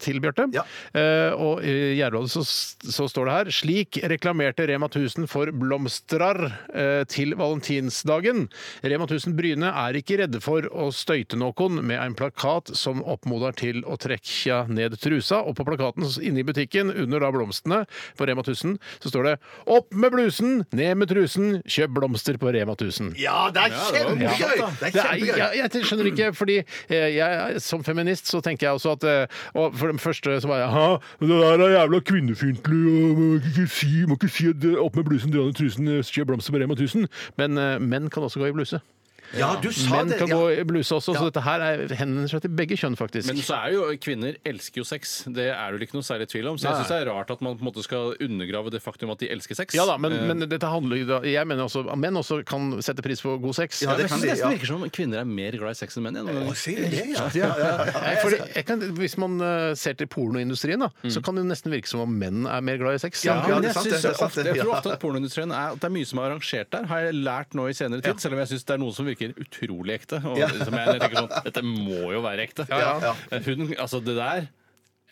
[SPEAKER 2] til, Bjarte.
[SPEAKER 1] Ja.
[SPEAKER 2] Eh, og i Jærbladet så, så står det her Slik reklamerte Rema 1000 for blomstrar eh, til valentinsdagen. Rema 1000 Bryne er ikke redde for å støyte noen med en plakat som oppmoder til å trekke ned trusa. Og på plakaten inne i butikken, under da blomstene på Rema 1000, så står det Opp med blusen, ned med trusen, kjøp blomster på Rema 1000.
[SPEAKER 1] Ja, det er kjempegøy! Det er
[SPEAKER 2] Det er,
[SPEAKER 1] kjempegøy.
[SPEAKER 2] jeg, jeg skjønner ikke, fordi eh, jeg, som feminist så tenker jeg også at eh, Og for det første så var jeg Hæ, det der er jævla kvinnefiendtlig, og man kan ikke si, man kan ikke si at eh, opp med blusen, dra ned trusen, eh, kjøp blomster på Rema 1000. Men eh, menn kan også gå i bluse.
[SPEAKER 1] Ja, du sa
[SPEAKER 2] Menn
[SPEAKER 1] det.
[SPEAKER 2] kan
[SPEAKER 1] Ja.
[SPEAKER 2] gå i bluse også, så dette her er, henvender seg til begge kjønn, faktisk.
[SPEAKER 3] Men så er jo kvinner elsker jo sex. Det er det vel ikke noe særlig tvil om. Så jeg syns det er rart at man på en måte skal undergrave det faktum at de elsker sex.
[SPEAKER 2] ja da, men,
[SPEAKER 3] Eh,
[SPEAKER 2] men dette handler jo da Jeg mener også at menn også kan sette pris på god sex.
[SPEAKER 1] Ja, det
[SPEAKER 3] jeg
[SPEAKER 1] kan
[SPEAKER 3] synes
[SPEAKER 1] de,
[SPEAKER 3] nesten
[SPEAKER 1] ja.
[SPEAKER 3] virker som om kvinner er mer glad i sex enn menn. jeg, noen ganger.
[SPEAKER 1] Sier du det, ja?
[SPEAKER 2] Nei, fordi jeg kan, hvis man eh, ser til pornoindustrien, da, så kan det jo nesten virke som om menn er mer glad i sex.
[SPEAKER 1] Mm. Ja,
[SPEAKER 3] Ja, men
[SPEAKER 1] det er
[SPEAKER 3] jeg,
[SPEAKER 1] sant,
[SPEAKER 3] synes
[SPEAKER 1] det er sant,
[SPEAKER 3] ofte, jeg
[SPEAKER 1] ja.
[SPEAKER 3] tror ofte at pornoindustrien er, at det er mye som er arrangert der, har jeg lært nå i senere tid. Selv om jeg syns det er noe som virker utrolig ekte. Og som jeg, jeg tenker sånn, Dette må jo være ekte.
[SPEAKER 1] ja.
[SPEAKER 3] Hun, altså det der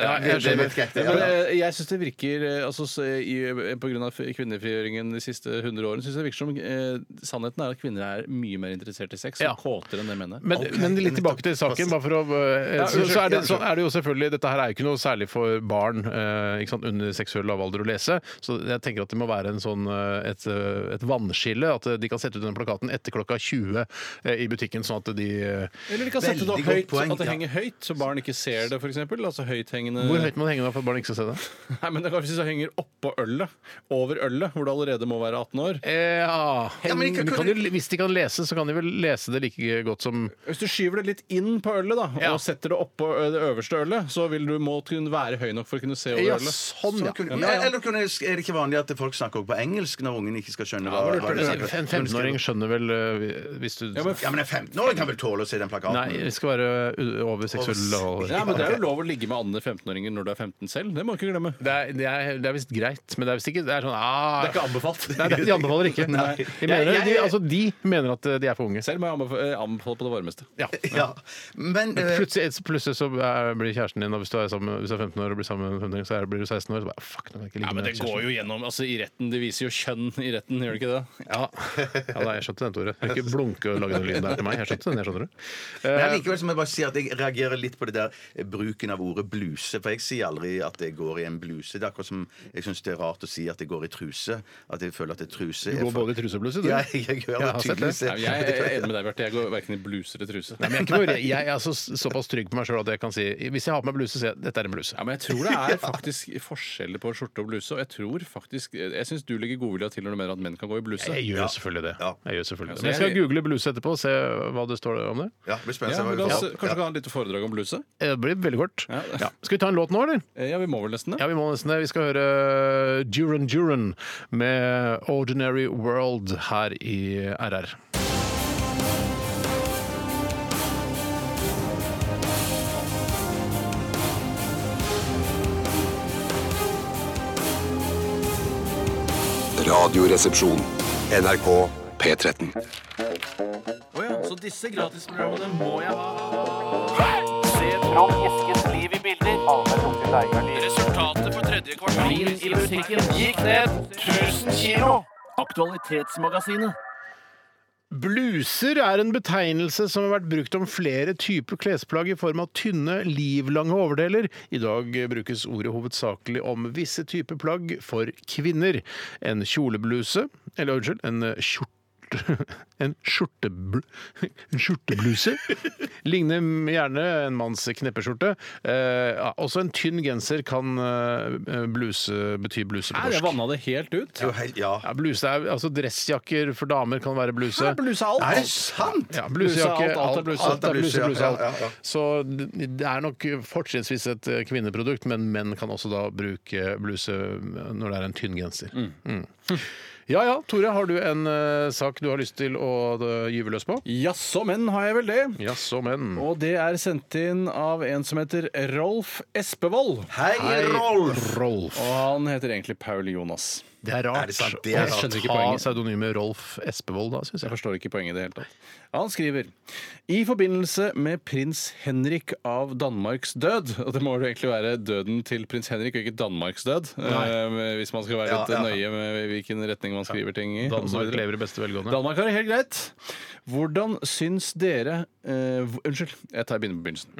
[SPEAKER 2] Ja, jeg,
[SPEAKER 1] Det er helt greit, det,
[SPEAKER 3] Men
[SPEAKER 1] ja.
[SPEAKER 3] eh, jeg syns det virker eh, altså, så, i, På grunn av kvinnefrigjøringen de siste 100 årene syns jeg det virker som eh, sannheten er at kvinner er mye mer interessert i sex
[SPEAKER 2] Ja.
[SPEAKER 3] og kåtere enn det
[SPEAKER 1] Mm.
[SPEAKER 3] menn er.
[SPEAKER 2] Men, men litt tilbake til saken. Bare for å, eh, så, så, er det, så er det jo selvfølgelig Dette her er jo ikke noe særlig for barn eh, ikke sant, under seksuell lavalder å lese. Så jeg tenker at det må være en sånn, eh, et, eh, et vannskille. At eh, de kan sette ut den plakaten etter klokka 20 eh, i butikken, sånn at de eh,
[SPEAKER 3] Eller de kan sette det opp
[SPEAKER 1] Veldig godt
[SPEAKER 3] høyt,
[SPEAKER 1] poeng,
[SPEAKER 3] at det
[SPEAKER 1] ja.
[SPEAKER 3] henger høyt, så barn ikke ser det, f.eks. Altså høythengende
[SPEAKER 2] Hvor høyt må det henge da for at barn ikke skal se det?
[SPEAKER 3] Nei, men det er kanskje hvis det henger oppå ølet, over ølet, hvor du allerede må være 18 år.
[SPEAKER 2] Eh, Ja,
[SPEAKER 1] Ja, men ikke-
[SPEAKER 2] Men kan jo- Hvis de kan lese, så kan de vel lese det like godt som
[SPEAKER 3] Hvis du skyver det litt inn på ølet, da,
[SPEAKER 2] Ja.
[SPEAKER 3] og setter det oppå ø, det øverste ølet, så vil du må kunne være høy nok for å kunne se over
[SPEAKER 2] Ja,
[SPEAKER 3] ølet.
[SPEAKER 2] sånn, ja.
[SPEAKER 1] Kunne- Eller kunne, er det ikke vanlig at folk snakker også på engelsk når ungen ikke skal skjønne hva, hva de snakker?
[SPEAKER 2] En 15-åring skjønner vel eh, hvis du
[SPEAKER 3] men
[SPEAKER 1] Ja, men en 15-åring kan vel tåle å se den plakaten?
[SPEAKER 2] Nei, det skal være eh, u- over seksuell lavalder.
[SPEAKER 3] Ja, men Det er jo lov å ligge med andre 15-åringer når du er 15 selv. Det må du ikke glemme.
[SPEAKER 2] Det er, det er, det er visst greit, men det er visst ikke Det er sånn ah,
[SPEAKER 3] Det er ikke anbefalt.
[SPEAKER 2] <laughs> Nei, det er- de anbefaler ikke.
[SPEAKER 1] Nei.
[SPEAKER 2] De, mener, de, altså, de mener at eh, de er for unge.
[SPEAKER 3] Selv må jeg anbefale, anbefale på det varmeste.
[SPEAKER 2] Ja.
[SPEAKER 1] Ja. Men eh,
[SPEAKER 2] Plutselig, plutselig så er- blir kjæresten din, og hvis du er, sammen, hvis du er 15 år og blir sammen med en 15 år, så er, blir du 16 år, så bare fuck, nå kan jeg ikke ligge med kjæresten.
[SPEAKER 3] jo gjennom altså i retten. Det viser jo kjønn i retten, gjør det ikke det?
[SPEAKER 2] Ja, ja da, jeg skjønte den, Tore. Du kan Ikke blunke og lage den lyden der til meg. Jeg skjønte den, jeg skjønner det.
[SPEAKER 1] men allikevel så må jeg bare si at jeg reagerer litt på det der eh, bruken av ordet bluse. For jeg sier aldri at jeg går i en bluse. Det er akkurat som jeg syns det er rart å si at jeg går i truse. At jeg føler at jeg truse
[SPEAKER 2] Du
[SPEAKER 1] er
[SPEAKER 2] går både i truse og bluse, du.
[SPEAKER 1] Ja, jeg, jeg gjør
[SPEAKER 2] Jeg
[SPEAKER 1] det
[SPEAKER 2] har sett det.
[SPEAKER 1] tydeligvis.
[SPEAKER 3] Nei, men jeg er enig med deg, Bjarte. Jeg går verken i bluse eller truse.
[SPEAKER 2] Nei, men jeg, er ikke noe, re- jeg er så, såpass trygg på meg sjøl at jeg kan si hvis jeg har på meg bluse, så sier jeg dette er en bluse.
[SPEAKER 3] Ja, men Jeg tror det er faktisk forskjeller på skjorte og bluse. Og jeg tror faktisk, jeg syns du legger godvilja til når du mener at menn kan gå i bluse.
[SPEAKER 2] Jeg gjør selvfølgelig det.
[SPEAKER 1] Ja.
[SPEAKER 2] Jeg gjør selvfølgelig det.
[SPEAKER 3] Altså,
[SPEAKER 2] Men jeg skal
[SPEAKER 3] jeg-
[SPEAKER 2] google bluse etterpå og se hva det står om det.
[SPEAKER 1] Ja, det blir
[SPEAKER 3] Ja,
[SPEAKER 1] spennende.
[SPEAKER 3] men
[SPEAKER 1] å
[SPEAKER 3] la
[SPEAKER 1] se hva
[SPEAKER 3] oss,
[SPEAKER 1] vi får.
[SPEAKER 3] kanskje vi kan ha et lite foredrag om bluse?
[SPEAKER 2] Eh, Det blir veldig kort.
[SPEAKER 3] Ja.
[SPEAKER 2] Ja. Skal vi ta en låt nå, eller?
[SPEAKER 3] Eh, Ja, vi må vel nesten det.
[SPEAKER 2] Ja, vi må nesten det. Vi skal høre Duran Duran med 'Ordinary World' her i RR.
[SPEAKER 4] Radioresepsjon. NRK P13.
[SPEAKER 3] Så disse gratisprogrammene må jeg ha.
[SPEAKER 8] Se Trond Eskens liv i bilder. Resultatet på tredje kvartal Vin i butikken gikk ned 1000 kilo. Aktualitetsmagasinet.
[SPEAKER 2] Bluser er en betegnelse som har vært brukt om flere typer klesplagg i form av tynne, livlange overdeler. I dag brukes ordet hovedsakelig om visse typer plagg for kvinner. En kjolebluse, eller unnskyld, en kjorte <laughs> en, skjortebl en
[SPEAKER 3] <laughs>
[SPEAKER 2] skjortebluse ligner gjerne en manns kneppeskjorte. Eh, ja, også en tynn genser kan eh, bluse bety bluse på
[SPEAKER 3] Nei, jeg
[SPEAKER 2] norsk.
[SPEAKER 3] vanna det helt ut.
[SPEAKER 1] Det er jo helt- Ja.
[SPEAKER 2] Ja, bluse er, altså Dressjakker for damer kan være bluse.
[SPEAKER 3] Bluse alt.
[SPEAKER 1] Er det sant?
[SPEAKER 2] Ja, blusejakke,
[SPEAKER 3] Bluse, alt, alt er bluse.
[SPEAKER 2] alt er bluse,
[SPEAKER 1] ja,
[SPEAKER 2] bluse, alt.
[SPEAKER 1] ja, ja, ja.
[SPEAKER 2] Så det det er nok fortrinnsvis et eh, eh, kvinneprodukt, men menn kan også da bruke bluse når det er en tynn genser. Mm. Ja ja, Tore, har du en eh, sak du har lyst til å eh, gyve løs på?
[SPEAKER 3] Jaså, men har jeg vel det?
[SPEAKER 2] Jaså, men.
[SPEAKER 3] Og det er sendt inn av en som heter Rolf Espevold.
[SPEAKER 1] Hei, Rolf!
[SPEAKER 2] Rolf.
[SPEAKER 3] Og han heter egentlig Paul Jonas.
[SPEAKER 2] Det er rart.
[SPEAKER 1] Er det sant? Det
[SPEAKER 2] å
[SPEAKER 1] er rart.
[SPEAKER 2] ta pseudonymet Rolf Espevold, da, syns
[SPEAKER 3] Jeg
[SPEAKER 2] jeg.
[SPEAKER 3] forstår ikke poenget i det hele tatt. Han skriver i forbindelse med prins Henrik av Danmarks død Og det må jo egentlig være døden til prins Henrik, og ikke Danmarks død. eh, hvis man skal være litt
[SPEAKER 1] Ja, ja.
[SPEAKER 3] nøye med hvilken retning man skriver ting i. og så
[SPEAKER 2] Danmark
[SPEAKER 3] videre.
[SPEAKER 2] lever i beste velgående.
[SPEAKER 3] Danmark har det helt greit. Hvordan syns dere eh, v- Unnskyld, jeg tar begynner på begynnelsen.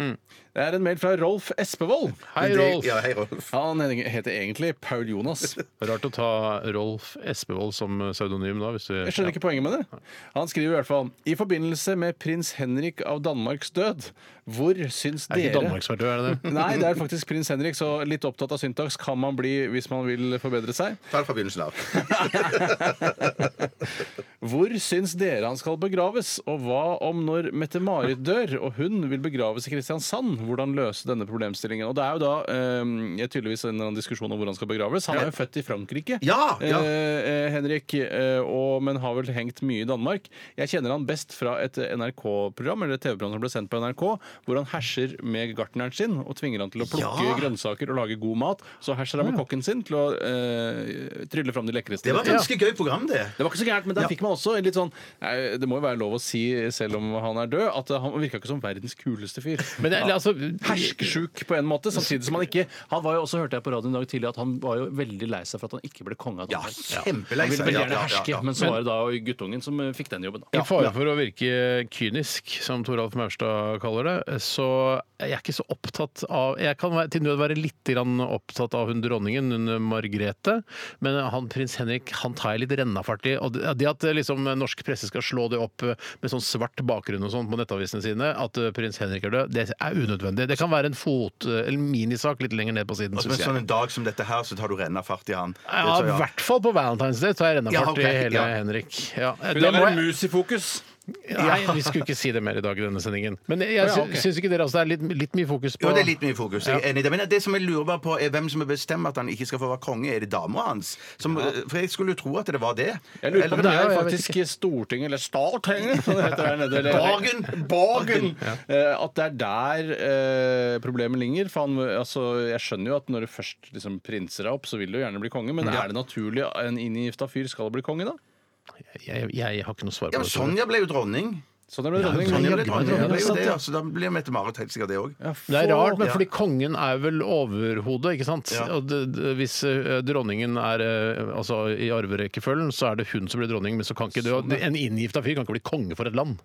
[SPEAKER 3] Det er en mail fra Rolf Espevold.
[SPEAKER 2] Hei, Rolf!
[SPEAKER 1] Ja, hei, Rolf.
[SPEAKER 3] Han heter egentlig Paul Jonas.
[SPEAKER 2] Rart å ta Rolf Espevold som pseudonym da. Hvis du,
[SPEAKER 3] Jeg skjønner ikke poenget med det. Han skriver i hvert fall I forbindelse med prins Henrik av Danmarks død, hvor syns
[SPEAKER 2] Det er ikke
[SPEAKER 3] dere
[SPEAKER 2] Danmark som er død, er det det?
[SPEAKER 3] Nei, det er faktisk prins Henrik, så litt opptatt av syntaks kan man bli hvis man vil forbedre seg.
[SPEAKER 1] Ta det fra begynnelsen av.
[SPEAKER 3] Hvor syns dere han skal begraves, og hva om når Mette-Marit dør og hun vil begraves i Kristiansand? Hvordan løse denne problemstillingen? Og det er jo da eh, tydeligvis en eller annen diskusjon om hvor han skal begraves. Han er jo født i Frankrike,
[SPEAKER 1] Ja, ja.
[SPEAKER 3] Eh, eh, Henrik, eh, og, men har vel hengt mye i Danmark. Jeg kjenner han best fra et NRK-program eller et TV-program som ble sendt på NRK, hvor han herser med gartneren sin og tvinger han til å plukke
[SPEAKER 1] Ja.
[SPEAKER 3] grønnsaker og lage god mat. Så herser han med kokken sin til å eh, trylle fram de lekreste.
[SPEAKER 1] Det var et ganske gøy program, det.
[SPEAKER 3] Det var ikke så gærent, men der
[SPEAKER 1] Ja.
[SPEAKER 3] fikk man også en litt sånn nei, Det må jo være lov å si, selv om han er død, at han virka ikke som verdens kuleste fyr.
[SPEAKER 2] Men det,
[SPEAKER 3] Ja.
[SPEAKER 2] altså,
[SPEAKER 3] Herskesjuk på en måte, samtidig som han ikke Han var jo også, hørte jeg på radioen i dag tidlig, at han var jo veldig lei seg for at han ikke ble konge av
[SPEAKER 1] Ja,
[SPEAKER 3] Danmark.
[SPEAKER 1] kjempelei
[SPEAKER 3] Han ville
[SPEAKER 1] seg.
[SPEAKER 3] vel
[SPEAKER 1] Ja,
[SPEAKER 3] gjerne
[SPEAKER 1] ja, ja,
[SPEAKER 3] herske,
[SPEAKER 1] ja.
[SPEAKER 3] men så var det da guttungen som eh, fikk den jobben. Da.
[SPEAKER 2] I fare for å virke kynisk, som Toralf Maurstad kaller det, så jeg er ikke så opptatt av Jeg kan være, til nød være litt grann opptatt av hun dronningen, hun Margrethe, men han prins Henrik han tar jeg litt rennafart i. Og det det at eh, liksom, norsk presse skal slå det opp eh, med sånn svart bakgrunn og sånn på nettavisene sine, at eh, prins Henrik er død, det er unødvendig. Det kan være en fot, eh, eller minisak litt lenger ned på siden,
[SPEAKER 1] Og så
[SPEAKER 2] syns
[SPEAKER 1] en sånn
[SPEAKER 2] jeg.
[SPEAKER 1] en dag som dette her, så tar du renna fart i han.
[SPEAKER 2] Ja,
[SPEAKER 1] Så,
[SPEAKER 2] I hvert fall på Valentine's Day tar jeg rennafart
[SPEAKER 1] Ja, ok,
[SPEAKER 2] i hele
[SPEAKER 1] ja.
[SPEAKER 2] Henrik. Ja,
[SPEAKER 3] Hun
[SPEAKER 2] det må jeg-
[SPEAKER 3] mus i fokus.
[SPEAKER 2] Nei, vi skulle ikke si det mer i dag i denne sendingen. Men jeg
[SPEAKER 3] ja,
[SPEAKER 2] sy
[SPEAKER 3] ok.
[SPEAKER 2] syns ikke dere altså, det er litt, litt mye fokus på
[SPEAKER 1] Jo, det er litt mye fokus. Jeg er enig i det. Men det som jeg lurer bare på, er hvem som bestemmer at han ikke skal få være konge. Er det dama hans? Som, eh, For jeg skulle jo tro at det var det.
[SPEAKER 3] Jeg lurer på om det
[SPEAKER 2] Ja, jeg
[SPEAKER 3] er
[SPEAKER 2] vet
[SPEAKER 3] faktisk Stortinget, eller Startinget, som det heter der nede. eller-
[SPEAKER 1] Borgen!
[SPEAKER 3] Borgen! Eh, At det er der eh, problemet ligger. For han, altså, jeg skjønner jo at når du først liksom, prinser deg opp, så vil du jo gjerne bli konge, men er det naturlig at en inngifta fyr skal bli konge, da?
[SPEAKER 2] Jeg, jeg har ikke noe svar
[SPEAKER 1] Ja,
[SPEAKER 2] på
[SPEAKER 1] men
[SPEAKER 2] det. Tore.
[SPEAKER 1] Sonja ble jo dronning.
[SPEAKER 3] Sånn er det med
[SPEAKER 2] Ja,
[SPEAKER 3] dronning.
[SPEAKER 2] sånn
[SPEAKER 1] Sonja
[SPEAKER 2] er
[SPEAKER 1] ble
[SPEAKER 2] jaggu meg
[SPEAKER 1] dronning,
[SPEAKER 2] dronning,
[SPEAKER 1] ble jo
[SPEAKER 2] sant,
[SPEAKER 1] det,
[SPEAKER 2] ja.
[SPEAKER 1] altså, da blir Mette-Marit helt sikkert det òg.
[SPEAKER 2] Det er rart, men
[SPEAKER 1] Ja.
[SPEAKER 2] fordi kongen er vel overhodet, ikke sant?
[SPEAKER 1] Ja.
[SPEAKER 2] Og det, det, hvis eh, dronningen er eh, altså, i arverekkefølgen, så er det hun som blir dronning, men så kan ikke
[SPEAKER 1] Sånn,
[SPEAKER 2] du En inngifta fyr kan ikke bli konge for et land.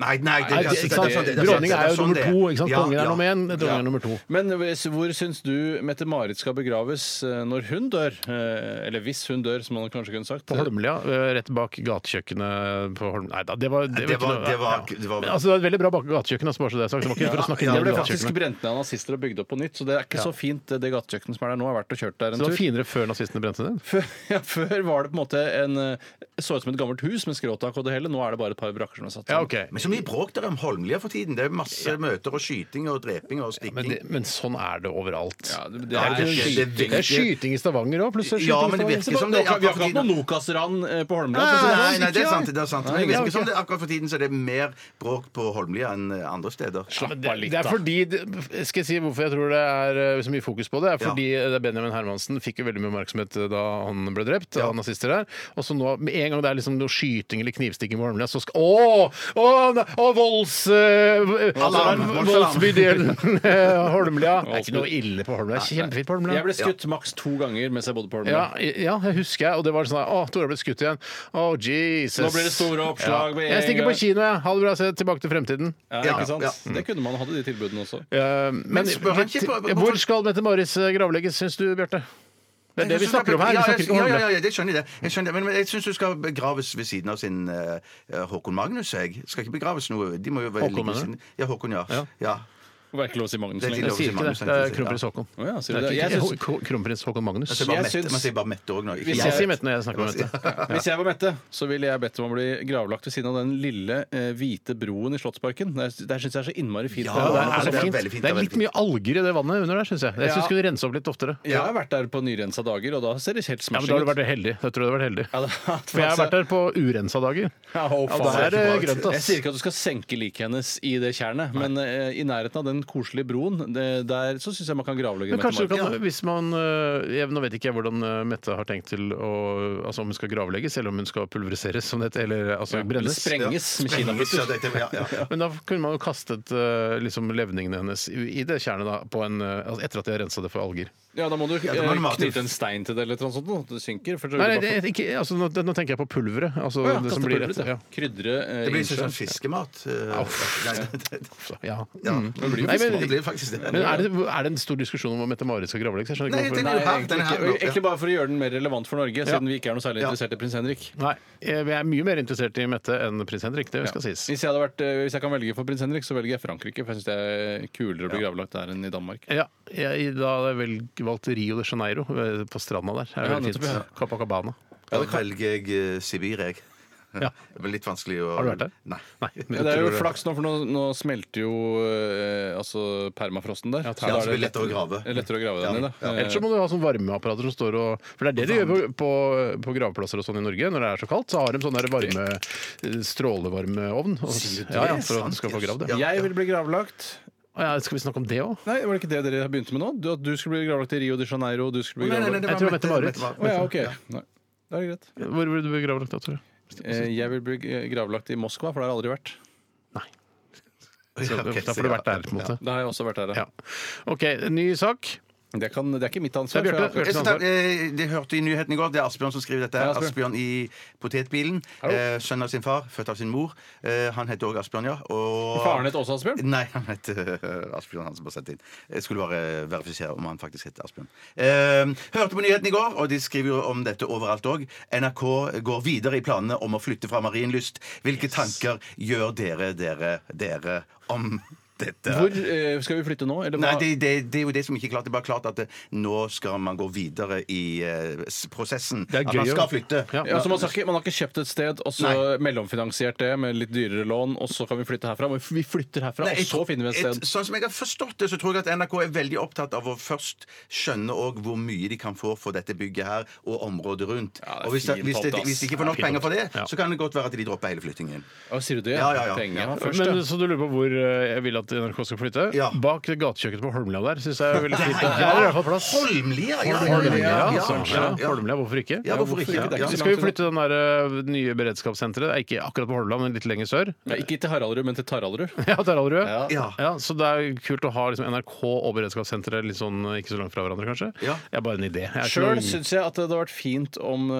[SPEAKER 1] Nei, nei, det,
[SPEAKER 2] Nei, det,
[SPEAKER 1] altså, det-
[SPEAKER 2] ikke sant?
[SPEAKER 1] det- det- det- det-
[SPEAKER 2] Dronningen
[SPEAKER 1] det
[SPEAKER 2] er jo
[SPEAKER 1] sånn
[SPEAKER 2] nummer
[SPEAKER 1] det
[SPEAKER 2] to. Ikke sant?
[SPEAKER 1] Ja,
[SPEAKER 2] Kongen er
[SPEAKER 1] ja.
[SPEAKER 2] nummer én, dronningen er nummer to.
[SPEAKER 3] Men hvis- hvor syns du Mette-Marit skal begraves eh, når hun dør? Eh, Eller hvis hun dør, som man kanskje kunne sagt.
[SPEAKER 2] På Holmlia, eh, rett bak gatekjøkkenet på Holm... Nei da, det var
[SPEAKER 1] Det var-
[SPEAKER 2] ikke noe-
[SPEAKER 1] det var-
[SPEAKER 2] ja.
[SPEAKER 1] det var-
[SPEAKER 2] Men Altså, det var et veldig bra bak gatekjøkken, altså, bare så det er sagt. Det var ikke for å snakke
[SPEAKER 1] Ja,
[SPEAKER 3] Det
[SPEAKER 2] ned
[SPEAKER 3] ble
[SPEAKER 2] gatekjøkkenet.
[SPEAKER 3] faktisk brent ned av nazister og bygd opp på nytt, så det er ikke så fint, eh, det- det gatekjøkkenet som er der nå. Jeg har vært og kjørt der en
[SPEAKER 2] Så det
[SPEAKER 3] tur.
[SPEAKER 2] var finere før nazistene brente den?
[SPEAKER 3] Før, <laughs> ja, før var det på en måte en eh, så ut som et gammelt hus med skråtak og det hele. Nå er det bare et par brakker som er satt
[SPEAKER 2] Ja,
[SPEAKER 3] sammen.
[SPEAKER 2] ok.
[SPEAKER 1] Men så mye bråk der om Holmlia for tiden. Det er masse møter og skyting og dreping og
[SPEAKER 2] Men,
[SPEAKER 1] stikking.
[SPEAKER 2] det, men sånn er det overalt.
[SPEAKER 3] Ja, det, det
[SPEAKER 1] Ja,
[SPEAKER 3] er,
[SPEAKER 1] det
[SPEAKER 3] ikke-
[SPEAKER 1] skjer- det-
[SPEAKER 2] Det er skyting i Stavanger òg, plutselig.
[SPEAKER 1] Ja, men det virker som det
[SPEAKER 3] Vi har ikke hatt noe Nokas-ran eh, på Holmlia. for å si det
[SPEAKER 1] Nei,
[SPEAKER 3] sånn.
[SPEAKER 1] nei, det er sant. det er sant Men det
[SPEAKER 2] Nei,
[SPEAKER 1] virker
[SPEAKER 2] ok.
[SPEAKER 1] som det akkurat for tiden så er det mer bråk på Holmlia enn eh, andre steder.
[SPEAKER 2] Ja, men det, det er fordi det- Skal jeg si hvorfor jeg tror det er eh, så mye fokus på det? er Fordi eh, Benjamin Hermansen fikk jo veldig mye oppmerksomhet eh, da han ble drept av nazister her. Og så nå, med en gang det er liksom noe skyting eller knivstikking på Holmlia, så skal Å! Å, ne- å volds... eh, v-
[SPEAKER 1] Alarm,
[SPEAKER 2] altså,
[SPEAKER 1] voldsalarm.
[SPEAKER 2] Voldsbydelen eh, Holmlia. Det er ikke noe ille på Holmlia. Det er Kjempefint på Holmlia.
[SPEAKER 3] Jeg ble skutt maks to ganger mens jeg bodde på Holmlia.
[SPEAKER 2] Ja, ja, jeg husker jeg. Og det var sånn Å, Tore ble skutt igjen. Å, Jesus.
[SPEAKER 3] Nå blir det store oppslag med en
[SPEAKER 2] Jeg stikker på
[SPEAKER 3] gang.
[SPEAKER 2] kino, jeg. Ha det bra. Se tilbake til fremtiden.
[SPEAKER 3] Ja,
[SPEAKER 1] Ja,
[SPEAKER 3] ikke sant?
[SPEAKER 1] ja.
[SPEAKER 3] Det kunne man hatt i de tilbudene også.
[SPEAKER 2] Eh, men
[SPEAKER 1] spør han ikke på-
[SPEAKER 2] hvor skal Mette-Maris gravlegges, syns du, Bjarte? Det er det vi snakker om her. Vi
[SPEAKER 1] Ja,
[SPEAKER 2] snakker
[SPEAKER 1] jeg,
[SPEAKER 2] ikke om
[SPEAKER 1] ja, ja,
[SPEAKER 2] Holmlia.
[SPEAKER 1] ja, det skjønner jeg det. Jeg skjønner det. Men, men jeg syns du skal begraves ved siden av sin eh, Håkon Magnus, jeg. Skal ikke begraves noe. De må jo være
[SPEAKER 2] Håkon,
[SPEAKER 1] ligge ved
[SPEAKER 2] mener du?
[SPEAKER 1] siden- Ja, Håkon, ja.
[SPEAKER 2] Ja.
[SPEAKER 1] ja.
[SPEAKER 3] var ikke lov å si Magnus
[SPEAKER 1] Det er lov
[SPEAKER 3] lenger.
[SPEAKER 2] Jeg
[SPEAKER 1] å si
[SPEAKER 2] sier ikke det.
[SPEAKER 1] Magnus,
[SPEAKER 2] Det er
[SPEAKER 1] jeg
[SPEAKER 2] kronprins Haakon.
[SPEAKER 3] Å ja,
[SPEAKER 2] Det
[SPEAKER 3] sier du
[SPEAKER 2] er
[SPEAKER 3] det?
[SPEAKER 2] ikke
[SPEAKER 3] Jeg synes,
[SPEAKER 2] Ho- kronprins Haakon Magnus.
[SPEAKER 1] Man sier bare
[SPEAKER 3] Jeg
[SPEAKER 1] Mette-
[SPEAKER 3] syns-
[SPEAKER 1] Man sier bare Mette òg nå. ikke
[SPEAKER 2] Jeg sier Mette når jeg snakker om Mette.
[SPEAKER 3] hvis jeg var Mette, så ville jeg bedt om å bli gravlagt ved siden av den lille eh, hvite broen i Slottsparken. Der, der syns jeg er så innmari fint.
[SPEAKER 2] Ja, altså, der
[SPEAKER 1] Ja,
[SPEAKER 2] er
[SPEAKER 1] det
[SPEAKER 2] det
[SPEAKER 1] er
[SPEAKER 2] fint.
[SPEAKER 1] veldig fint,
[SPEAKER 2] Det
[SPEAKER 1] det
[SPEAKER 2] er
[SPEAKER 1] er
[SPEAKER 2] litt
[SPEAKER 1] veldig
[SPEAKER 2] mye alger i det vannet under der, syns jeg. Jeg syns
[SPEAKER 3] Ja.
[SPEAKER 2] du skulle rense opp litt oftere.
[SPEAKER 3] Jeg har vært der på nyrensa dager, og da ser det helt
[SPEAKER 2] Ja, men Da
[SPEAKER 3] smashing
[SPEAKER 2] har du
[SPEAKER 3] ut.
[SPEAKER 2] vært heldig. Da tror jeg du har vært heldig.
[SPEAKER 3] <laughs> Ja, det-
[SPEAKER 2] For jeg har vært der på urensa dager.
[SPEAKER 3] Ja, å,
[SPEAKER 2] Ja,
[SPEAKER 3] faen.
[SPEAKER 2] da er det grønt,
[SPEAKER 3] Jeg
[SPEAKER 2] ass.
[SPEAKER 3] sier ikke at du skal senke liket hennes i det tjernet, men eh, i nærheten av den koselige broen, det, der så syns jeg man kan
[SPEAKER 2] Men
[SPEAKER 3] gravlegge Mette
[SPEAKER 2] kanskje du
[SPEAKER 3] Marit.
[SPEAKER 2] kan, hvis man øh, jeg, Nå vet ikke jeg hvordan øh, Mette har tenkt til å Altså om hun skal gravlegges, eller om hun skal pulveriseres, som det heter, eller altså
[SPEAKER 3] Eller
[SPEAKER 2] brennes.
[SPEAKER 3] sprenges med
[SPEAKER 1] Sprenges,
[SPEAKER 3] kinaputter.
[SPEAKER 1] <laughs> ja, det- det- ja, ja, ja.
[SPEAKER 2] Men da kunne man jo kastet øh, liksom levningene hennes i i det tjernet, da, på en, øh, altså etter at de har rensa det for alger.
[SPEAKER 3] Ja, da må du
[SPEAKER 1] da må
[SPEAKER 3] eh,
[SPEAKER 1] du mate.
[SPEAKER 3] knyte en stein til det eller noe sånt, nå, at det synker. For så
[SPEAKER 2] Nei,
[SPEAKER 3] vil
[SPEAKER 2] nei,
[SPEAKER 3] du bare
[SPEAKER 2] det, ikke, altså, nå, nå tenker jeg på pulveret. Altså
[SPEAKER 3] få- Å ja,
[SPEAKER 2] det
[SPEAKER 3] kaste
[SPEAKER 2] som blir
[SPEAKER 3] pulver ut,
[SPEAKER 2] etter.
[SPEAKER 3] ja.
[SPEAKER 2] Ja.
[SPEAKER 3] Krydre eh,
[SPEAKER 1] Det blir litt
[SPEAKER 3] innsjøen.
[SPEAKER 1] sånn fiskemat. eh, nei, det- det-
[SPEAKER 2] Så, ja.
[SPEAKER 1] ja.
[SPEAKER 2] Mm.
[SPEAKER 1] Det blir
[SPEAKER 2] Nei, men-
[SPEAKER 1] fiskemat, det blir faktisk det.
[SPEAKER 2] Men er det, er det en stor diskusjon om Mette-Marit skal gravlegges? Jeg skjønner
[SPEAKER 1] Nei,
[SPEAKER 2] ikke
[SPEAKER 1] jeg
[SPEAKER 2] hvorfor.
[SPEAKER 1] tenker
[SPEAKER 3] Nei,
[SPEAKER 1] jo her, den
[SPEAKER 3] egentlig,
[SPEAKER 1] er her
[SPEAKER 3] ikke.
[SPEAKER 1] nå.
[SPEAKER 3] egentlig bare for å gjøre den mer relevant for Norge, siden vi ikke er noe særlig
[SPEAKER 1] Ja.
[SPEAKER 3] interessert i prins Henrik.
[SPEAKER 2] Nei, jeg jeg er mye mer interessert i Mette enn prins Henrik. Det skal sies.
[SPEAKER 3] Hvis jeg, hadde vært, eh, hvis jeg kan velge for prins Henrik, så velger jeg Frankrike. For jeg syns det er kulere å bli gravlagt der enn i Danmark.
[SPEAKER 2] Ja, jeg, da hadde jeg vel valgt Rio de Janeiro, eh, på stranda der. Det er
[SPEAKER 3] Ja,
[SPEAKER 2] veldig
[SPEAKER 3] nettopp, ja.
[SPEAKER 2] fint. Copacabana.
[SPEAKER 1] Da velger jeg eh, Sibir, jeg.
[SPEAKER 2] Ja.
[SPEAKER 1] Det blir litt vanskelig å
[SPEAKER 2] Har du vært der?
[SPEAKER 1] Nei.
[SPEAKER 2] Nei,
[SPEAKER 3] Ja, det er jo flaks nå, for nå, nå smelter jo eh, altså permafrosten der.
[SPEAKER 1] Ja,
[SPEAKER 3] Da
[SPEAKER 1] så
[SPEAKER 3] er
[SPEAKER 1] blir det lettere å grave.
[SPEAKER 3] det lettere å grave den i. Da. Eh,
[SPEAKER 2] Ellers så må du ha sånne varmeapparater som står og For det er det de gjør på, på, på gravplasser og sånn i Norge. Når det er så kaldt, så har de sånn der varme eh, strålevarmeovn. og- Ja, ja, for at du skal få gravd det.
[SPEAKER 1] Ja.
[SPEAKER 3] Jeg vil bli gravlagt.
[SPEAKER 2] Å Ja, skal vi snakke om det òg?
[SPEAKER 3] Nei, var det ikke det dere begynte med nå? Du, at du skulle bli gravlagt i Rio de Janeiro. og Du skulle bli
[SPEAKER 1] Nei, nei, nei,
[SPEAKER 3] gravlagt
[SPEAKER 1] det
[SPEAKER 2] Jeg
[SPEAKER 1] var
[SPEAKER 2] tror Mette-Marit.
[SPEAKER 1] Mette-Marit.
[SPEAKER 3] Å ja, OK. Nei. Da er det greit.
[SPEAKER 2] Hvor ble du gravlagt da, Tore?
[SPEAKER 3] Eh, Jeg vil bli eh, gravlagt i Moskva, for det har jeg aldri vært.
[SPEAKER 2] Så,
[SPEAKER 1] Ja, ok,
[SPEAKER 2] da får
[SPEAKER 1] så
[SPEAKER 2] du
[SPEAKER 1] ja.
[SPEAKER 2] vært der, på en måte.
[SPEAKER 3] Da har jeg også vært her.
[SPEAKER 2] Ja. OK, ny sak.
[SPEAKER 3] Det, kan, det er ikke mitt ansvar.
[SPEAKER 2] Det er Bjarte.
[SPEAKER 3] for jeg
[SPEAKER 1] Jeg
[SPEAKER 3] har-
[SPEAKER 1] skal ta- eh, Det hørte i nyheten i går. Det er Asbjørn som skriver dette. her.
[SPEAKER 3] Ja, Asbjørn.
[SPEAKER 1] Asbjørn i potetbilen. Eh, Sønn av sin far, født av sin mor. Eh, Han heter òg Asbjørn, ja. Og
[SPEAKER 3] Faren het også Asbjørn?
[SPEAKER 1] Nei, han het eh, Asbjørn Hansen på sendtid. Jeg skulle bare verifisere om han faktisk het Asbjørn. Eh, Hørte på nyheten i går, og de skriver jo om dette overalt òg. NRK går videre i planene om å flytte fra Marienlyst. Hvilke tanker gjør dere, dere, dere om dette?
[SPEAKER 3] Hvor eh, skal vi flytte nå? Eller
[SPEAKER 1] Nei,
[SPEAKER 3] hva?
[SPEAKER 1] det, det, det er jo det som ikke er klart. Det er bare klart at eh, nå skal man gå videre i eh, s- prosessen.
[SPEAKER 2] Det er
[SPEAKER 1] at man
[SPEAKER 2] gøy å-
[SPEAKER 1] skal flytte.
[SPEAKER 2] Ja.
[SPEAKER 3] Ja, så Altså, man, har ikke, man har ikke kjøpt et sted og så
[SPEAKER 1] Nei.
[SPEAKER 3] mellomfinansiert det med litt dyrere lån, og så kan vi flytte herfra. Men Vi flytter herfra,
[SPEAKER 1] Nei, jeg
[SPEAKER 3] og så
[SPEAKER 1] tror-
[SPEAKER 3] finner vi et sted.
[SPEAKER 1] sånn som jeg har forstått det, så tror jeg at NRK er veldig opptatt av å først skjønne også hvor mye de kan få for dette bygget her og området rundt.
[SPEAKER 3] Ja, det er
[SPEAKER 1] og hvis, det,
[SPEAKER 3] fint
[SPEAKER 1] hvis, det,
[SPEAKER 3] pott, ass.
[SPEAKER 1] hvis de ikke får nok
[SPEAKER 2] Det er fint
[SPEAKER 1] penger for det,
[SPEAKER 2] pott. Ja.
[SPEAKER 1] så kan det godt være at de dropper hele flyttingen.
[SPEAKER 3] Å, sier du det?
[SPEAKER 1] Ja, ja, ja.
[SPEAKER 3] Penger
[SPEAKER 1] Ja.
[SPEAKER 3] først,
[SPEAKER 2] Men,
[SPEAKER 3] ja.
[SPEAKER 2] så du lurer på hvor eh, jeg vil at NRK skal flytte?
[SPEAKER 1] Ja.
[SPEAKER 2] Bak gatekjøkkenet på Holmlia der. Synes jeg er veldig fint. Der er det i hvert fall plass.
[SPEAKER 1] Holmlia! Ja, ja, ja,
[SPEAKER 2] Holmlia,
[SPEAKER 1] ja,
[SPEAKER 2] altså.
[SPEAKER 1] ja,
[SPEAKER 2] Ja,
[SPEAKER 1] ja.
[SPEAKER 2] Holmlia, hvorfor ikke?
[SPEAKER 1] Ja, hvorfor ikke?
[SPEAKER 3] Det er
[SPEAKER 1] Ja.
[SPEAKER 3] ikke så
[SPEAKER 2] Skal vi
[SPEAKER 3] langt
[SPEAKER 2] flytte den der eh, nye beredskapssenteret? Ikke akkurat på Holmland, men litt lenger sør. <laughs>
[SPEAKER 3] Nei, ikke til Haraldrud, men til Taraldrud.
[SPEAKER 2] Ja, Taraldrud.
[SPEAKER 3] Ja.
[SPEAKER 1] Ja.
[SPEAKER 2] Ja, så det er jo kult å ha liksom, NRK og beredskapssenteret litt sånn eh, ikke så langt fra hverandre, kanskje.
[SPEAKER 1] Ja.
[SPEAKER 2] Det er bare en idé. Jeg er ikke
[SPEAKER 3] Sjøl
[SPEAKER 2] noen-
[SPEAKER 3] syns jeg at det hadde vært fint om eh,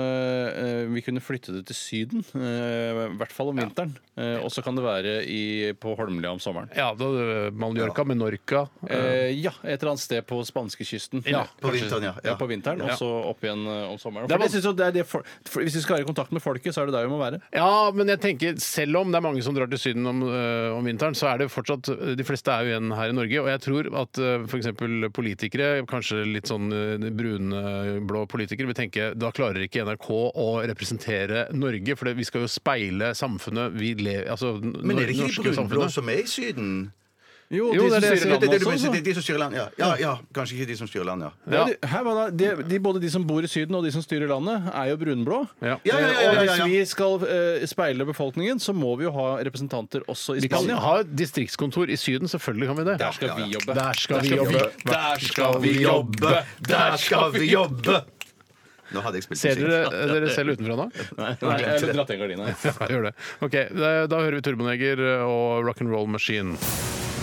[SPEAKER 3] eh, vi kunne flytte det til Syden. eh, I hvert fall om vinteren. Eh, og så kan det være i, på Holmlia om sommeren.
[SPEAKER 2] ja, da, eh, Mallorca, Menorca eh,
[SPEAKER 3] Eh, ja, et eller annet sted på spanskekysten.
[SPEAKER 2] Ja,
[SPEAKER 1] på vinteren, ja.
[SPEAKER 3] ja. på vinteren,
[SPEAKER 2] Ja.
[SPEAKER 3] Og så opp igjen eh, om sommeren.
[SPEAKER 2] Det er
[SPEAKER 3] For det synes jeg det er det for, for, hvis vi skal være i kontakt med folket, så er det der vi må være.
[SPEAKER 2] Ja, men jeg tenker selv om det er mange som drar til Syden om, øh, om vinteren, så er det fortsatt De fleste er jo igjen her i Norge. Og jeg tror at f.eks. politikere, kanskje litt sånn øh, brunblå politikere, vil tenke da klarer ikke NRK å representere Norge, for det- vi skal jo speile samfunnet vi lever Altså n-
[SPEAKER 1] Men er det ikke
[SPEAKER 2] norske
[SPEAKER 1] de brunblå
[SPEAKER 2] samfunnet.
[SPEAKER 1] som er i Syden?
[SPEAKER 2] Jo, det er det jeg
[SPEAKER 1] Det er det du
[SPEAKER 3] også,
[SPEAKER 1] mener,
[SPEAKER 3] så.
[SPEAKER 1] det er de som styrer land, ja. Ja, ja. Kanskje ikke de som styrer land, ja.
[SPEAKER 2] Ja.
[SPEAKER 3] Ja. de- Hæ, hva da? De, de, både de som bor i Syden og de som styrer landet, er jo brunblå.
[SPEAKER 2] Ja.
[SPEAKER 1] Ja, ja, ja, ja, ja, ja.
[SPEAKER 3] Og hvis vi skal eh, speile befolkningen, så må vi jo ha representanter også i
[SPEAKER 2] Vi kan
[SPEAKER 3] Spania.
[SPEAKER 2] ha et distriktskontor i Syden, selvfølgelig kan vi det.
[SPEAKER 3] Der skal vi jobbe.
[SPEAKER 2] Der skal vi jobbe.
[SPEAKER 3] Der skal vi jobbe!
[SPEAKER 1] Der skal vi jobbe! Nå hadde jeg spilt
[SPEAKER 2] Ser
[SPEAKER 1] musikk.
[SPEAKER 2] dere, eh, dere selv utenfra nå?
[SPEAKER 3] Nei, jeg har dratt ned gardina. jeg.
[SPEAKER 2] Ja, gjør det. Ok, da da hører vi Turboneger og Rock'n'Roll Machine.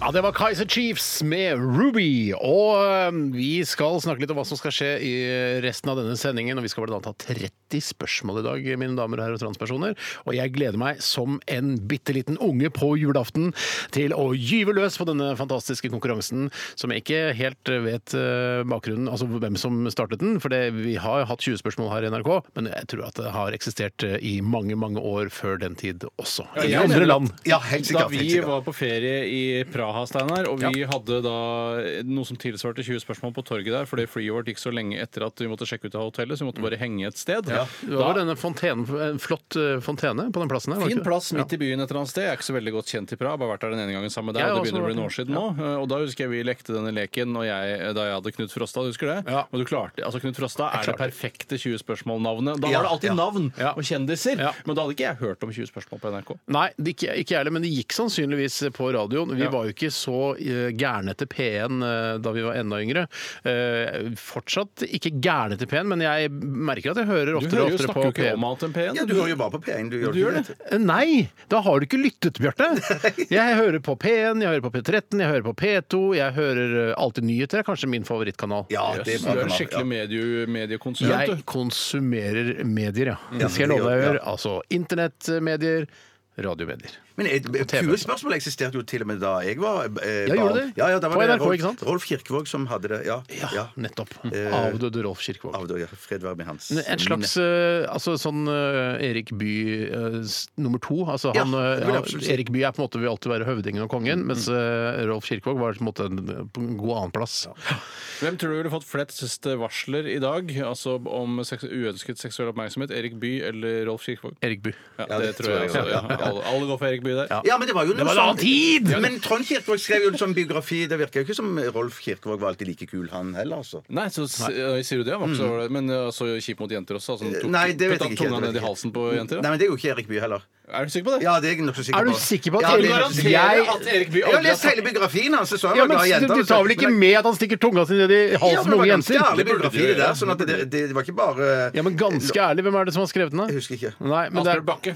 [SPEAKER 2] Ja, Det var Kaiser Chiefs med Ruby. Og eh, vi skal snakke litt om hva som skal skje i resten av denne sendingen. Og vi skal bl.a. ha 30 spørsmål i dag, mine damer og herrer og transpersoner. Og jeg gleder meg som en bitte liten unge på julaften til å gyve løs på denne fantastiske konkurransen, som jeg ikke helt vet eh, bakgrunnen, altså hvem som startet den. For det, vi har hatt 20 spørsmål her i NRK, men jeg tror at det har eksistert eh, i mange, mange år før den tid også. I
[SPEAKER 3] jeg mener
[SPEAKER 2] andre
[SPEAKER 3] at-
[SPEAKER 2] land.
[SPEAKER 1] Ja, helt <laughs>
[SPEAKER 3] Da
[SPEAKER 1] sikkert. helt
[SPEAKER 3] vi
[SPEAKER 1] sikkert.
[SPEAKER 3] var på ferie i Praha, Steinar, og vi hadde da noe som tilsvarte 20 spørsmål på torget der, fordi flyet vårt gikk så lenge etter at vi måtte sjekke ut av hotellet, så vi måtte
[SPEAKER 1] Mm.
[SPEAKER 3] bare henge et sted.
[SPEAKER 2] Det var denne fontenen, en flott eh, fontene på den plassen her. var det
[SPEAKER 3] Fin
[SPEAKER 2] ikke det?
[SPEAKER 3] plass midt i byen et eller annet sted. Jeg er ikke så veldig godt kjent i Praha. Bare vært der den ene gangen sammen med deg.
[SPEAKER 2] Jeg
[SPEAKER 3] og
[SPEAKER 2] har
[SPEAKER 3] det begynner å
[SPEAKER 2] også
[SPEAKER 3] bli noen år
[SPEAKER 2] vært
[SPEAKER 3] siden nå. Eh, Og da husker jeg vi lekte denne leken og jeg, da jeg hadde Knut Frostad. Husker du det?
[SPEAKER 2] Ja.
[SPEAKER 3] Og du klarte, altså Knut Frostad er det perfekte 20 spørsmål-navnet. Da
[SPEAKER 1] Ja,
[SPEAKER 3] var det alltid
[SPEAKER 1] ja.
[SPEAKER 3] navn
[SPEAKER 2] Ja.
[SPEAKER 3] og kjendiser.
[SPEAKER 2] Ja.
[SPEAKER 3] Men da hadde ikke jeg hørt om 20 spørsmål på NRK.
[SPEAKER 2] Nei, det ikke ikke jeg heller, men det gikk sannsynligvis på radioen. Vi
[SPEAKER 3] Ja.
[SPEAKER 2] var jo ikke så eh, gærne til P1 eh, da vi var enda yngre. Eh, fortsatt ikke gærne til P1, men jeg merker at jeg hører oftere
[SPEAKER 3] Du hører
[SPEAKER 2] og
[SPEAKER 3] jo
[SPEAKER 2] oftere på
[SPEAKER 3] snakker jo ikke
[SPEAKER 2] P1.
[SPEAKER 3] om annet enn P1.
[SPEAKER 1] Ja, du hører jo bare på P1. Du, gjør
[SPEAKER 3] gjør
[SPEAKER 1] ikke
[SPEAKER 3] det.
[SPEAKER 2] Eh, Nei! Da har du ikke lyttet, Bjarte. Jeg hører på P1, jeg hører på P13, jeg hører på P2, jeg hører eh, Alltid nyheter. er kanskje min favorittkanal.
[SPEAKER 1] Ja, det
[SPEAKER 3] Du er en
[SPEAKER 1] bra.
[SPEAKER 3] skikkelig medie, mediekonsulent,
[SPEAKER 2] Jeg
[SPEAKER 3] du.
[SPEAKER 2] konsumerer medier, ja. Det skal jeg love deg å gjøre. Altså internettmedier, radiomedier.
[SPEAKER 1] Men eh, 20 spørsmål eksisterte jo til og med da jeg var eh,
[SPEAKER 2] Ja, gjorde
[SPEAKER 1] barn.
[SPEAKER 2] det?
[SPEAKER 1] Ja, ja, da var
[SPEAKER 2] På
[SPEAKER 1] det
[SPEAKER 2] NRK,
[SPEAKER 1] Rolf-
[SPEAKER 2] ikke sant?
[SPEAKER 1] Rolf Kirkevåg som hadde det. Ja.
[SPEAKER 2] Ja,
[SPEAKER 1] ja.
[SPEAKER 2] nettopp.
[SPEAKER 1] Eh,
[SPEAKER 2] Avdøde Rolf Kirkevåg.
[SPEAKER 1] Av det, ja. Fred være med hans
[SPEAKER 2] En slags eh, altså, sånn eh, Erik Bye eh, s- nummer to. Altså,
[SPEAKER 1] Ja,
[SPEAKER 2] han, eh,
[SPEAKER 1] det vil jeg
[SPEAKER 2] han-
[SPEAKER 1] absolutt si. Mm.
[SPEAKER 2] Erik Bye er på en måte vil alltid være høvdingen og kongen, mens eh, Rolf Kirkevåg var på en måte en, på en god annenplass.
[SPEAKER 3] Hvem tror du ville fått flest varsler i dag altså om seks uønsket seksuell oppmerksomhet? Erik Bye eller Rolf Kirkevåg?
[SPEAKER 2] Erik Bye.
[SPEAKER 3] Ja, det, tror jeg. også, ja. Alle, alle går for Erik Bye der.
[SPEAKER 1] Ja, men det var jo noe
[SPEAKER 2] var en annen tid!
[SPEAKER 1] Men Trond Kirkevåg skrev jo en sånn biografi. Det virker jo ikke som Rolf Kirkevåg var alltid like kul, han heller, altså.
[SPEAKER 3] Nei, så s- øy, sier du det? Han var ikke så ålreit, Men ø, så kjip mot jenter også? Altså, han tok,
[SPEAKER 1] Mm. Eh, Nei, det vet
[SPEAKER 3] puttet
[SPEAKER 1] jeg ikke.
[SPEAKER 3] tunga ned i halsen på jenter?
[SPEAKER 1] Nei,
[SPEAKER 3] Da?
[SPEAKER 1] men det er jo ikke Erik Bye heller.
[SPEAKER 3] Er du sikker på det?
[SPEAKER 1] Ja, det er jeg nokså sikker
[SPEAKER 2] Er
[SPEAKER 1] på.
[SPEAKER 2] du sikker på at
[SPEAKER 1] ja, det er
[SPEAKER 2] Erik-
[SPEAKER 1] jeg nokså sikker på.
[SPEAKER 2] Jeg-
[SPEAKER 3] Erik Bye
[SPEAKER 1] Jeg har lest hele biografien hans. så jeg
[SPEAKER 2] Ja,
[SPEAKER 1] var glad i
[SPEAKER 2] men
[SPEAKER 1] jenter,
[SPEAKER 2] Du
[SPEAKER 1] så-
[SPEAKER 2] tar vel ikke
[SPEAKER 1] Men-
[SPEAKER 2] med at han stikker tunga si ned i
[SPEAKER 1] Ja,
[SPEAKER 2] halsen på
[SPEAKER 1] men det var
[SPEAKER 2] unge
[SPEAKER 1] ganske ærlig
[SPEAKER 2] jenter?
[SPEAKER 1] biografi, det der. Sånn at det, det, det var ikke bare
[SPEAKER 2] Ja, men ganske ærlig, hvem er det som har skrevet den? da?
[SPEAKER 1] Jeg husker ikke.
[SPEAKER 2] Nei, men det
[SPEAKER 3] Asbjørn
[SPEAKER 2] er,
[SPEAKER 3] Bakke.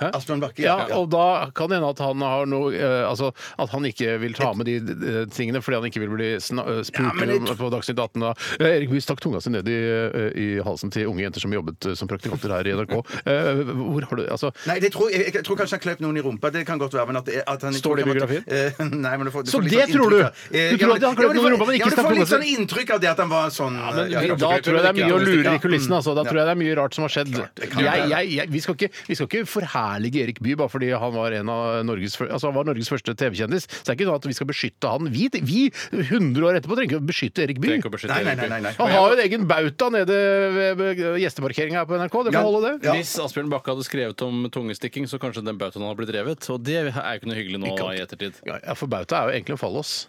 [SPEAKER 1] Asbjørn Bakke.
[SPEAKER 2] ja, og da kan det hende at han har noe eh, Altså at han ikke vil ta med de eh, tingene fordi han ikke vil bli sna eh,
[SPEAKER 1] Ja,
[SPEAKER 2] spurt
[SPEAKER 1] men jeg
[SPEAKER 2] om-
[SPEAKER 1] tr-
[SPEAKER 2] på Dagsnytt 18 da. Eh, Erik Bye stakk tunga si ned i, eh, i halsen til unge jenter som jobbet eh, som praktikanter her i NRK. Eh, Hvor har du Altså
[SPEAKER 1] Nei, det tror, jeg, jeg tror kanskje han kløp noen i rumpa. Det kan godt være. men at, at han,
[SPEAKER 2] Står det i biografien?
[SPEAKER 1] Eh, <laughs> nei, men du får, du
[SPEAKER 2] Så
[SPEAKER 1] får
[SPEAKER 2] det
[SPEAKER 1] litt sånn
[SPEAKER 2] tror du?
[SPEAKER 1] inntrykk av-
[SPEAKER 2] Du
[SPEAKER 1] Eh, ja,
[SPEAKER 2] tror at han kløp
[SPEAKER 1] ja, du
[SPEAKER 2] noen i
[SPEAKER 1] får-
[SPEAKER 2] rumpa, men ikke
[SPEAKER 1] ja,
[SPEAKER 2] stakk
[SPEAKER 1] Du får
[SPEAKER 2] noen
[SPEAKER 1] litt sånn
[SPEAKER 2] seg?
[SPEAKER 1] inntrykk av det at han var sånn eh, ja,
[SPEAKER 2] Da
[SPEAKER 1] kanskje-
[SPEAKER 2] tror jeg det er mye å lure i kulissene. Altså. Da
[SPEAKER 1] Ja.
[SPEAKER 2] tror jeg det er mye rart som har skjedd.
[SPEAKER 1] det kan
[SPEAKER 2] Jeg,
[SPEAKER 1] være.
[SPEAKER 2] jeg, jeg, vi, skal ikke, vi skal ikke forherlige Erik Bye bare fordi han var, en av Norges, fyr- altså han var Norges første TV-kjendis. Så det er ikke sånn at vi skal beskytte han. Vi, vi 100 år etterpå, trenger ikke å beskytte Erik Bye.
[SPEAKER 3] Trenger ikke å beskytte
[SPEAKER 1] Nei, nei,
[SPEAKER 3] Erik Bye.
[SPEAKER 1] nei, nei, nei.
[SPEAKER 2] Han har jo en egen bauta nede ved ved gjesteparkeringa her på NRK. Det
[SPEAKER 1] Ja.
[SPEAKER 2] får holde, det.
[SPEAKER 1] Ja.
[SPEAKER 3] Hvis Asbjørn Bakke hadde skrevet om tungestikking, så kanskje den bautaen hadde blitt revet. Og det er jo ikke noe hyggelig nå
[SPEAKER 2] Ikke
[SPEAKER 3] i ettertid.
[SPEAKER 2] Ja, for bauta er jo egentlig en fallos.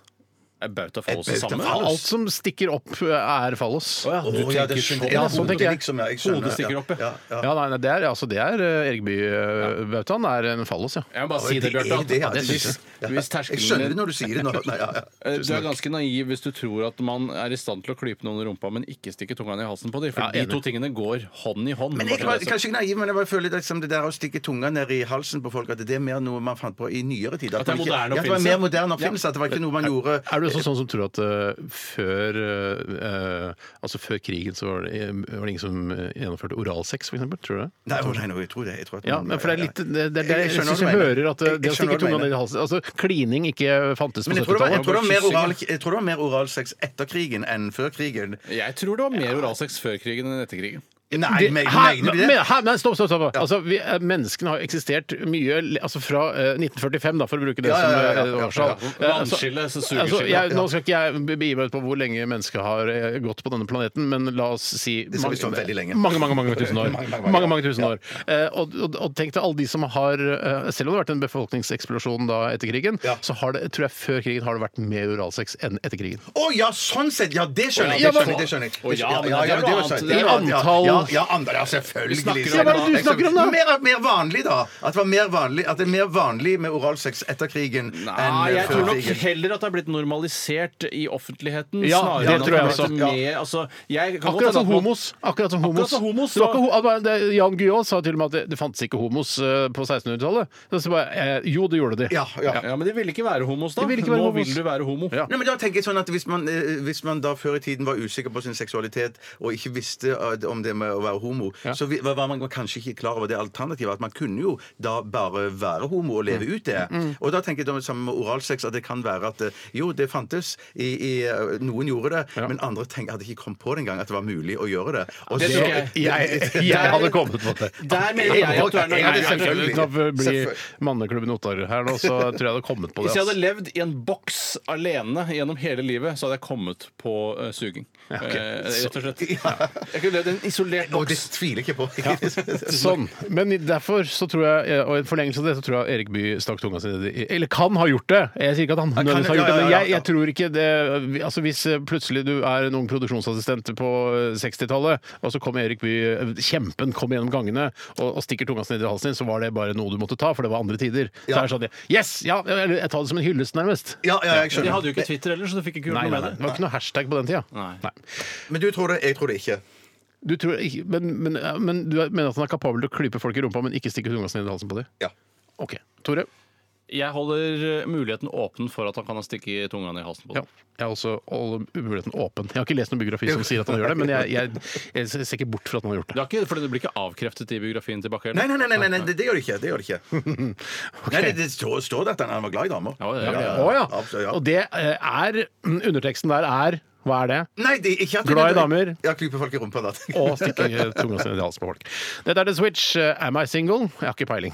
[SPEAKER 3] Er bauta fallos det
[SPEAKER 1] bauta
[SPEAKER 3] samme?
[SPEAKER 1] fallos?
[SPEAKER 2] Alt som stikker opp, er fallos.
[SPEAKER 3] Å ja,
[SPEAKER 1] Å,
[SPEAKER 3] du
[SPEAKER 1] ja,
[SPEAKER 3] tenker
[SPEAKER 1] det
[SPEAKER 3] sånn.
[SPEAKER 1] skjønner
[SPEAKER 2] Ja,
[SPEAKER 1] jeg.
[SPEAKER 2] sånn tenker jeg.
[SPEAKER 1] Hodet liksom, ja, jeg skjønner.
[SPEAKER 3] Hodet stikker opp, ja.
[SPEAKER 1] ja. ja,
[SPEAKER 2] Ja, nei, nei, det er, altså, det er eh, Erik Bye-bautaen er en fallos, ja.
[SPEAKER 3] Jeg må bare
[SPEAKER 1] Ja,
[SPEAKER 3] si det,
[SPEAKER 1] er
[SPEAKER 3] Bjarte. at-
[SPEAKER 1] ja,
[SPEAKER 3] at jeg
[SPEAKER 1] synes
[SPEAKER 3] synes-
[SPEAKER 1] jeg. Ja.
[SPEAKER 3] Hvis
[SPEAKER 1] Jeg skjønner
[SPEAKER 3] terskelen
[SPEAKER 1] det når du sier det nå. Nei, ja, ja.
[SPEAKER 3] Eh, Du er ganske naiv hvis du tror at man er i stand til å klype noen i rumpa, men ikke stikke tunga ned i halsen på dem. For
[SPEAKER 2] Ja,
[SPEAKER 3] de
[SPEAKER 2] enig.
[SPEAKER 3] to tingene går hånd i hånd.
[SPEAKER 1] <laughs> Men jeg var kanskje ikke naiv, men jeg bare føler det, som det der å stikke tunga ned i halsen på folk, at det er mer noe man fant på i nyere tid.
[SPEAKER 3] At det er
[SPEAKER 1] man ikke-
[SPEAKER 3] moderne
[SPEAKER 1] Ja, at det var
[SPEAKER 3] oppfinnelse.
[SPEAKER 1] mer moderne oppfinnelse. At det var ikke noe man gjorde
[SPEAKER 2] Er du også sånn som tror at eh, før eh, eh, Altså før krigen så var det, eh, var det ingen som eh, gjennomførte oralsex, for eksempel? Tror du det?
[SPEAKER 1] Nei, å, nei, nå, jeg tror det. Jeg tror at
[SPEAKER 2] Ja,
[SPEAKER 1] man-
[SPEAKER 2] men for det er litt det, det, det,
[SPEAKER 1] Jeg
[SPEAKER 2] Jeg
[SPEAKER 1] skjønner
[SPEAKER 2] syns
[SPEAKER 1] hva
[SPEAKER 2] jeg
[SPEAKER 1] du mener.
[SPEAKER 2] hører at eh,
[SPEAKER 1] Jeg- jeg
[SPEAKER 2] det å
[SPEAKER 1] skjønner hva
[SPEAKER 2] stikke
[SPEAKER 1] du
[SPEAKER 2] tunga
[SPEAKER 1] mener.
[SPEAKER 2] ned i halsen Altså klining ikke fantes på
[SPEAKER 1] Men jeg tror, det var, jeg,
[SPEAKER 2] 70-tallet.
[SPEAKER 1] tror det var mer oral, jeg tror det var mer oralsex etter krigen enn før krigen.
[SPEAKER 3] Jeg tror det var mer oralsex før krigen enn etter krigen.
[SPEAKER 1] Nei,
[SPEAKER 2] Det-
[SPEAKER 1] men-
[SPEAKER 2] Hæ?
[SPEAKER 1] mener du det?
[SPEAKER 2] Men- hæ? Nei, stopp, stopp. stopp. Altså, vi, eh, menneskene har eksistert mye le- altså fra eh, 1945, da, for å bruke det
[SPEAKER 1] Ja, ja,
[SPEAKER 2] som
[SPEAKER 1] ja, ja,
[SPEAKER 2] eh,
[SPEAKER 1] ja, ja.
[SPEAKER 2] årstall. Eh, altså-
[SPEAKER 3] Vannskille, så
[SPEAKER 2] Altså,
[SPEAKER 3] sugeskille.
[SPEAKER 2] jeg, nå skal ikke jeg begi meg ut på hvor lenge mennesket har eh, gått på denne planeten, men la oss si
[SPEAKER 1] skal vi stå veldig lenge.
[SPEAKER 2] mange, mange, mange tusen år.
[SPEAKER 1] <laughs> Mange, mange, mange,
[SPEAKER 2] mange,
[SPEAKER 1] ja.
[SPEAKER 2] mange tusen år. Eh, og, og, og tenk deg alle de som har eh, Selv om det har vært en befolkningseksplosjon da etter krigen,
[SPEAKER 1] Ja.
[SPEAKER 2] så har det, tror jeg før krigen har det vært mer oralsex enn etter krigen.
[SPEAKER 1] Å ja, sånn sett! Ja, det skjønner jeg.
[SPEAKER 2] Ja,
[SPEAKER 1] Det skjønner jeg,
[SPEAKER 2] men-
[SPEAKER 1] det skjønner jeg.
[SPEAKER 3] Å, ja, men
[SPEAKER 1] Ja, ja,
[SPEAKER 3] det er
[SPEAKER 1] men det
[SPEAKER 3] noe
[SPEAKER 1] var sant.
[SPEAKER 3] annet.
[SPEAKER 1] Det
[SPEAKER 2] I
[SPEAKER 1] var- ja,
[SPEAKER 2] antall
[SPEAKER 1] ja, ja, andre, ja, selvfølgelig.
[SPEAKER 2] Vi snakker om- Hva er det du snakker om, da?
[SPEAKER 1] Mer, mer vanlig, da. At det var mer vanlig, at det er mer vanlig med oralsex etter krigen enn
[SPEAKER 3] Nei, jeg
[SPEAKER 1] før
[SPEAKER 3] tror nok
[SPEAKER 1] krigen.
[SPEAKER 3] heller at det har blitt normalisert i offentligheten.
[SPEAKER 2] Ja,
[SPEAKER 3] snarere
[SPEAKER 2] det
[SPEAKER 3] enn at
[SPEAKER 2] tror jeg
[SPEAKER 3] har
[SPEAKER 2] også.
[SPEAKER 3] blitt Med, altså, jeg kan godt
[SPEAKER 2] Akkurat som
[SPEAKER 3] hende at man-
[SPEAKER 2] homos. Akkurat som homos.
[SPEAKER 3] Akkurat som homos,
[SPEAKER 2] det var
[SPEAKER 3] så-
[SPEAKER 2] ikke, ho- at bare- det, Jan Guillaud sa til og med at det, det fantes ikke homos eh, på 1600-tallet. Så bare, eh, jo, det gjorde de.
[SPEAKER 1] Ja, ja.
[SPEAKER 3] Ja, Men de ville ikke være homos, da.
[SPEAKER 2] De ville ikke være
[SPEAKER 3] Nå
[SPEAKER 2] homos.
[SPEAKER 3] vil du være homo.
[SPEAKER 2] Ja.
[SPEAKER 1] Nei, men da tenker jeg sånn at hvis man, eh, hvis man da før i tiden var usikker på sin seksualitet og ikke visste eh, om det med å være homo, så vi- var man kanskje ikke klar over det alternativet. At man kunne jo da bare være homo og
[SPEAKER 3] Mm.
[SPEAKER 1] leve ut det. Og da tenker jeg da med sammen med oralsex at det kan være at eh, jo, det fantes. I, i, eh, noen gjorde det, men andre tenk, hadde ikke kommet på det engang at det var mulig å gjøre det. Og
[SPEAKER 3] Det
[SPEAKER 1] så-
[SPEAKER 3] tror jeg.
[SPEAKER 2] Jeg, jeg hadde kommet på det.
[SPEAKER 3] Der mener jeg at du er
[SPEAKER 1] Ja, det er
[SPEAKER 3] naiv.
[SPEAKER 1] selvfølgelig.
[SPEAKER 2] Knapt blir Manneklubben Ottar her nå, så tror jeg jeg hadde kommet på det.
[SPEAKER 3] Hvis jeg hadde
[SPEAKER 2] ass.
[SPEAKER 3] levd i en boks alene gjennom hele livet, så hadde jeg kommet på eh, suging. Eh, rett og
[SPEAKER 2] <laughs>
[SPEAKER 3] slett. Jeg kunne levd i en isolert
[SPEAKER 1] Og det
[SPEAKER 3] boks.
[SPEAKER 1] tviler jeg ikke på.
[SPEAKER 2] Sånn. Men i- derfor så tror jeg, eh, og i forlengelse av det, så tror jeg Erik Bye stakk tunga si ned i Eller kan ha gjort det! Jeg sier ikke at han
[SPEAKER 1] kan-
[SPEAKER 2] nødvendigvis har gjort det,
[SPEAKER 1] ja, ja,
[SPEAKER 2] men
[SPEAKER 1] ja,
[SPEAKER 2] jeg,
[SPEAKER 1] ja.
[SPEAKER 2] jeg tror ikke det vi- Altså hvis eh, plutselig du er en ung produksjonsassistent på eh, 60-tallet, og så kommer Erik Bye, eh, kjempen, kommer gjennom gangene og, og stikker tunga si ned i halsen din, så var det bare noe du måtte ta, for det var andre tider. Så
[SPEAKER 1] Ja.
[SPEAKER 2] er det sånn Yes! Ja! Eller jeg tar det som en hyllest, nærmest.
[SPEAKER 1] <laughs> Ja, ja, jeg
[SPEAKER 3] De
[SPEAKER 1] skjønner.
[SPEAKER 3] hadde jo ikke Twitter heller, så du fikk ikke gjort
[SPEAKER 2] Nei,
[SPEAKER 3] noe
[SPEAKER 2] nei,
[SPEAKER 3] med
[SPEAKER 2] nei.
[SPEAKER 3] det.
[SPEAKER 2] Det var ikke noe hashtag på den tida.
[SPEAKER 3] Nei.
[SPEAKER 1] Men du tror det, jeg tror det ikke.
[SPEAKER 2] Du tror ikke, men, men, men du mener at han er kapabel til å klype folk i rumpa, men ikke stikke tunga si ned i halsen på dem?
[SPEAKER 1] Ja.
[SPEAKER 2] OK. Tore?
[SPEAKER 3] Jeg holder eh, muligheten åpen for at han kan stikke tunga ned i halsen på
[SPEAKER 2] Ja.
[SPEAKER 3] den.
[SPEAKER 2] Jeg har også all muligheten åpen. Jeg har ikke lest noen biografi som sier at han gjør det, men jeg, jeg, jeg ser ikke bort fra at han har gjort det.
[SPEAKER 3] Det, er ikke, for det blir ikke avkreftet i biografien tilbake?
[SPEAKER 1] Nei, nei, nei, nei, nei, nei det, det gjør det ikke. Det gjør det ikke. Nei, det, det står, står det at han- han var glad i damer.
[SPEAKER 3] Ja, ja, ja.
[SPEAKER 2] Å ja!
[SPEAKER 1] Absolutt, ja.
[SPEAKER 2] Og det eh, er Underteksten der er Hva er det?
[SPEAKER 1] Nei, det, er ikke at
[SPEAKER 2] Glad i damer.
[SPEAKER 1] Ja, klype folk i rumpa. Da.
[SPEAKER 2] <laughs> Å stikke tunga si ned i halsen på folk. Dette er The Switch. Eh, Am I single? Jeg har ikke peiling.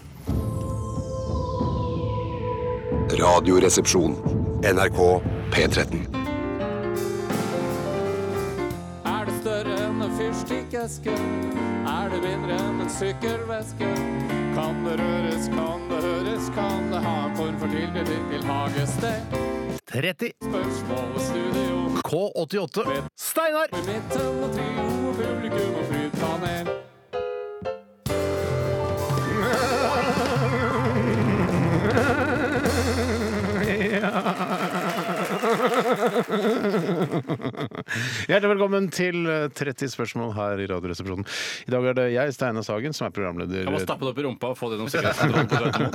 [SPEAKER 4] Radioresepsjon. NRK P13.
[SPEAKER 9] Er det større enn en fyrstikkeske? Er det mindre enn en sykkelveske? Kan det røres, kan det høres, kan det ha en form for tilknytning til hagested?
[SPEAKER 2] 30
[SPEAKER 9] Spørsmål og studio
[SPEAKER 2] K88. Steinar!
[SPEAKER 9] i midten og trio, publikum og flytpanel.
[SPEAKER 2] Hjertelig velkommen til eh, 30 spørsmål her i Radioresepsjonen. I dag er det jeg, Steinar Sagen, som er programleder.
[SPEAKER 3] Kan man stappe det opp i rumpa og få det gjennom sikkerhetskontrollen?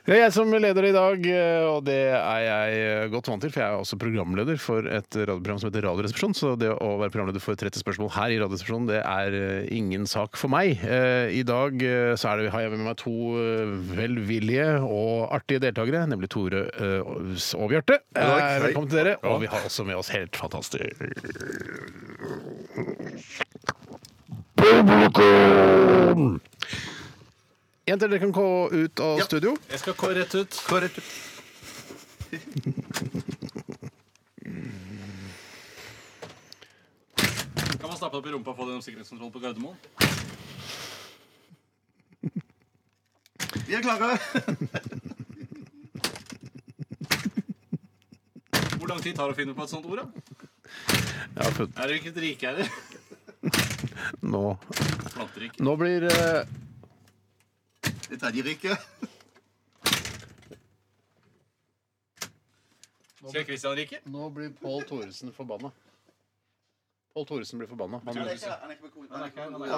[SPEAKER 2] Det er jeg som leder i dag, eh, og det er jeg eh, godt vant til, for jeg er også programleder for et radioprogram som heter Radioresepsjon, så det å være programleder for 30 spørsmål her i Radioresepsjonen, det er eh, ingen sak for meg. Eh, I dag eh, så er det, har jeg med meg to eh, velvillige og artige deltakere, nemlig Tore eh, og Bjarte. Eh,
[SPEAKER 1] hei.
[SPEAKER 2] Velkommen til dere. Og vi har også med oss helt fantastisk Jenter, dere kan gå ut av studio.
[SPEAKER 3] Jeg skal gå rett ut. Kan man stappe det opp i rumpa og få det gjennom sikkerhetskontrollen på Gardermoen?
[SPEAKER 1] Vi er klare.
[SPEAKER 3] Hvor lang tid tar det å finne på et sånt ord, da?
[SPEAKER 2] Ja, for
[SPEAKER 3] Er det <laughs> ikke et rike her?
[SPEAKER 2] nå,
[SPEAKER 3] Planterike.
[SPEAKER 2] nå blir eh,
[SPEAKER 1] Det tredje riket.
[SPEAKER 3] Kjell Kristian Rike?
[SPEAKER 2] Nå blir Pål Thoresen forbanna. Pål Thoresen blir forbanna. Han,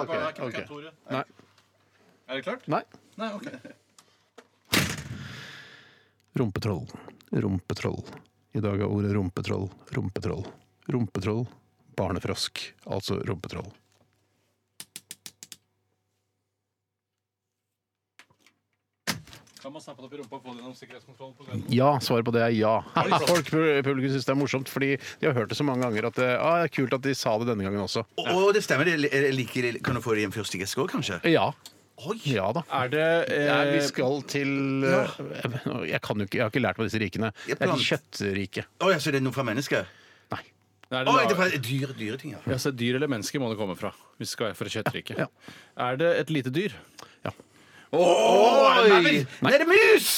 [SPEAKER 2] ok. Nei.
[SPEAKER 3] Er det klart?
[SPEAKER 2] nei.
[SPEAKER 3] Nei, ok.
[SPEAKER 2] Rumpetroll. Rumpetroll. I dag er ordet rumpetroll. Rumpetroll. Rumpetroll. Barnefrosk. Altså rumpetroll.
[SPEAKER 3] Kan man stappe det opp i rumpa og få det gjennom sikkerhetskontrollen på Gardermoen?
[SPEAKER 2] Ja, svaret på det er ja. <laughs> Folk Publikum syns det er morsomt, fordi de har hørt det så mange ganger at det, ah, det er kult at de sa det denne gangen også.
[SPEAKER 1] Og, og det stemmer. Det er- er like, kan du få det i en fyrstikkeske òg, kanskje?
[SPEAKER 2] Ja.
[SPEAKER 1] Oi.
[SPEAKER 2] Ja da.
[SPEAKER 3] Er det
[SPEAKER 2] Ja,
[SPEAKER 3] eh,
[SPEAKER 2] vi skal til eh, Jeg, kan jo ikke, jeg har ikke lært meg disse rikene. Det
[SPEAKER 1] Jeg
[SPEAKER 2] er
[SPEAKER 1] plant-
[SPEAKER 2] kjøttriket.
[SPEAKER 1] Oi, altså, det er noe fra mennesket?
[SPEAKER 2] Nei.
[SPEAKER 1] Oi,
[SPEAKER 3] er det
[SPEAKER 1] det er
[SPEAKER 3] la-
[SPEAKER 1] fra dyre, dyre ting, ja.
[SPEAKER 3] Ja, så Dyr eller menneske må det komme fra. Hvis det skal være for kjøttriket.
[SPEAKER 2] Ja,
[SPEAKER 3] Er det et lite dyr?
[SPEAKER 2] Ja.
[SPEAKER 3] Åh, er det en
[SPEAKER 1] Nei, det er mus!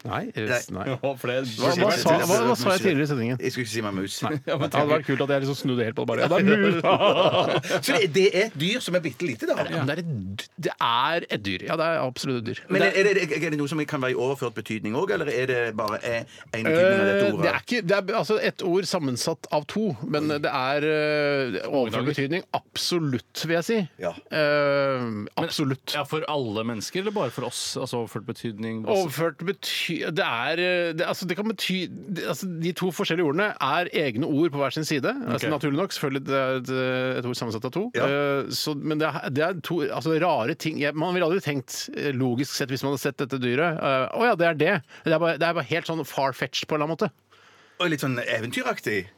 [SPEAKER 2] Nei. eh,
[SPEAKER 1] Nei.
[SPEAKER 2] nei.
[SPEAKER 3] Å, for det-
[SPEAKER 2] Hva, hva, sa, hva, hva sa jeg tidligere i sendingen?
[SPEAKER 1] Jeg skulle ikke si meg mus.
[SPEAKER 2] Ja, men det hadde vært kult at jeg liksom snudde helt på det. bare. Ja, det er mus!
[SPEAKER 1] <laughs> Så det, det er et dyr som er bitte lite, da?
[SPEAKER 2] Ja, men det, er et, det er et dyr. Ja, det er absolutt et dyr.
[SPEAKER 1] Men er det, er det noe som kan være i overført betydning òg, eller er det bare én betydning av dette
[SPEAKER 2] Eh, Det
[SPEAKER 1] ordet?
[SPEAKER 2] er ikke det er, altså ett ord sammensatt av to, men det er uh, overført betydning. Absolutt, vil jeg si.
[SPEAKER 1] Ja.
[SPEAKER 2] Eh, absolutt.
[SPEAKER 3] Ja, For alle mennesker, eller bare for oss? Altså overført betydning?
[SPEAKER 2] Overført bety... Det er eh, det, altså, det kan bety det, altså, De to forskjellige ordene er egne ord på hver sin side. Altså, naturlig nok. Selvfølgelig det er et, et ord sammensatt av to.
[SPEAKER 1] Ja.
[SPEAKER 2] Eh, så, men det er, det er to altså, rare ting jeg, Man ville aldri tenkt eh, logisk sett, hvis man hadde sett dette dyret eh, Å ja, det er det. Det er bare, det er bare helt sånn far-fetched på en eller annen måte.
[SPEAKER 1] Og litt sånn eventyraktig?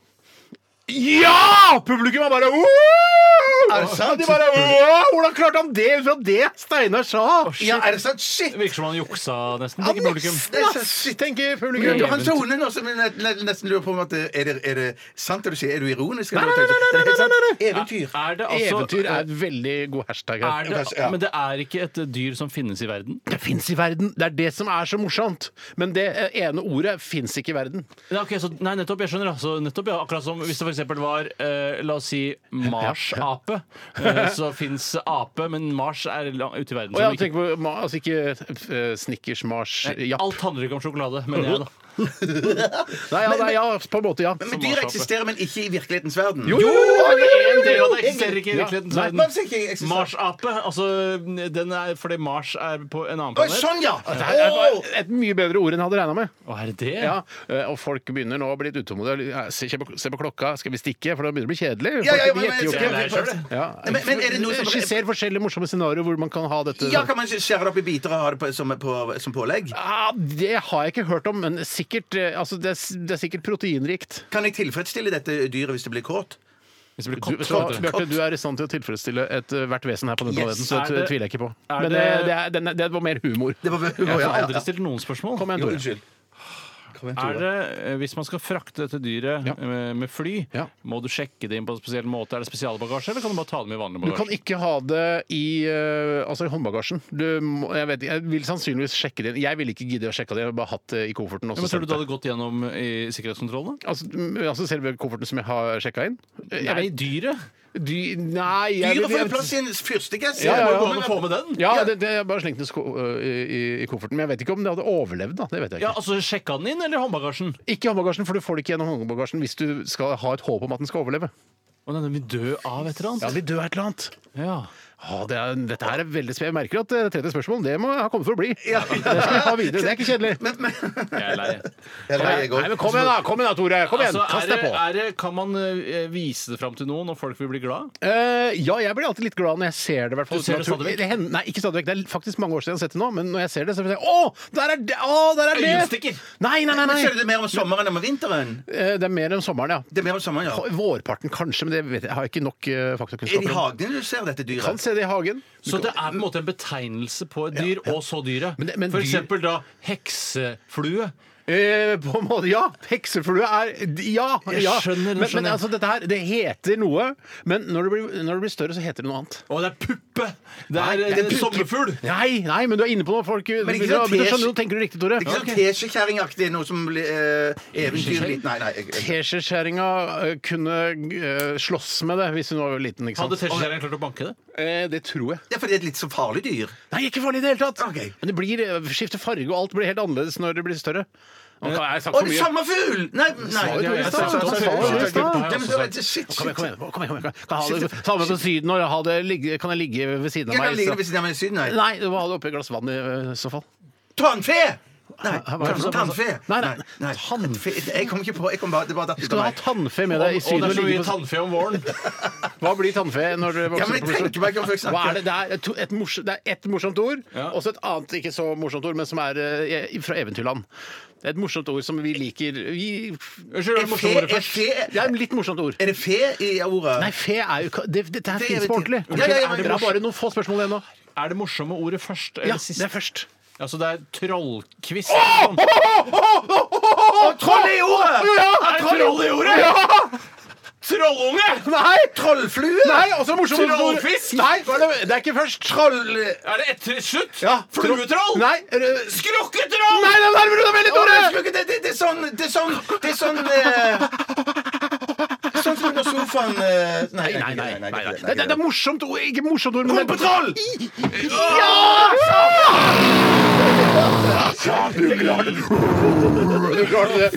[SPEAKER 2] Ja! Publikum var bare «Wow!»
[SPEAKER 1] Er det sant?
[SPEAKER 2] De bare «Wow! Hvordan klarte han det ut fra det Steinar sa?
[SPEAKER 1] Ja, er det sant? Shit!
[SPEAKER 3] Virker som han juksa nesten.
[SPEAKER 2] Ja,
[SPEAKER 3] tenker publikum.
[SPEAKER 1] Det er så
[SPEAKER 2] Shit,
[SPEAKER 1] shit.
[SPEAKER 2] tenker publikum.
[SPEAKER 1] Du har en tone nå som jeg ne- nesten lurer på om at eh, er det, er det sant det du sier? Er du ironisk? eller
[SPEAKER 2] Nei, nei,
[SPEAKER 1] noe?
[SPEAKER 2] nei, nei, nei, nei, nei, nei.
[SPEAKER 1] Eventyr.
[SPEAKER 3] Er det altså
[SPEAKER 2] Eventyr
[SPEAKER 1] eh,
[SPEAKER 2] er et veldig god hashtag
[SPEAKER 3] er
[SPEAKER 2] her.
[SPEAKER 3] det,
[SPEAKER 1] Ja.
[SPEAKER 3] Men det er ikke et dyr som finnes i verden?
[SPEAKER 2] Det fins i verden! Det er det som er så morsomt. Men det eh, ene ordet fins ikke i verden.
[SPEAKER 3] Ja, ok, så, nei, nettopp. Jeg skjønner. Altså, nettopp ja. Akkurat som hvis det f.eks. var eh, la oss si Mars-ape. Eh, så fins ape, men Mars er lang, ute i verden.
[SPEAKER 2] Og jeg
[SPEAKER 3] som ikke-
[SPEAKER 2] tenker på ma- altså ikke eh, Snickers, Mars, Japp.
[SPEAKER 3] Alt handler ikke om sjokolade, mener jeg, da.
[SPEAKER 2] Nei, ja, nei, ja, på en måte, ja. altså.
[SPEAKER 1] Men dyr eksisterer, men ikke i virkelighetens verden.
[SPEAKER 2] Jo,
[SPEAKER 3] Det er en del av det
[SPEAKER 1] egentlig.
[SPEAKER 3] eksisterer ikke i
[SPEAKER 2] Ja.
[SPEAKER 3] virkelighetens
[SPEAKER 2] Nei,
[SPEAKER 3] verden.
[SPEAKER 1] Mars er ikke eksisterer.
[SPEAKER 3] Mars-ape, altså den er fordi Mars er på en
[SPEAKER 1] Å,
[SPEAKER 3] annen planet.
[SPEAKER 1] Sånn, ja!
[SPEAKER 2] Det er
[SPEAKER 1] Å!
[SPEAKER 2] et- et mye bedre ord enn jeg hadde regna med.
[SPEAKER 3] Å, er det det?
[SPEAKER 2] Ja, eh, og folk begynner nå å bli litt utålmodige. Se, se, på- se på klokka, skal vi stikke? For det begynner å bli kjedelig. Folk,
[SPEAKER 1] Ja, ja, ja,
[SPEAKER 2] de
[SPEAKER 1] men-
[SPEAKER 2] gjetter jo
[SPEAKER 3] Jeg lærer
[SPEAKER 2] ikke.
[SPEAKER 3] selv, det.
[SPEAKER 2] Ja.
[SPEAKER 1] Nei, men- men er det noe som-
[SPEAKER 2] Skisser forskjellige morsomme scenarioer hvor man kan ha dette.
[SPEAKER 1] Ja, kan man skjære det opp i biter og ha det på, som, på, som pålegg?
[SPEAKER 2] Ah, det har jeg ikke hørt om, men sikkert, eh, altså, det, er, det er sikkert proteinrikt.
[SPEAKER 1] Kan jeg tilfredsstille dette dyret hvis det blir kåt?
[SPEAKER 3] Hvis det
[SPEAKER 2] Du,
[SPEAKER 3] blir kott,
[SPEAKER 2] så,
[SPEAKER 3] så vet du.
[SPEAKER 2] Bjarte, du er i stand til å tilfredsstille et, eh, hvert vesen her på denne
[SPEAKER 1] Yes.
[SPEAKER 2] planeten, så
[SPEAKER 3] Er
[SPEAKER 2] det
[SPEAKER 3] det-
[SPEAKER 2] tviler jeg ikke på.
[SPEAKER 3] er
[SPEAKER 2] Men det,
[SPEAKER 3] det-
[SPEAKER 2] det, er, den er- det var mer humor.
[SPEAKER 1] Det var,
[SPEAKER 3] Jeg
[SPEAKER 1] ja,
[SPEAKER 3] har
[SPEAKER 1] ja,
[SPEAKER 3] aldri
[SPEAKER 1] ja.
[SPEAKER 3] stilt noen spørsmål.
[SPEAKER 2] Kom igjen,
[SPEAKER 1] Jo,
[SPEAKER 2] Tore.
[SPEAKER 1] unnskyld. Kom igjen,
[SPEAKER 3] Er
[SPEAKER 1] Tore.
[SPEAKER 3] det, eh, Hvis man skal frakte dette dyret
[SPEAKER 2] Ja.
[SPEAKER 3] eh, med fly,
[SPEAKER 2] Ja.
[SPEAKER 3] må du sjekke det inn på en spesiell måte? Er det spesialbagasje, eller kan du bare ta det med i vanlig
[SPEAKER 2] Du
[SPEAKER 3] bagasje?
[SPEAKER 2] kan ikke ha det i, eh, altså i håndbagasjen. Du, må- jeg, vet, ikke, jeg vil sannsynligvis sjekke det inn. Jeg ville ikke gidde å sjekke det, jeg ville bare hatt det i kofferten. og så
[SPEAKER 3] Ja, men tror
[SPEAKER 2] sendt
[SPEAKER 3] du
[SPEAKER 2] det.
[SPEAKER 3] du hadde gått gjennom eh, i sikkerhetskontrollen? da?
[SPEAKER 2] Altså, m- altså selve kofferten som jeg har sjekka inn? Jeg
[SPEAKER 3] Nei,
[SPEAKER 2] vet-
[SPEAKER 3] dyret?
[SPEAKER 2] dy, nei jeg,
[SPEAKER 1] Dyret får
[SPEAKER 2] jeg-
[SPEAKER 1] jo plass i en fyrstikkess!
[SPEAKER 2] Ja, ja, ja.
[SPEAKER 1] Det må
[SPEAKER 3] Kan
[SPEAKER 1] jo gå an
[SPEAKER 3] du få
[SPEAKER 1] å få med-
[SPEAKER 3] med den?
[SPEAKER 2] Ja, det, det, jeg bare slengte den i sko- øh, i, i- i kofferten. Men jeg vet ikke om det hadde overlevd. da, det vet jeg
[SPEAKER 3] Ja,
[SPEAKER 2] Ikke
[SPEAKER 3] altså Sjekka den inn, eller i håndbagasjen?
[SPEAKER 2] Ikke håndbagasjen, for du får det ikke gjennom håndbagasjen hvis du skal ha et håp om at den skal overleve.
[SPEAKER 3] Å, nei, den vil dø av et eller
[SPEAKER 2] Ja,
[SPEAKER 3] annet?
[SPEAKER 2] vi dør et eller annet.
[SPEAKER 3] Ja.
[SPEAKER 2] Ja, det er, dette her er veldig spennende. Jeg merker at eh, 30 spørsmål det må ha kommet for å bli. <laughs> Det skal vi ha videre. Det er ikke kjedelig.
[SPEAKER 1] Men, men,
[SPEAKER 3] Jeg er lei.
[SPEAKER 1] Eller jeg går.
[SPEAKER 2] Nei, men Kom igjen, da, kom igjen da, Tore. <laughs> Kom igjen,
[SPEAKER 3] Altså, er
[SPEAKER 2] Kast deg
[SPEAKER 3] det,
[SPEAKER 2] på.
[SPEAKER 3] er det, kan man eh, vise det fram til noen, og folk vil bli glad?
[SPEAKER 2] Eh, ja, jeg blir alltid litt glad når jeg ser det. i hvert fall.
[SPEAKER 3] Du ser det
[SPEAKER 2] Natur-
[SPEAKER 3] stadig vekk?
[SPEAKER 2] hender- Nei, ikke stadig vekk. Det er faktisk mange år siden jeg har sett det nå, men når jeg ser det, så blir jeg sånn, Å, der er det! Å, der er det!
[SPEAKER 3] Øyestikker!
[SPEAKER 2] Nei, nei, nei,
[SPEAKER 1] men
[SPEAKER 2] nei.
[SPEAKER 1] skjer det mer om sommeren enn om vinteren?
[SPEAKER 2] Eh, Det er mer om sommeren, ja.
[SPEAKER 1] Det er mer om sommeren, ja.
[SPEAKER 2] Vårparten kanskje, men det vet jeg. jeg har ikke nok eh,
[SPEAKER 1] Er det i
[SPEAKER 2] faktakunnskap. om.
[SPEAKER 1] hagen du ser dette dyret?
[SPEAKER 2] Kan se det i hagen.
[SPEAKER 3] Så det er på en måte en betegnelse på et dyr, og så dyret.
[SPEAKER 2] Men det- men
[SPEAKER 3] For
[SPEAKER 2] dyr-
[SPEAKER 3] eksempel da hekseflue.
[SPEAKER 2] Eh, på en måte, ja! Hekseflue er Ja!
[SPEAKER 3] Jeg
[SPEAKER 2] ja.
[SPEAKER 3] skjønner,
[SPEAKER 2] men,
[SPEAKER 3] jeg
[SPEAKER 2] men
[SPEAKER 3] skjønner.
[SPEAKER 2] altså, dette her, det heter noe, men når det blir, når det blir større, så heter det noe annet.
[SPEAKER 3] Å, det er puppe! Det
[SPEAKER 2] Nei,
[SPEAKER 3] er,
[SPEAKER 2] det er
[SPEAKER 3] eh,
[SPEAKER 2] putte-
[SPEAKER 3] sommerfugl!
[SPEAKER 2] Nei, nei, men du er inne på noe, folk. Du
[SPEAKER 1] Men ikke
[SPEAKER 2] begynner å-
[SPEAKER 1] sånn
[SPEAKER 2] begynner å
[SPEAKER 1] tes-
[SPEAKER 2] skjønne noe, tenker du riktig, Tore?
[SPEAKER 1] Det er
[SPEAKER 2] Ja,
[SPEAKER 1] ikke
[SPEAKER 2] ok.
[SPEAKER 1] sånn teskjekjerringaktig, noe som blir eh, eventyrlig Nei, nei. Jeg, jeg,
[SPEAKER 2] Teskjeskjæringa eh, kunne eh, slåss med det hvis hun var liten. ikke
[SPEAKER 3] Hadde
[SPEAKER 2] sant?
[SPEAKER 3] teskjeskjæreren klart å banke det?
[SPEAKER 2] Eh, det tror jeg.
[SPEAKER 1] det er fordi det er et litt så farlig dyr.
[SPEAKER 2] Nei, ikke farlig i det hele tatt!
[SPEAKER 1] Ok.
[SPEAKER 2] Men det blir, eh, skifter farge, og alt blir helt annerledes når det blir større. Nå kan jeg ha sagt
[SPEAKER 1] Å,
[SPEAKER 2] for
[SPEAKER 1] det er
[SPEAKER 2] mye.
[SPEAKER 1] samme fugl! Nei, nei.
[SPEAKER 2] jo
[SPEAKER 1] Ja,
[SPEAKER 2] det i
[SPEAKER 1] jeg
[SPEAKER 2] stad.
[SPEAKER 1] sa-
[SPEAKER 2] Han
[SPEAKER 1] sa-
[SPEAKER 2] sa jo det i stad.
[SPEAKER 1] Ja, men
[SPEAKER 2] Kom igjen,
[SPEAKER 1] så- Shit, shit.
[SPEAKER 2] kom igjen. kom igjen, kom igjen. Kan jeg ha det samme som Syden og ha det, ligge- kan jeg ligge ved siden av
[SPEAKER 1] Jeg kan
[SPEAKER 2] meg?
[SPEAKER 1] ligge ved siden av meg i Syden, nei.
[SPEAKER 2] Nei, du må ha det oppi et glass vann i eh, så fall.
[SPEAKER 1] Tannfe! Nei,
[SPEAKER 2] Hæ, hva er det for noe?
[SPEAKER 1] tannfe.
[SPEAKER 2] Nei, nei,
[SPEAKER 1] Tannfe. Jeg kom ikke på jeg kom bare, Det bare datt ut
[SPEAKER 2] Skal du ha
[SPEAKER 1] av meg.
[SPEAKER 2] tannfe med
[SPEAKER 3] Og,
[SPEAKER 2] deg i
[SPEAKER 3] og
[SPEAKER 2] Syden?
[SPEAKER 3] det er så
[SPEAKER 2] og ligge
[SPEAKER 3] mye
[SPEAKER 2] på-
[SPEAKER 3] tannfe om våren.
[SPEAKER 2] Hva blir tannfe når du
[SPEAKER 1] Ja,
[SPEAKER 2] vokser
[SPEAKER 1] men jeg
[SPEAKER 2] opp?
[SPEAKER 1] tenker meg ikke om folk
[SPEAKER 2] Hva er
[SPEAKER 1] snakker.
[SPEAKER 2] det? Det er et, et, morsomt, det er et morsomt ord,
[SPEAKER 3] Ja.
[SPEAKER 2] og så et annet ikke så morsomt ord, men som er eh, fra eventyrland. Det er et morsomt ord som vi liker. Vi,
[SPEAKER 3] <laughs> Unnskyld, det er
[SPEAKER 1] Er
[SPEAKER 3] morsomt ordet
[SPEAKER 1] fe, er
[SPEAKER 3] først.
[SPEAKER 1] fe,
[SPEAKER 2] det er et litt morsomt ord.
[SPEAKER 1] er det fe i ordet?
[SPEAKER 2] Nei, fe er jo ikke det- Dette det
[SPEAKER 1] Det
[SPEAKER 2] fins
[SPEAKER 1] er
[SPEAKER 2] på ordentlig.
[SPEAKER 1] eventyr. Ja, ja, ja,
[SPEAKER 2] er det, det
[SPEAKER 1] men-
[SPEAKER 2] er bare noen få spørsmål igjen nå.
[SPEAKER 3] Er det morsomme ordet først? Eller
[SPEAKER 2] E Ja,
[SPEAKER 3] sist?
[SPEAKER 2] det er først.
[SPEAKER 3] Altså, det er trollkvist. Sånn.
[SPEAKER 1] Troll i ordet!
[SPEAKER 2] Ja,
[SPEAKER 1] troll i ordet! Trollunge!
[SPEAKER 2] Nei!
[SPEAKER 1] Trollflue!
[SPEAKER 2] Nei, og så morsomt
[SPEAKER 1] Trollfisk!
[SPEAKER 2] Nei, hva er det, det er ikke først. Troll...
[SPEAKER 1] Er det etter slutt?
[SPEAKER 2] Ja,
[SPEAKER 1] Fluetroll?
[SPEAKER 2] Nei, rø-
[SPEAKER 1] Skrukketroll!
[SPEAKER 2] Nei, nå nærmer du deg veldig, Tore!
[SPEAKER 1] Å, skrukket- Det, det, det er sånn Det er sånn Det er sånn eh, Sånn som under sofaen eh, Nei,
[SPEAKER 2] Nei, nei, nei. nei,
[SPEAKER 1] det
[SPEAKER 2] Det,
[SPEAKER 1] er
[SPEAKER 2] det,
[SPEAKER 1] ikke
[SPEAKER 2] det er morsomt ord. Ikke morsomt ord, men
[SPEAKER 1] Rumpetroll!
[SPEAKER 2] Du klarte det.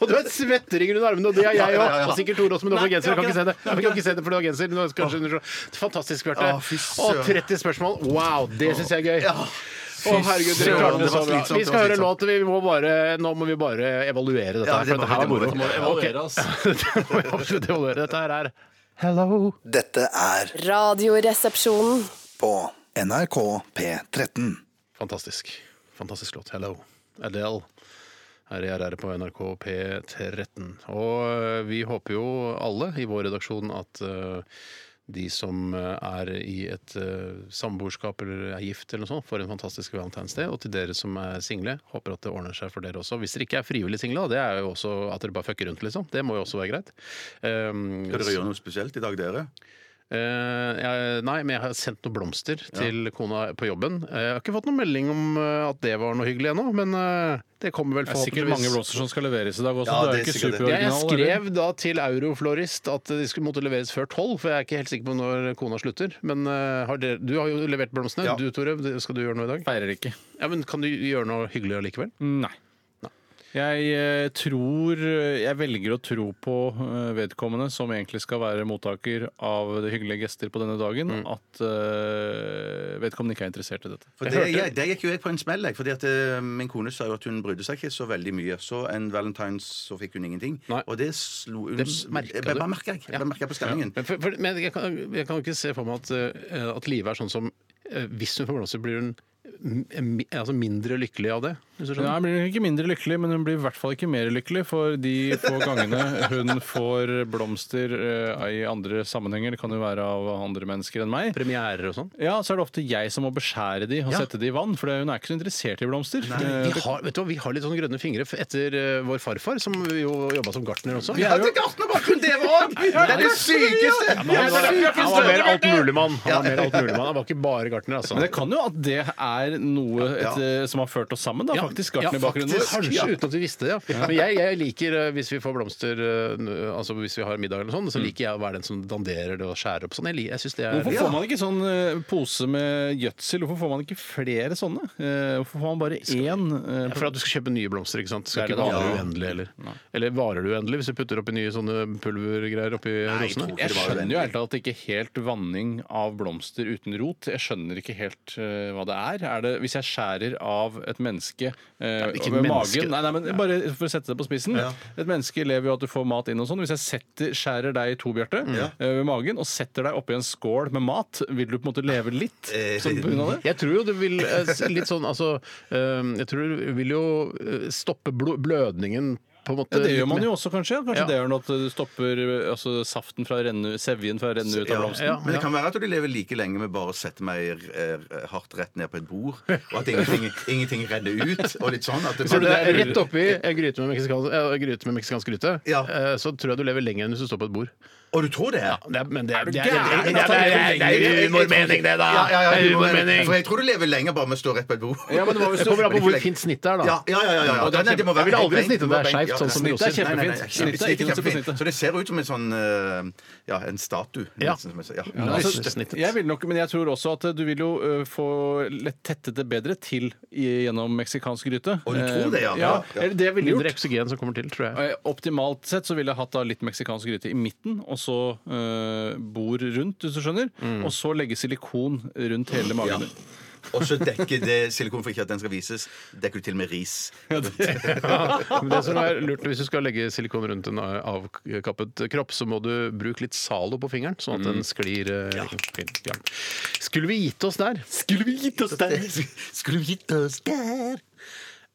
[SPEAKER 2] Og du har en svetteringer under armene, og det har jeg òg. Og sikkert Tore også, men du har på genser. Jeg kan ikke se det. Jeg kan ikke se det for du har genser. Nå skal jeg skjønne. Fantastisk, Bjarte.
[SPEAKER 1] Å, fy
[SPEAKER 2] Og
[SPEAKER 1] søren.
[SPEAKER 2] 30 spørsmål. Wow, det syns jeg er gøy. Å, herregud, dere
[SPEAKER 1] søren,
[SPEAKER 2] klarte det
[SPEAKER 1] det
[SPEAKER 2] så
[SPEAKER 1] var
[SPEAKER 2] bra.
[SPEAKER 1] slitsomt,
[SPEAKER 2] Vi
[SPEAKER 1] det
[SPEAKER 2] skal
[SPEAKER 1] var
[SPEAKER 2] høre
[SPEAKER 1] slitsomt.
[SPEAKER 2] låt. Vi må bare, nå må vi bare evaluere dette.
[SPEAKER 1] Ja,
[SPEAKER 2] her,
[SPEAKER 1] det
[SPEAKER 2] for
[SPEAKER 1] må-
[SPEAKER 2] dette her
[SPEAKER 1] det
[SPEAKER 2] var moro.
[SPEAKER 1] må vi
[SPEAKER 2] Ok. <laughs>
[SPEAKER 3] Evaluere, altså.
[SPEAKER 2] Dette må vi absolutt evaluere. Dette her er Hello.
[SPEAKER 7] Dette er
[SPEAKER 6] Radioresepsjonen.
[SPEAKER 7] på NRK P13.
[SPEAKER 2] Fantastisk. Fantastisk låt. Hello. Adele. Her i RR på NRK P13. Og eh, vi håper jo alle i vår redaksjon at eh, de som eh, er i et eh, samboerskap eller er gift, eller noe sånt, får en fantastisk Valentine's Day. Og til dere som er single, håper at det ordner seg for dere også. Hvis dere ikke er frivillig single, da, det er jo også at dere bare fucker rundt, liksom. Det må jo også være greit. Um,
[SPEAKER 1] Skal dere gjøre noe spesielt i dag, dere?
[SPEAKER 2] Eh, jeg, nei, men jeg har sendt noen blomster til kona på jobben. Eh, jeg har ikke fått noen melding om eh, at det var noe hyggelig ennå, men eh, det kommer vel
[SPEAKER 3] Det er sikkert
[SPEAKER 2] forhåpentligvis.
[SPEAKER 3] mange blomster som skal leveres i dag også.
[SPEAKER 1] Ja,
[SPEAKER 3] det er
[SPEAKER 1] det er
[SPEAKER 3] jo ikke
[SPEAKER 1] sikkert det.
[SPEAKER 2] Ja, jeg
[SPEAKER 3] superoriginal. eller?
[SPEAKER 2] skrev da til Euroflorist at de skulle måtte leveres før tolv, for jeg er ikke helt sikker på når kona slutter. Men eh, har dere, du har jo levert blomstene.
[SPEAKER 1] Ja.
[SPEAKER 2] Du, Tore, skal du gjøre noe i dag?
[SPEAKER 3] Feirer ikke.
[SPEAKER 2] Ja, men Kan du gjøre noe hyggelig allikevel?
[SPEAKER 3] Nei. Jeg eh, tror Jeg velger å tro på eh, vedkommende, som egentlig skal være mottaker av de hyggelige gester på denne dagen, at eh, vedkommende ikke er interessert i dette.
[SPEAKER 1] For det, jeg, det gikk jo jeg på en smell. Jeg, fordi at eh, Min kone sa jo at hun brydde seg ikke så veldig mye. Så en valentines så fikk hun ingenting.
[SPEAKER 2] Nei.
[SPEAKER 1] Og det slo hun
[SPEAKER 2] Det merket
[SPEAKER 1] jeg, bare-
[SPEAKER 2] du.
[SPEAKER 1] bare merket jeg. Bare merket jeg på stemningen.
[SPEAKER 2] Men, for, for, men jeg, kan, jeg kan jo ikke se for meg at, eh, at livet er sånn som eh, Hvis hun får blomster, blir hun m- mi- altså mindre lykkelig av det? Hvis du skjønner?
[SPEAKER 3] Nei, hun blir nok ikke mindre lykkelig, men hun blir i hvert fall ikke mer lykkelig for de få gangene hun får blomster eh, i andre sammenhenger. Det kan jo være av andre mennesker enn meg.
[SPEAKER 2] Premierer og sånn?
[SPEAKER 3] Ja, så er det ofte jeg som må beskjære de og
[SPEAKER 2] Ja.
[SPEAKER 3] sette de i vann, for det- hun er ikke så interessert i blomster. Eh,
[SPEAKER 2] Vi har, vet du hva, vi har litt sånn grønne fingre f- etter eh, vår farfar, som jo jobba som gartner også.
[SPEAKER 1] Jeg hadde gartnerbakgrunn, det
[SPEAKER 2] <laughs>
[SPEAKER 1] var òg! Det er det sykeste!
[SPEAKER 2] Han var, han var mer altmuligmann. Han var mer altmuligmann. Han var ikke bare gartner, altså.
[SPEAKER 3] Men det kan jo at det er noe et, eh, som har ført oss sammen, da,
[SPEAKER 2] Ja.
[SPEAKER 3] faktisk. Garten i bakgrunnen
[SPEAKER 2] faktisk,
[SPEAKER 3] vår.
[SPEAKER 2] Kanskje uten at vi visste det. Ja. Men jeg, jeg liker, eh, hvis vi får blomster eh, n- Altså hvis vi har middag eller noe sånt, så liker jeg å være den som danderer det og skjærer opp sånn. Jeg, li- jeg synes det er
[SPEAKER 3] Mm. Hvorfor får man ikke sånn eh, pose med gjødsel? Hvorfor får man ikke flere sånne? Eh, Hvorfor får man bare én? eh,
[SPEAKER 2] Ja, For at du skal kjøpe nye blomster, ikke sant? Det Skal
[SPEAKER 3] Det er
[SPEAKER 2] ikke
[SPEAKER 3] det,
[SPEAKER 2] vare
[SPEAKER 3] ja.
[SPEAKER 2] uendelig heller. Eller varer det uendelig hvis du putter oppi nye sånne pulvergreier oppi rosene?
[SPEAKER 3] Jeg skjønner jo helt at ikke helt vanning av blomster uten rot. Jeg skjønner ikke helt eh, hva det er. er det, hvis jeg skjærer av et menneske
[SPEAKER 2] ikke
[SPEAKER 3] eh,
[SPEAKER 2] et
[SPEAKER 3] med
[SPEAKER 2] menneske.
[SPEAKER 3] magen nei, nei, men Bare for å sette det på spissen. Et menneske lever jo av at du får mat inn og sånn. Hvis jeg setter, skjærer deg i to, Bjarte,
[SPEAKER 2] Mm.
[SPEAKER 3] eh, ved magen, og setter deg oppi en skål med mat, vil du på en måte leve litt
[SPEAKER 2] Eh,
[SPEAKER 3] som på grunn av
[SPEAKER 2] <laughs>
[SPEAKER 3] det?
[SPEAKER 2] Jeg tror jo det vil eh, s- litt sånn altså eh, Jeg tror det vil jo eh, stoppe blo- blødningen på en måte.
[SPEAKER 3] Ja, det
[SPEAKER 2] litt
[SPEAKER 3] gjør man
[SPEAKER 2] mer.
[SPEAKER 3] jo også, kanskje. Ja.
[SPEAKER 2] Ja.
[SPEAKER 3] Kanskje det gjør noe at du stopper eh, altså, saften fra å renne, sevjen fra å renne ut av blomsten.
[SPEAKER 2] Ja,
[SPEAKER 1] Men det kan være at du lever like lenge med bare å sette meg eh, hardt rett ned på et bord, og at ingenting, ingenting renner ut, og litt sånn. At det
[SPEAKER 2] Så
[SPEAKER 1] bare,
[SPEAKER 2] det er rett oppi en gryte med meksikansk, eh, gryte med meksikansk gryte,
[SPEAKER 1] Ja.
[SPEAKER 2] eh, så tror jeg du lever lenger enn hvis du står på et bord.
[SPEAKER 1] og du tror det? Ja.
[SPEAKER 2] Det er, men det er, det er,
[SPEAKER 1] Jeg- jeg-
[SPEAKER 2] det er- det er- det er- det er
[SPEAKER 1] jeg-
[SPEAKER 2] humormening, det, da!
[SPEAKER 1] Ja, ja, ja,
[SPEAKER 2] Det er
[SPEAKER 1] humormening.
[SPEAKER 2] humormening.
[SPEAKER 1] For jeg tror du lever lenger bare med å stå rett på et bord.
[SPEAKER 3] Ja, men det var
[SPEAKER 2] Det kommer an på hvor fint snittet er, da.
[SPEAKER 1] Ja, ja, ja, ja, ja.
[SPEAKER 2] Og det er
[SPEAKER 1] Nei, det må
[SPEAKER 2] kjempe- jeg ville
[SPEAKER 1] være
[SPEAKER 2] aldri
[SPEAKER 1] benk,
[SPEAKER 2] snittet
[SPEAKER 1] må
[SPEAKER 2] det
[SPEAKER 1] være
[SPEAKER 2] skjevt, sånn
[SPEAKER 1] benk, ja.
[SPEAKER 2] som det
[SPEAKER 3] Snittet er
[SPEAKER 2] gjør.
[SPEAKER 1] Nei, nei, nei,
[SPEAKER 3] kjempefint. Snittet er
[SPEAKER 1] snittet
[SPEAKER 3] ikke noe som på snittet.
[SPEAKER 1] Så det ser ut som en sånn eh, Ja, en statue.
[SPEAKER 2] Ja.
[SPEAKER 1] nesten, som jeg sa. Ja.
[SPEAKER 2] Ja,
[SPEAKER 1] Nei,
[SPEAKER 2] altså,
[SPEAKER 1] snittet.
[SPEAKER 3] Jeg vil nok, men jeg tror også at du vil jo ø, få lett tettet det bedre til i, gjennom meksikansk gryte.
[SPEAKER 1] Å, du tror det, ja.
[SPEAKER 3] Eh,
[SPEAKER 1] Ja, ja.
[SPEAKER 3] eller Det jeg ville
[SPEAKER 2] Mindre
[SPEAKER 3] gjort.
[SPEAKER 2] eksogen som kommer til, tror jeg.
[SPEAKER 3] Eh, Optimalt sett så ville jeg hatt da litt meksikansk gryte i midten, og så eh, bord rundt, hvis du skjønner.
[SPEAKER 1] Mm.
[SPEAKER 3] Og så legge silikon rundt hele magen.
[SPEAKER 1] Og så dekker det silikon for ikke at den skal vises, dekker du til med ris.
[SPEAKER 2] Men det som er lurt Hvis du skal legge silikon rundt en avkappet kropp, så må du bruke litt Zalo på fingeren, sånn at
[SPEAKER 1] Mm.
[SPEAKER 2] den sklir eh, fint. Ja. Skulle vi gitt oss der?
[SPEAKER 1] Skulle vi gitt oss der? Skulle vi gitt oss der?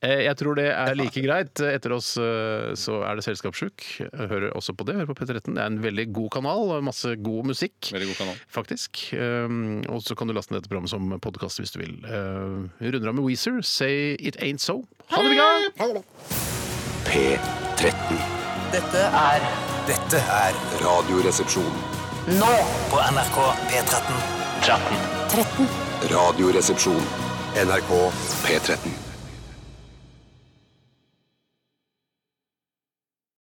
[SPEAKER 2] Eh, Jeg tror det er like greit. Etter oss eh, så er det Selskapssjuk. Hører også på det. Hører på P13. Det er en veldig god kanal. og Masse god musikk.
[SPEAKER 3] Veldig god kanal.
[SPEAKER 2] Faktisk. Um, Og så kan du laste ned dette programmet som podkast hvis du vil. Eh, Vi runder av med Weezer. Say It Ain't So. Ha det bra!
[SPEAKER 4] P13.
[SPEAKER 10] Dette er Dette er
[SPEAKER 4] Radioresepsjon.
[SPEAKER 10] nå på NRK P13.
[SPEAKER 4] 13. Radioresepsjon. NRK P13.